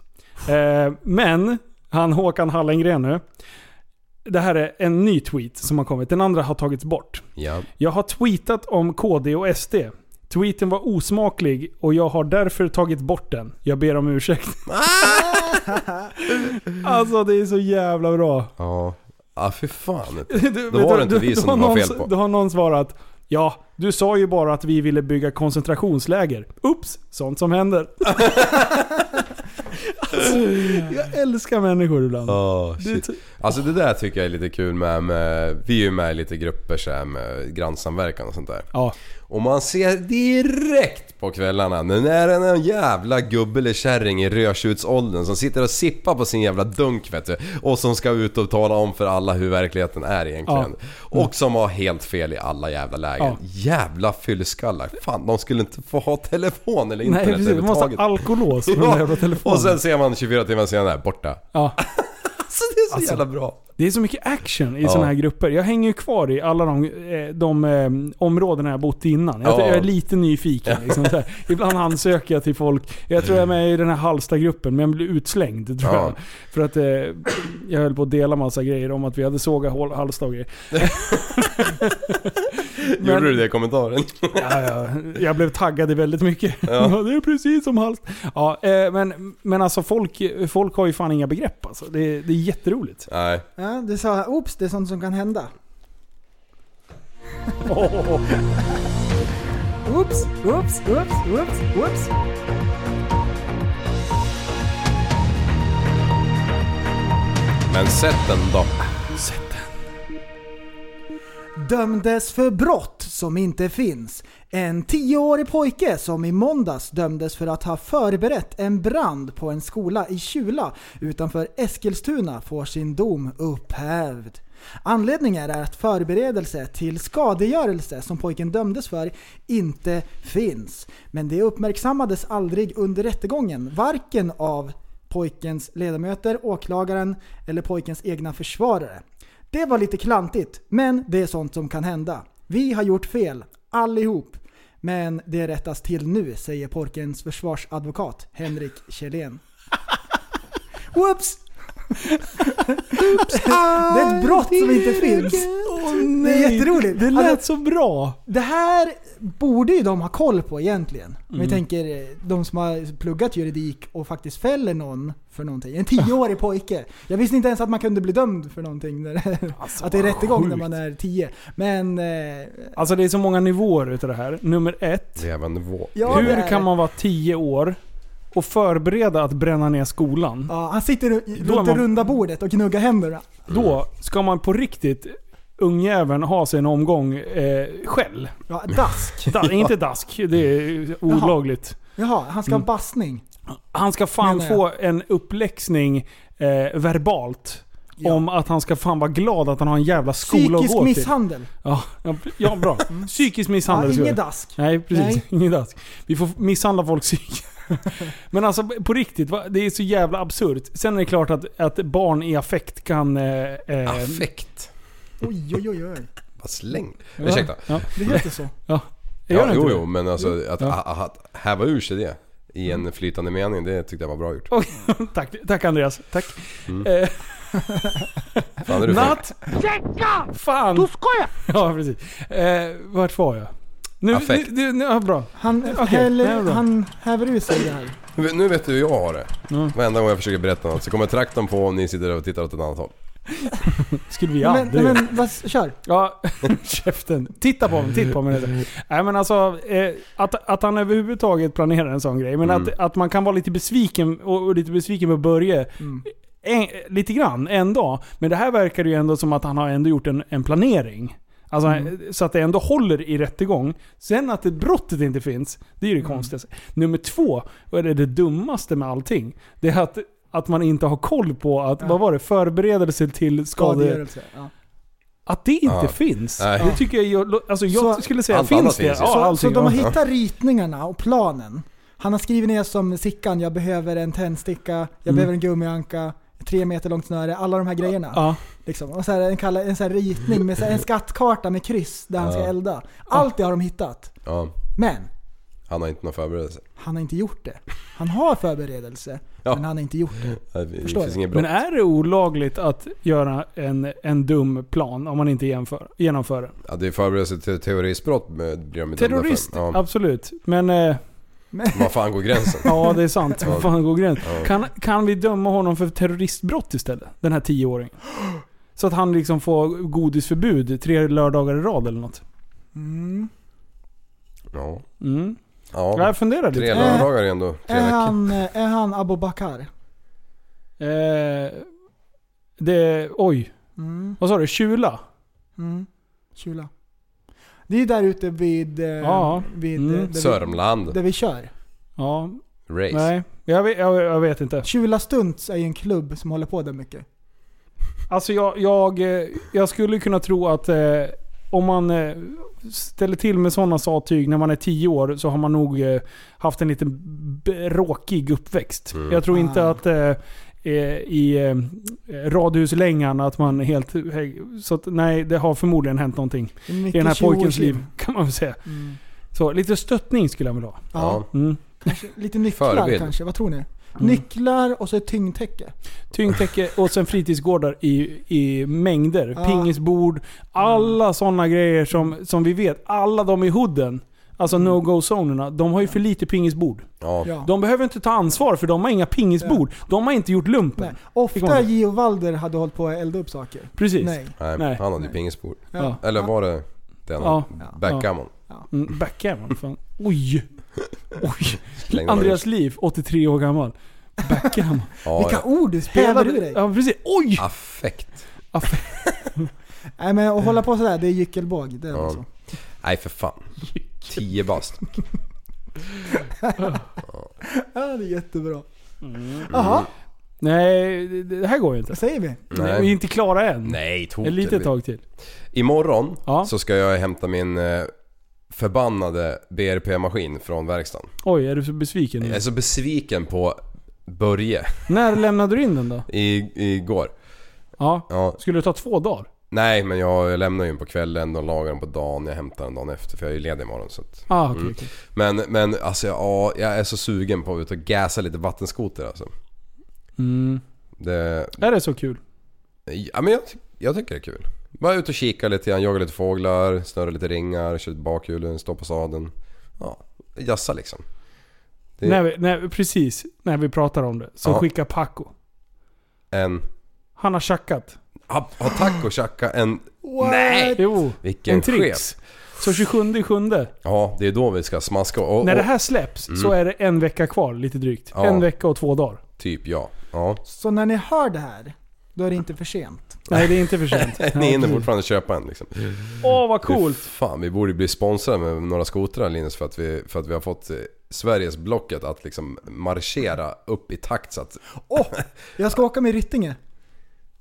Eh, men, han Håkan Hallengren nu. Det här är en ny tweet som har kommit. Den andra har tagits bort.
Ja.
Jag har tweetat om KD och SD. Tweeten var osmaklig och jag har därför tagit bort den. Jag ber om ursäkt.
Ah,
alltså det är så jävla bra.
Ja. Ah, för fan.
*laughs* Du,
Då
vet
var
du,
det inte
du- *laughs*
vi
då
som
har
det var
någon-
fel på.
Då har någon svarat Ja, du sa ju bara att vi ville bygga koncentrationsläger. Ups, sånt som händer. *laughs* alltså, jag älskar människor ibland.
Oh,
Det är
shit.
ty-
Alltså det där tycker jag är lite kul med, med vi är ju med i lite grupper så här med grannsamverkan och sånt där.
Ja.
Och man ser direkt på kvällarna när det är en jävla gubbe eller kärring i rödtjutsåldern som sitter och sippar på sin jävla dunk vet du, Och som ska ut och tala om för alla hur verkligheten är egentligen.
Ja. Mm.
Och som har helt fel i alla jävla lägen.
Ja.
Jävla fyllskallar. Fan, de skulle inte få ha telefon eller
Nej
internet
precis, man måste ha
överhuvudtaget.
alkolås
*laughs*
på den där jävla telefonen.
och sen ser man 24 timmar senare, borta. *laughs*
Ja. Alltså,
Så det är så jävla bra.
Det är så mycket action i
Ja.
sådana här grupper. Jag hänger ju kvar i alla de, eh, de eh, områdena jag bott i innan. Jag,
Ja.
jag är lite
*laughs*
nyfiken. Liksom, så här. Ibland ansöker jag till folk. Jag tror jag är med i den här Halsta-gruppen, men jag blev utslängd tror
Ja.
jag. För att eh, jag höll på att dela massa grejer om att vi hade sågat hål- Halsta och grejer.
Gjorde du det i kommentaren? *laughs*
Ja, ja. Jag blev taggad i väldigt mycket. *laughs*
Ja.
det är precis som Halsta. Ja, eh, men, men alltså folk, folk har ju fan inga begrepp alltså. Det, det är jätteroligt.
Nej.
Ja, du sa oops, det är sånt som kan hända. *laughs* Oops, oops, oops, oops, oops.
Men sätt den då.
Dömdes för brott som inte finns. En tioårig pojke som i måndags dömdes för att ha förberett en brand på en skola i Kjula utanför Eskilstuna får sin dom upphävd. Anledningen är att förberedelse till skadegörelse som pojken dömdes för inte finns. Men det uppmärksammades aldrig under rättegången, varken av pojkens ledamöter, åklagaren eller pojkens egna försvarare. Det var lite klantigt, men det är sånt som kan hända. Vi har gjort fel, allihop. Men det rättas till nu, säger pojkens försvarsadvokat Henrik Kjellén. Whoops! *laughs* det är ett brott som inte finns. det är jätteroligt.
Det lät
Alltså,
så bra.
det här borde ju de ha koll på egentligen. Om vi
Mm.
tänker eh, de som har pluggat juridik och faktiskt fäller någon för någonting. En tioårig
*laughs*
pojke. Jag visste inte ens att man kunde bli dömd för någonting. När, att det är
Alltså, vad
rättegång när
sjukt.
man är tio. Men... Eh,
Alltså det är så många nivåer utav det här. Nummer ett.
Levande vå.
Ja, det är
hur
det.
kan man vara tio år och förbereda att bränna ner skolan?
ja, han sitter ru-
Då är
runt det
man-
runda bordet och gnuggar händerna.
Då ska man på riktigt ungjäveln ha sig en omgång eh, skäll.
*laughs* Ja, dask.
Da, inte dask, det är olagligt.
Jaha, han ska ha
Mm.
bassning.
Han ska fan
Menar jag.
få en uppläxning eh, verbalt. Om att han ska fan vara glad att han har en jävla skola att
Psykisk
gå till.
misshandel. Mm.
Ja, ja, ja bra. Psykisk misshandel.
Ja,
ska
ingen
vi-
dask.
Nej, precis.
Nej.
*laughs* Ingen dask. Vi får misshandla folk
*laughs*
psykiskt. Men alltså på riktigt, va? det är så jävla absurt. Sen är det klart att, att barn i affekt kan... Eh, eh,
affekt?
Oj, oj, oj, oj.
Vad släng. Ursäkta.
Ja.
Det heter så.
Ja. Gör
Ja,
det
jo,
inte
jo,
det?
men alltså att,
Ja.
att, att häva ur sig det i en flytande mening, det tyckte jag var bra gjort.
*laughs* tack, tack Andreas. Tack.
Mm.
Eh,
Fan, är du
Natt! Checka! Fan! Då ska jag! *laughs* Ja, precis. Eh, vart var jag? Nu, nu,
Affekt.
nu, nu ja, bra.
Han,
Okej, det är
häller,
bra.
han häver ur sig det här.
Nu, nu vet du hur jag har det.
Mm.
Varenda gång jag försöker berätta något så kommer traktorn på och ni sitter och tittar åt ett annat håll.
Skulle vi
men,
aldrig...
men vad, kör.
Ja, *laughs* käften. Titta på mig, titta på mig. Nej men alltså, eh, att, att han överhuvudtaget planerar en sån grej. Men
Mm.
att, att man kan vara lite besviken och, och lite besviken på Börje. En, eh, lite grann, en dag. Men det här verkar ju ändå som att han har ändå gjort en, en planering. Alltså, Så att det ändå håller i rättegång. Sen att det brottet inte finns, det är ju det konstigaste. Nummer två, och det är det dummaste med allting. Det är att, att man inte har koll på att, vad var det, förberedelse till skade...
Skadegörelse. Ja.
Att det inte
Ja.
finns.
Nej.
Det tycker jag, gör- alltså jag
Så-
skulle säga,
Allt
finns
annat
det?
finns ju.
ja,
Så, så
allting,
de har
ja.
hittat ritningarna och planen. Han har skrivit ner som Sickan, jag behöver en tändsticka, jag behöver en gummianka, tre meter långt snöre, alla de här grejerna.
Mm. Ja.
Liksom. Och så här, en, kalla, en så här ritning med
*laughs*
så här, en skattkarta med kryss där han ska
Ja.
elda. Allt det har de hittat.
Ja,
Men
han har inte någon förberedelse.
han har inte gjort det. Han har förberedelse,
Ja.
men han har inte gjort det.
Det, det
Förstår
finns
jag.
inget bra.
Men är det olagligt att göra en, en dum plan om man inte jämför, genomför den?
Ja, det är förberedelse till terroristbrott med, blir de ju dömda för.
Terrorist,
Ja.
absolut. Men... Eh,
Var fan går gränsen?
ja, det är sant.
Ja.
Var fan går gränsen?
Ja.
Kan, kan vi döma honom för terroristbrott istället? Den här tioåringen. Så att han liksom får godisförbud tre lördagar i rad eller något.
Mm.
Ja.
Mm. Ja,
ja.
jag funderar lite.
Tre lördagar är ändå tre
Är,
veckor.
han, eh, är han Abu Bakar?
Eh, det... Oj.
Mm.
Vad sa du? Kjula?
Mm. Kula. Det är ju där ute vid... eh,
Ja.
vid
Mm.
eh, där vi-
Sörmland.
Där vi kör.
Ja.
Race.
Nej, jag vet, jag, jag vet inte.
Kjula Stunts är ju en klubb som håller på där mycket.
Alltså jag, jag, eh, jag skulle kunna tro att eh, om man eh, ställer till med sådana sattyg när man är 10 år så har man nog eh, haft en lite b- råkig uppväxt.
Mm.
Jag tror inte
Ah.
att eh, eh, i eh, radhuslängan att man helt... Så att, nej, det har förmodligen hänt någonting
Det är
i
mycket
den här
20 års
pojkens liv
liv.
kan man väl säga.
Mm.
Så lite stöttning skulle jag vilja ha.
Ja.
Mm.
Kanske, lite nycklar
Förebild.
kanske, vad tror ni?
Mm.
Nycklar och så ett tyngdtäcke.
Tyngdtäcke och sen fritidsgårdar i, i mängder.
Ja.
Pingisbord. Alla sådana grejer som, som vi vet. Alla de i hooden. Alltså no-go-zonerna. De har ju för lite pingisbord.
Ja.
Ja.
De behöver inte ta ansvar för de har inga pingisbord. De har inte gjort lumpen.
Ofta Gio Valder hade hållit på att elda upp saker.
Precis.
Nej.
Nej,
Nej.
han hade ju pingisbord.
Ja.
Eller var det den?
Ja.
Backgammon.
Mm, Backgammon. Fan. Oj. Oj.
Slängde man
Andreas Liv, 83 år gammal. Backgammon.
Ja, Vilka ja.
ord du spelar
Hävade-
ur dig.
Ja, precis. Oj!
Affekt.
Nej men att hålla på sådär, det är gyckelbåg. Det är
Ja.
så.
Nej för fan. 10 bast.
Ja, det är jättebra.
Mm.
Jaha,
Nej, det- det här går ju inte.
vad säger vi?
*laughs* Nej. Vi är inte klara än.
Nej, tog
Ett litet tag till.
Imorgon så ska jag hämta min eh, förbannade BRP-maskin från verkstaden.
Oj, är du så besviken?
Jag
nu?
är så besviken på Börje
När lämnade du in den då?
i, igår.
Ja.
Ja.
Skulle det ta två dagar?
Nej men jag, jag lämnar ju den på kvällen, de lagar den på dagen, jag hämtar den dagen efter för jag är ju ledig imorgon. Så att,
Ah, okej, okej.
Men, men alltså ja, jag är så sugen på att ut och gasa lite vattenskoter alltså.
Mm.
Det,
Är det så kul?
Ja men jag, ty- jag tycker det är kul. Bara ut och kika lite grann, jaga lite fåglar, snurra lite ringar, köra lite bakhjulen, stå på sadeln. Ja, jassa liksom. Det är
När vi, när, precis, när vi pratar om det. Så
Ja.
skickar Paco.
en...
Han har tjackat.
Ha- Har Taco tjackat en...
What?
Nej!
Jo,
Vilken
en trix.
chef.
Så 27 sjunde.
Ja, det är då vi ska smaska och...
När det här
och-
släpps
Mm.
så är det en vecka kvar lite drygt.
Ja.
En vecka och två dagar.
Typ ja. ja.
Så när ni hör det här, då är det inte för sent.
Nej, det är inte för sent.
*laughs* Ni hinner fortfarande köpa en liksom.
Åh, vad coolt!
Fy Fan, vi borde ju bli sponsrade med några skotrar Linus för att vi, för att vi har fått eh, Sveriges blocket att liksom marschera upp i takt så att...
Åh! jag ska åka med Ryttinge.
*laughs*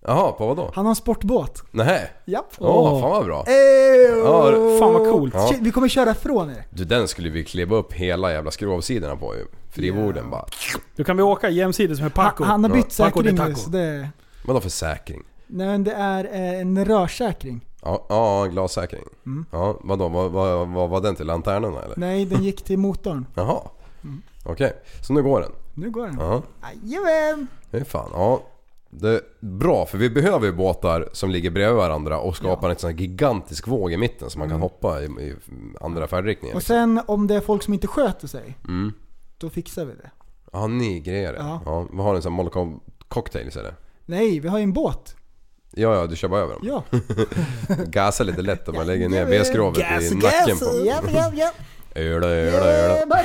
Jaha, på vadå?
Han har en sportbåt.
Nej.
Japp.
Åh, fan vad bra.
Ejo!
Ja, det- Fan, vad coolt. Ja.
Shit, Vi kommer köra från er.
Du den skulle vi klibba upp hela jävla skrovsidorna på ju. Frivorden bara...
Då kan vi åka jämsides med Paco.
Han har bytt
Paco de
säkring nu.
Taco.
så Det,
Vadå för säkring?
nej men det är eh, en rörsäkring.
Ja, ja glassäkring.
Mm.
Ja, vadå? Vad, vad, vad var den till? Lanternorna eller?
Nej, den gick till motorn.
Jaha.
Mm.
Okej, så nu går den.
Nu går den.
Ja,
Jajamän!
det är fan. Ja. Det är bra för vi behöver ju båtar som ligger bredvid varandra och skapar en sån här gigantisk våg i mitten som man
Mm.
kan hoppa i, i andra färdriktningar.
Och sen om det är folk som inte sköter sig,
Mm.
då fixar vi det.
Ja, ni grejer det.
Ja.
Ja. Vad har ni? Sån molotov cocktails eller?
Nej, vi har ju en båt.
Ja, ja, du kör bara över dem.
Ja.
Gasa lite lätt och man lägger ner
Ja, men-
V-skrovet i *laughs* nacken på dem.
Japp, japp, japp.
Öla, öla, öla.
Jajamän. Eh,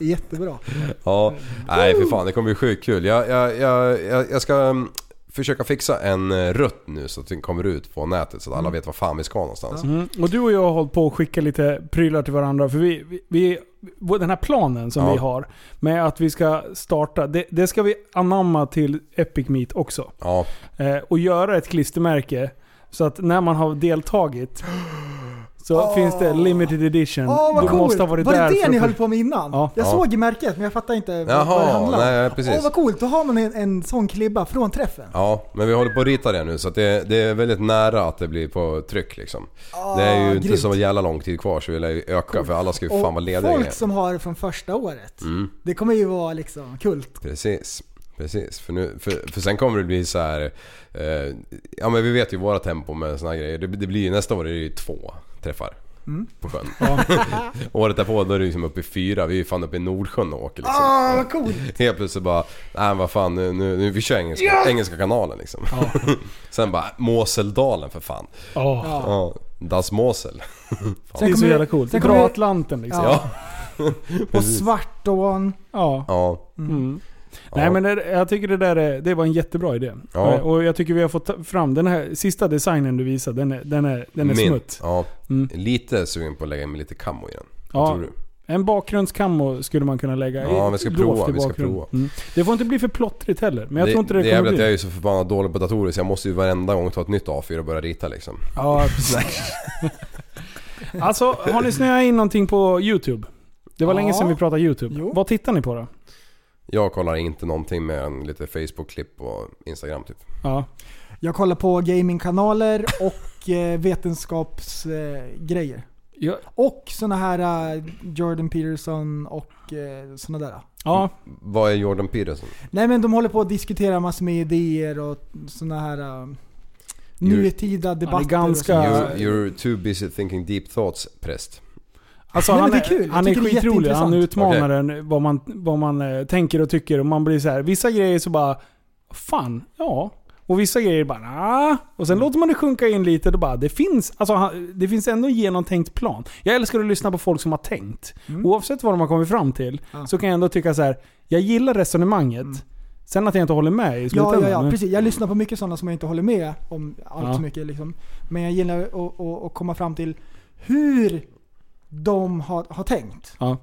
Jättebra.
Ja, nej för fan det kommer bli sjukt kul. Jag, jag, jag, jag, jag ska mm, försöka fixa en eh, rutt nu så att den kommer ut på nätet så att
Mm.
alla vet var fan vi ska någonstans.
Mm. Och du och jag har hållit på att skicka lite prylar till varandra. För vi, vi, vi, vår- den här planen som
Ja.
vi har med att vi ska starta, det, det ska vi anamma till Epic Meet också.
Ja,
Eh, och göra ett klistermärke så att när man har
*gasps*
deltagit så finns det limited edition.
Åh vad
du
coolt!
måste ha
Var
varit
det
där
det
för
ni
att-
höll på med innan?
Ja.
Jag
Ja.
såg i märket men jag fattar inte vad
Jaha,
det handlade om.
nej, precis.
Åh vad coolt, då har man en, en sån klibba från träffen.
ja, men vi håller på att rita det nu så att det, det är väldigt nära att det blir på tryck liksom. det är ju inte
Ah, grymt.
så jävla lång tid kvar så vi lär ju öka för alla ska ju
Och
fan vara lediga.
folk
igen.
som har det från första året.
Mm.
Det kommer ju vara liksom kult.
Precis. Precis, för, nu, för, för sen kommer det bli så här. Eh, ja men vi vet ju våra tempo med såna här grejer. Det, det blir ju nästa år är det ju två träffar
Mm.
på sjön. *laughs* Året därpå då är det liksom uppe i fyra. Vi är ju fan uppe i Nordsjön och åker liksom.
Ah, vad coolt!
Helt plötsligt bara, nej vad fan nu, nu, nu vi kör engelska,
Ja!
engelska kanalen liksom. *laughs* sen bara, Moseldalen för fan.
Ja.
Ja, das Mosel. Fan.
Det är så jävla coolt.
sen
Dra
kommer-
Atlanten liksom.
Ja.
*laughs* Och
Precis.
Svartån.
Ja.
Ja.
Mm. Nej men det, jag tycker det där är, det var en jättebra idé.
Ja.
Eh, Och jag tycker vi har fått ta- fram den här sista designen du visade, den är, den är, den är
Min-
smutt.
Ja, lite sugen på att lägga in lite kammo igen.
Ja.
Vad tror du?
En bakgrundskammo skulle man kunna lägga.
Ja, vi ska
Lågt
prova,
i
vi ska
bakgrunden.
prova.
Mm. Det får inte bli för plottrigt heller. Men jag tror inte det,
det är
kommer
väl att
bli.
jag är ju så förbannat dålig på datorer så jag måste ju varenda gång ta ett nytt A4 och börja rita liksom.
Ja,
*laughs*
precis. alltså, har ni snöat in någonting på YouTube? Det var
Ja.
länge sedan vi pratade YouTube. Vad tittar ni på då?
Jag kollar inte någonting mer än lite Facebook-klipp och Instagram typ.
Ja.
Jag kollar på gamingkanaler och eh, vetenskapsgrejer. Eh, grejer.
Ja.
Och såna här eh, Jordan Peterson och eh, såna där.
Ja.
Vad är Jordan Peterson?
Nej men de håller på att diskutera massor med idéer och såna här eh, nutida debatter. och sånt.
You're, you're too busy thinking deep thoughts präst.
Alltså,
Nej, men
han
det
är,
är kul. Jag
han är
tycker det är
skitrolig. Han
jätteintressant.
utmanar en vad man, vad man eh, tänker och tycker. Och man blir så här, vissa grejer så bara, fan, ja. Och vissa grejer bara, nah. Och sen låter man det sjunka in lite. Då bara, det finns, alltså, han- det finns ändå en genomtänkt plan. Jag älskar att lyssna på folk som har tänkt. Oavsett vad de har kommit fram till, så kan jag ändå tycka så här, jag gillar resonemanget. Sen att jag inte håller med i
Ja,
slutändan.
ja, ja,
men-
precis. Jag lyssnar på mycket sådana som jag inte håller med om allt
Ja.
mycket. Liksom. Men jag gillar att, att, att komma fram till hur de har, har tänkt.
Ja.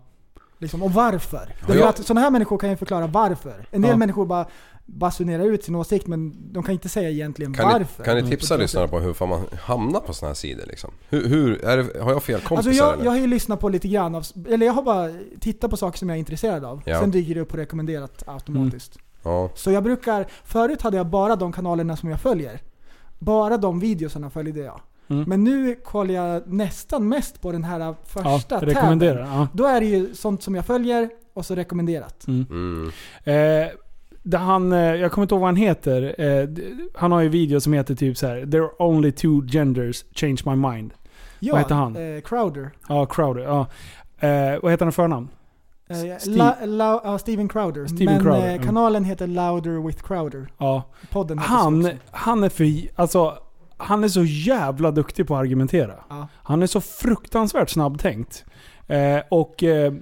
Liksom, och varför.
Ja,
Därför
jag-
att sådana här människor kan ju förklara varför. En del
Ja.
människor bara basunerar ut sin åsikt men de kan inte säga egentligen
Kan ni,
varför.
kan
Mm,
ni tipsa lyssnarna på hur fan man hamnar på såna här sidor liksom? Hur, hur är det, har jag fel kompisar
Alltså jag,
eller?
jag har ju lyssnat på lite grann av, eller jag har bara tittat på saker som jag är intresserad av.
Ja.
Sen dyker det upp på rekommenderat automatiskt.
Ja.
Så jag brukar, förut hade jag bara de kanalerna som jag följer. Bara de videosarna följde jag.
Mm.
Men nu kollar jag nästan mest på den här äh, första
Ja, rekommendera,
tabben.
ja.
Då är det ju sånt som jag följer och så rekommenderat.
Mm. Eh, där han, eh, jag kommer inte ihåg vad han heter. Eh, d- han har ju video som heter typ så här: “There are only two genders, change my mind”. vad heter han?
Eh, Crowder.
Ja, Crowder. Ja. Eh, vad heter han i förnamn?
Eh,
Steve-
La, La, ja, Steven Crowder.
Steven
Men
Crowder,
eh,
mm.
kanalen heter Louder with Crowder.
Ja.
Podden heter
Han,
så också.
han är för... Alltså, han är så jävla duktig på att argumentera.
Ja.
Han är så fruktansvärt snabbtänkt. Eh, och... Eh,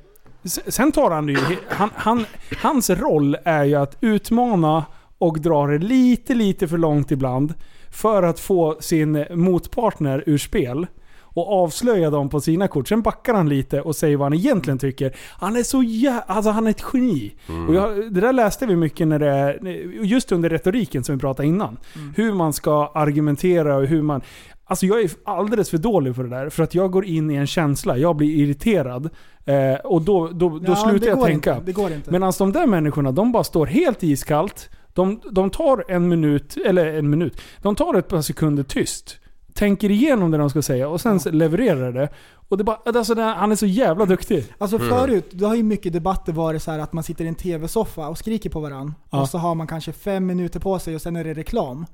s- sen tar han det ju... Han, han, hans roll är ju att utmana och dra det lite, lite för långt ibland. För att få sin motpartner ur spel. Och avslöja dem på sina kort. Sen backar han lite och säger vad han egentligen tycker. Han är så jävla... Alltså han är ett geni.
Mm.
Och jag, det där läste vi mycket när det är, just under retoriken som vi pratade innan.
Mm.
Hur man ska argumentera och hur man... Alltså jag är alldeles för dålig för det där. För att jag går in i en känsla, jag blir irriterad. Eh, och då, då, då
Ja, det
slutar jag
går
tänka.
inte, det går inte.
Medan de där människorna, de bara står helt iskallt. De, de tar en minut, eller en minut. De tar ett par sekunder tyst. Tänker igenom det de ska säga och sen levererar det. Och det bara, alltså det, han är så jävla duktig.
Alltså
Mm.
förut, då har ju mycket debatter varit så här att man sitter i en TV-soffa och skriker på varandra.
Ja.
Och så har man kanske fem minuter på sig och sen är det reklam.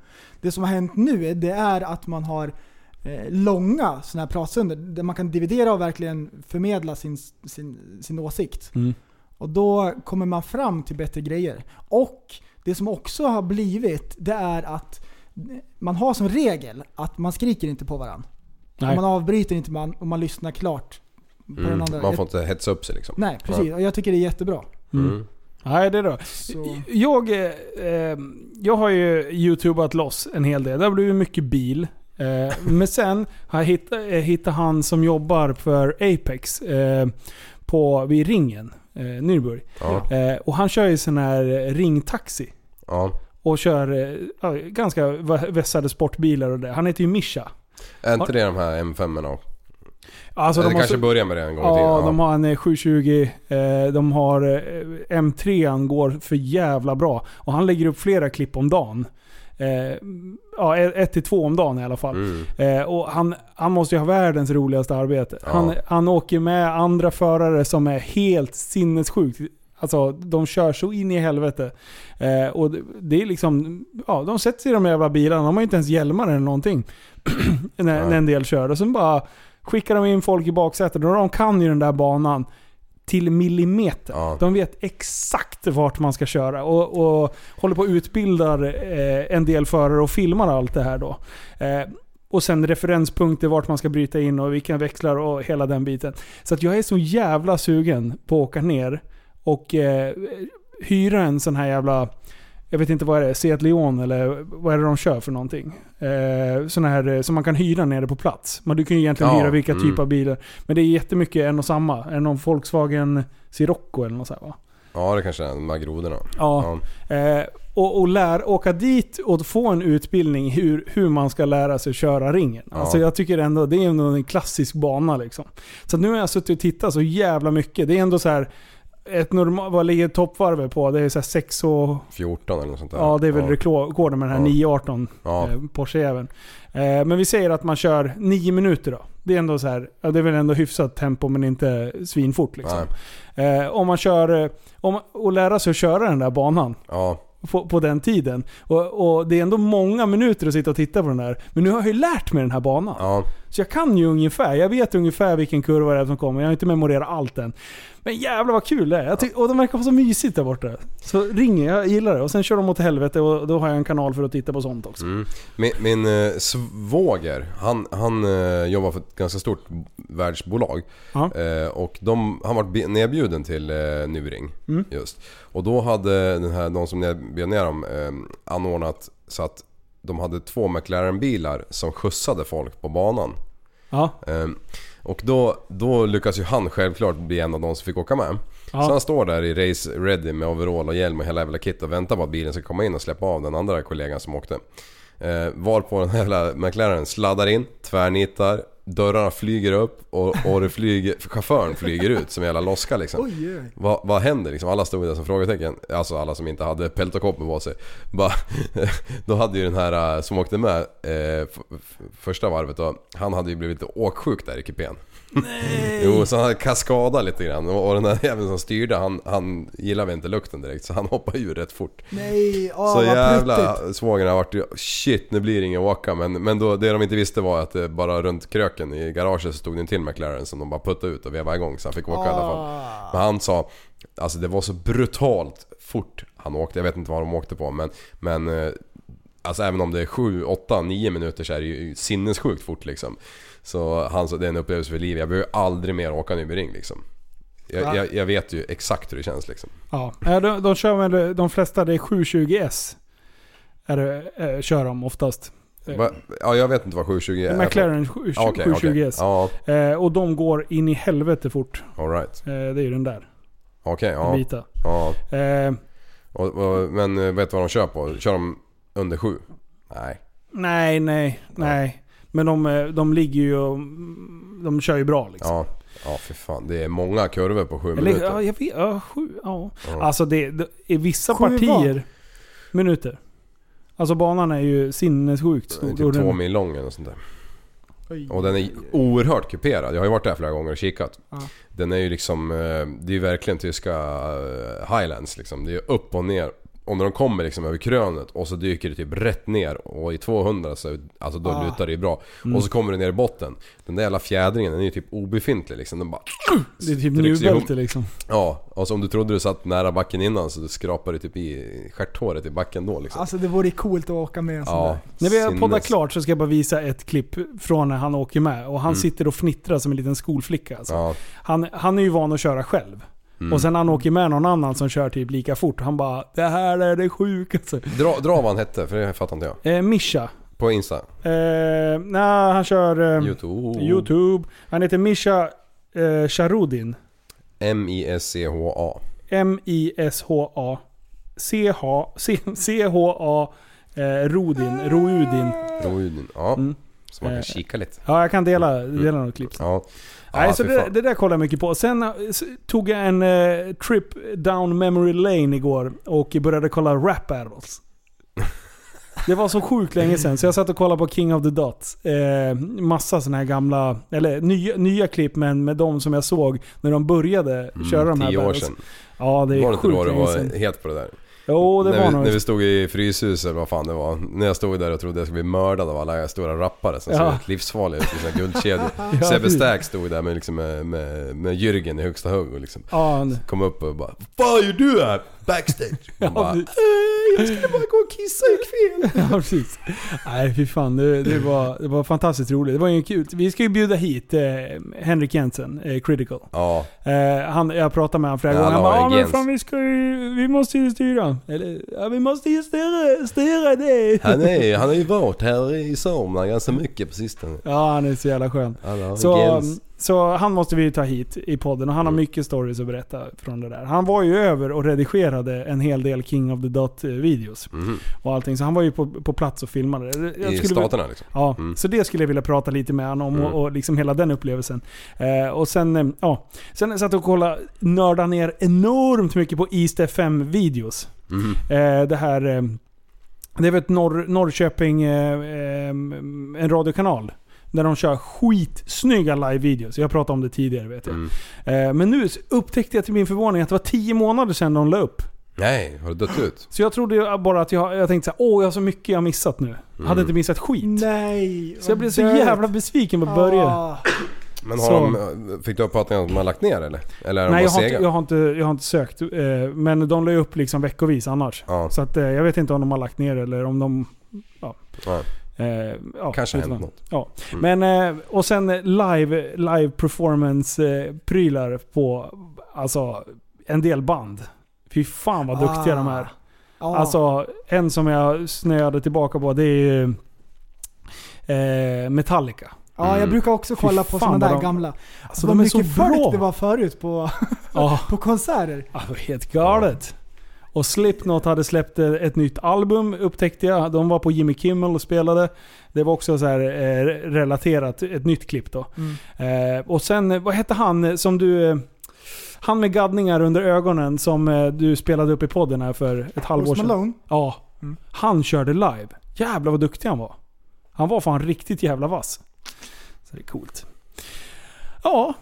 Det som har hänt nu, det är att man har eh, långa sådana här pratstunder där man kan dividera och verkligen förmedla sin, sin, sin åsikt.
Mm.
Och då kommer man fram till bättre grejer. Och det som också har blivit, det är att man har som regel att man skriker inte på varandra.
Nej.
Man avbryter inte man, och man lyssnar klart på den
Mm.
andra.
Man får inte hetsa upp sig liksom.
Nej, precis.
Ja.
Och jag tycker det är jättebra.
Mm.
Nej, det är då. Jag, eh, eh, jag har ju youtubat loss en hel del. Det har blivit mycket bil. Eh, men sen har jag hitt, eh, hittat han som jobbar för Apex eh, på, vid ringen, eh, Nürburg.
Ja.
Eh, och han kör ju sån här eh, ringtaxi.
Ja.
Och kör eh, ja, ganska va- vässade sportbilar och det. Han heter ju Mischa.
Är inte
Har-
det de här m 5 erna
Alltså,
det
de har
kanske
så-
börjar med det en gång i
Ja,
tiden.
de har en eh, 720. Eh, de har eh, M3 an går för jävla bra. Och han lägger upp flera klipp om dagen. Eh, ja, ett ett till två om dagen i alla fall.
Mm.
Eh, och han, han måste ju ha världens roligaste arbete.
Ja.
Han, han åker med andra förare som är helt sinnessjukt. Alltså de kör så in i helvete. Eh, och det- det är liksom, ja de sätter sig i de jävla bilarna. De har ju inte ens hjälmar eller någonting. *clears throat* när, när en del kör. Och sen bara skickar de in folk i baksätet. Och de kan ju den där banan till millimeter. De vet exakt vart man ska köra och, och håller på och utbildar eh, en del förare och filmar allt det här då. Eh, och sen referenspunkter vart man ska bryta in och vilka växlar och hela den biten. Så att jag är så jävla sugen på att åka ner och eh, hyra en sån här jävla... Jag vet inte vad är det är. Seat Leon eller vad är det de kör för någonting? Eh, såna här eh, som man kan hyra nere på plats. Men du kan ju egentligen
Ja,
hyra vilka
mm.
typer av bilar. Men det är jättemycket en och samma. Är det någon Volkswagen Sirocco eller något så här va?
Ja det kanske är de här grodorna.
Ja. Eh, och och lär, åka dit och få en utbildning hur, hur man ska lära sig köra ringen.
Ja.
Alltså jag tycker ändå det är ändå en klassisk bana liksom. Så att nu har jag suttit och tittat så jävla mycket. Det är ändå så här ett normal, vad ligger toppvarvet på? Det är så här 6 och...
14 eller något sånt där.
Ja, det är väl rekorden med den här 918
Ja.
eh, Porsche-även. Eh, men vi säger att man kör 9 minuter då. Det är ändå så här, ja, det är väl ändå hyfsat tempo men inte svinfort liksom. Eh, om man kör, eh, om, och lära sig att köra den där banan. På, på den tiden. Och, och det är ändå många minuter att sitta och titta på den där. Men nu har jag ju lärt mig den här banan. Så jag kan ju ungefär. Jag vet ungefär vilken kurva det är som kommer. Jag har inte memorerat allt än. Men jävlar vad kul det är. Jag tyck, och de verkar ha så mysigt där borta. Så ringer jag, jag gillar det. Och sen kör de åt helvete och då har jag en kanal för att titta på sånt också.
Mm. Min, min eh, svåger, han, han eh, jobbar för ett ganska stort världsbolag. Eh, och de, han var be- nedbjuden till eh, Nyring.
Mm.
Just. Och då hade den här, de som ned- bjöd ner dem eh, anordnat så att de hade två McLaren-bilar som skjutsade folk på banan.
Ja.
Ehm, Och då, då lyckas ju han självklart bli en av de som fick åka med.
Ja.
Så han står där i race ready med overall och hjälm och hela jävla kit och väntar på att bilen ska komma in och släppa av den andra kollegan som åkte. Eh, varpå den här jävla McLaren sladdar in, tvärnitar, dörrarna flyger upp och, och det flyger, chauffören flyger ut som en jävla loska liksom.
Oj, oj.
Vad, vad händer liksom? Alla stod där som frågetecken. Alltså alla som inte hade peltokoppen på sig. Bara, *laughs* då hade ju den här eh, som åkte med eh, f- f- första varvet då, han hade ju blivit lite åksjuk där i kupén. Nej. jo, så han hade kaskadat lite grann och och den där jäveln som styrde han, han gillade väl inte lukten direkt så han hoppade ur rätt fort.
Nej, åh
så
vad
jävla
pruttigt.
svågen har varit ju, shit nu blir det ingen åka men, men då, det de inte visste var att eh, bara runt kröken i garaget så stod det en till McLaren som de bara puttade ut och vevade igång så han fick åka i alla fall. Men han sa, alltså det var så brutalt fort han åkte. Jag vet inte vad de åkte på men, men eh, alltså även om det är 7, 8, 9 minuter så är det ju sinnessjukt fort liksom. Så han sa det är en upplevelse för livet. Jag behöver aldrig mer åka Nybyring liksom. Jag,
Ja.
jag, jag vet ju exakt hur det känns liksom.
Ja, eh, de, de kör väl, de flesta det är 720S. Är det, eh, kör de oftast. Eh,
Va- Ja, jag vet inte vad 720 är.
McLaren 720S.
Ja, okej, okej. Ja,
Eh, och de går in i helvete fort.
alright.
Eh, det är ju den där.
Okej, ja.
Den vita.
ja.
Eh,
Och, och, men eh, vet du vad de kör på? Kör de under 7? Nej.
nej, nej, nej. Men de, eh, de ligger ju och, De kör ju bra liksom.
Ja. Ja, för fan. Det är många kurvor på 7
Eller,
minuter.
ja, jag vet, ja, sju, ja.
Ja.
Alltså det, det i vissa
Sju
partier...
vad?
Minuter. Alltså banan är ju sinnessjukt
Den är
stor.
typ
Och den-
två mil lång eller något sånt där.
Oj.
Och den är oerhört kuperad. Jag har ju varit där flera gånger och kikat.
Ja.
Den är ju liksom... eh, Det är ju verkligen tyska eh, highlands liksom. Det är upp och ner. Och när de kommer liksom över krönet och så dyker det typ rätt ner och i 200 så alltså då
Ah.
lutar det ju bra.
Mm.
Och så kommer det ner i botten. Den där jävla fjädringen den är ju typ obefintlig liksom. Den bara...
Det är typ
trycks ihop.
nubälte liksom.
Ja, och så om du trodde du satt nära backen innan så du skrapade typ i stjärthåret i backen då
Ah.
liksom.
Alltså det vore coolt att åka med en sån
Ja.
där.
När vi har
Sinnes-
poddat klart så ska jag bara visa ett klipp från när han åker med. Och han
Mm.
sitter och fnittrar som en liten skolflicka. Alltså.
Ja.
Han, han är ju van att köra själv.
Mm.
Och sen när han åker med någon annan som kör typ lika fort. Han bara Det här är det sjukaste.
Dra, dra vad han hette, för det fattar inte jag.
Eh, Mischa.
På Insta.
Eh, nej, han kör... Eh,
Youtube.
YouTube. Han heter Mischa eh, Charudin.
M-I-S-C-H-A.
M-I-S-H-A. C-H... C-H-A... Eh, Rodin. Roudin.
Roudin. Ja.
Mm.
Så
Eh.
man kan kika lite.
Ja, jag kan dela, dela
Mm.
något klipp sen.
Ja.
Nej,
Ja,
så
fy
det,
fan.
det där kollar jag mycket på. Sen eh, s- tog jag en eh, trip down memory lane igår och började kolla rap
*laughs*
battles. Det var så sjukt länge sedan, så jag satt och kollade på King of the Dots. Eh, massa sådana här gamla, eller nya, nya klipp, men med de som jag såg när de började köra de här
Mm, tio år
battles.
sedan.
Ja, det är
Var det
var
inte
sjukt
då du
länge
var
sedan.
helt på det där?
Jo, det
när,
var
vi,
nog...
när vi stod i Fryshuset eller vad fan det var. När jag stod där och trodde jag skulle bli mördad av alla stora rappare som
Ja.
såg livsfarliga ut i sina guldkedjor.
*laughs* Ja,
Sebbe
precis.
Stack stod där med, liksom, med, med, med Jürgen i högsta hugg och liksom.
Ja,
Kom upp och bara Vad fan gör du här? Backstage? Och bara,
Ja,
"Eh,
Jag skulle bara gå och kissa i kväll. *laughs* Ja, precis. Nej, fy fan. Det, det, var, det var fantastiskt roligt. Det var ju kul. Vi ska ju bjuda hit eh, Henrik Jensen, eh, Critical.
Ja.
Eh, han, jag pratade med honom flera
Ja,
gånger. Han bara,
Laurie
ja, men
Gens."
fan, vi, ska ju, vi måste ju styra. Eller, ja, vi måste ju styra, styra det.
Han, är, han har ju varit här i Sörmland ganska mycket på sistone.
*laughs* Ja, han är så jävla skön.
Han har
Så,
Gens.
så han måste vi ta hit i podden och han har
Mm.
mycket stories att berätta från det där. Han var ju över och redigerade en hel del King of the Dot-videos.
Mhm.
Och allting, så han var ju på, på plats och filmade. um, Jag
I
skulle-
staterna liksom.
Ja,
Mm.
så det skulle jag vilja prata lite med honom om
Mm.
och, och liksom hela den upplevelsen. Eh, och sen, eh, ja. Sen satt jag och kollade, nördade ner enormt mycket på East FM-videos.
Mhm.
Eh, det här... Eh, det är väl ett Norr, Norrköping, eh, eh, en radiokanal. Där de kör skitsnygga live-videos. Jag pratade om det tidigare vet
Mm.
jag.
mhm.
Eh, men nu upptäckte jag till min förvåning att det var 10 månader sedan de la upp.
Nej, har du dött ut?
Så jag trodde ju bara att jag, jag tänkte såhär, åh jag har så mycket jag har missat nu.
Mm.
Hade inte missat skit.
Nej.
Så jag blev så
vad Ah. dött.
jävla besviken på Börje.
Men
Så.
har de, fick du uppfattningen att de har lagt ner eller? Eller är de
Nej jag
bara
har, inte,
sega?
jag, har inte, jag har inte sökt. eh, Men de la ju upp liksom veckovis annars.
Ja.
Så att, eh, jag vet inte om de har lagt ner eller om de... Ja.
Ja.
Eh, ja,
Kanske har
vet man.
hänt något.
Ja.
Mm.
Men, eh, och sen eh, live, live performance-prylar på alltså, en del band. Fy fan vad duktiga
Ah.
de är.
Ja.
Alltså, en som jag snöade tillbaka på det är ju eh, Metallica.
Ja, Ah, jag brukar också
mm. Fy
kolla
fan
på sådana
vad
där
de-
gamla.
Alltså,
vad
de är så
mycket folk
bra.
det var förut på,
Ja.
på konserter.
Ja, det var helt galet. Och Slipknot hade släppt eh, ett nytt album upptäckte jag. De var på Jimmy Kimmel och spelade. Det var också så här, eh, relaterat, ett nytt klipp då. Eh, och sen, eh, vad hette han eh, som du... eh, Han med gaddningar under ögonen som eh, du spelade upp i podden här för ett halvår sedan.
Malone?
Ja. Han körde live. Jävlar vad duktig han var. Han var fan riktigt jävla vass. Så det är coolt. Ja,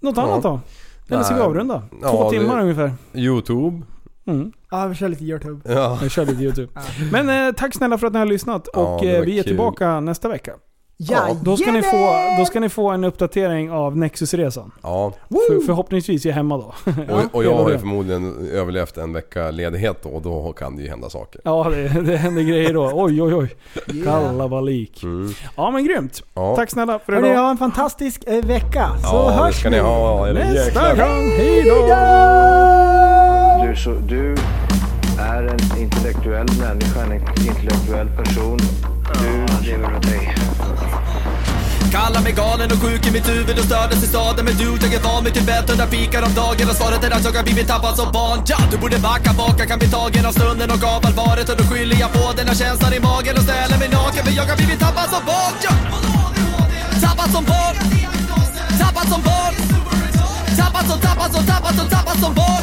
något
Ja.
annat då? Eller ska vi
Nej.
avrunda?
Ja,
Två
det-
timmar ungefär.
Youtube.
Mm.
Ja, Ah, vi kör lite YouTube.
Ja.
Jag körde YouTube. Men eh, tack snälla för att ni har lyssnat
Ja,
och
det
eh,
var
vi är
kul.
tillbaka nästa vecka.
Ja,
då, ska ni få, då ska ni få en uppdatering av Nexus-resan.
Ja.
För, förhoppningsvis är jag hemma då. *laughs*
Och, och jag
Det var
har ju
det.
förmodligen överlevt en vecka ledighet då och då kan det ju hända saker.
Ja, det, det händer grejer då. Oj, oj, oj.
Yeah.
Kalla vad lik. Ja, men grymt.
Mm. Ja.
Tack snälla för
Hörni,
idag.
ha en fantastisk eh, vecka. Så
Ja, det
hörs
ska ni ha. Är det
nästa
jäklar?
gång.
Hej då!
Du, är så, du är en intellektuell människa, en intellektuell person. Du lever med dig.
Kallar mig galen och sjuk i mitt huvud och stördes i staden Men du, jag är van vid Tibet och där fikar om dagen Och svaret är att jag har blivit tappad som barn ja, Du borde backa bak, jag kan bli tagen av stunden och av allvaret Och då skyller jag på den här känslan i magen och ställer mig naken För jag har blivit tappad som barn ja. Tappad som barn Tappad som barn Tappad som, tappad som, tappad som, tappad som barn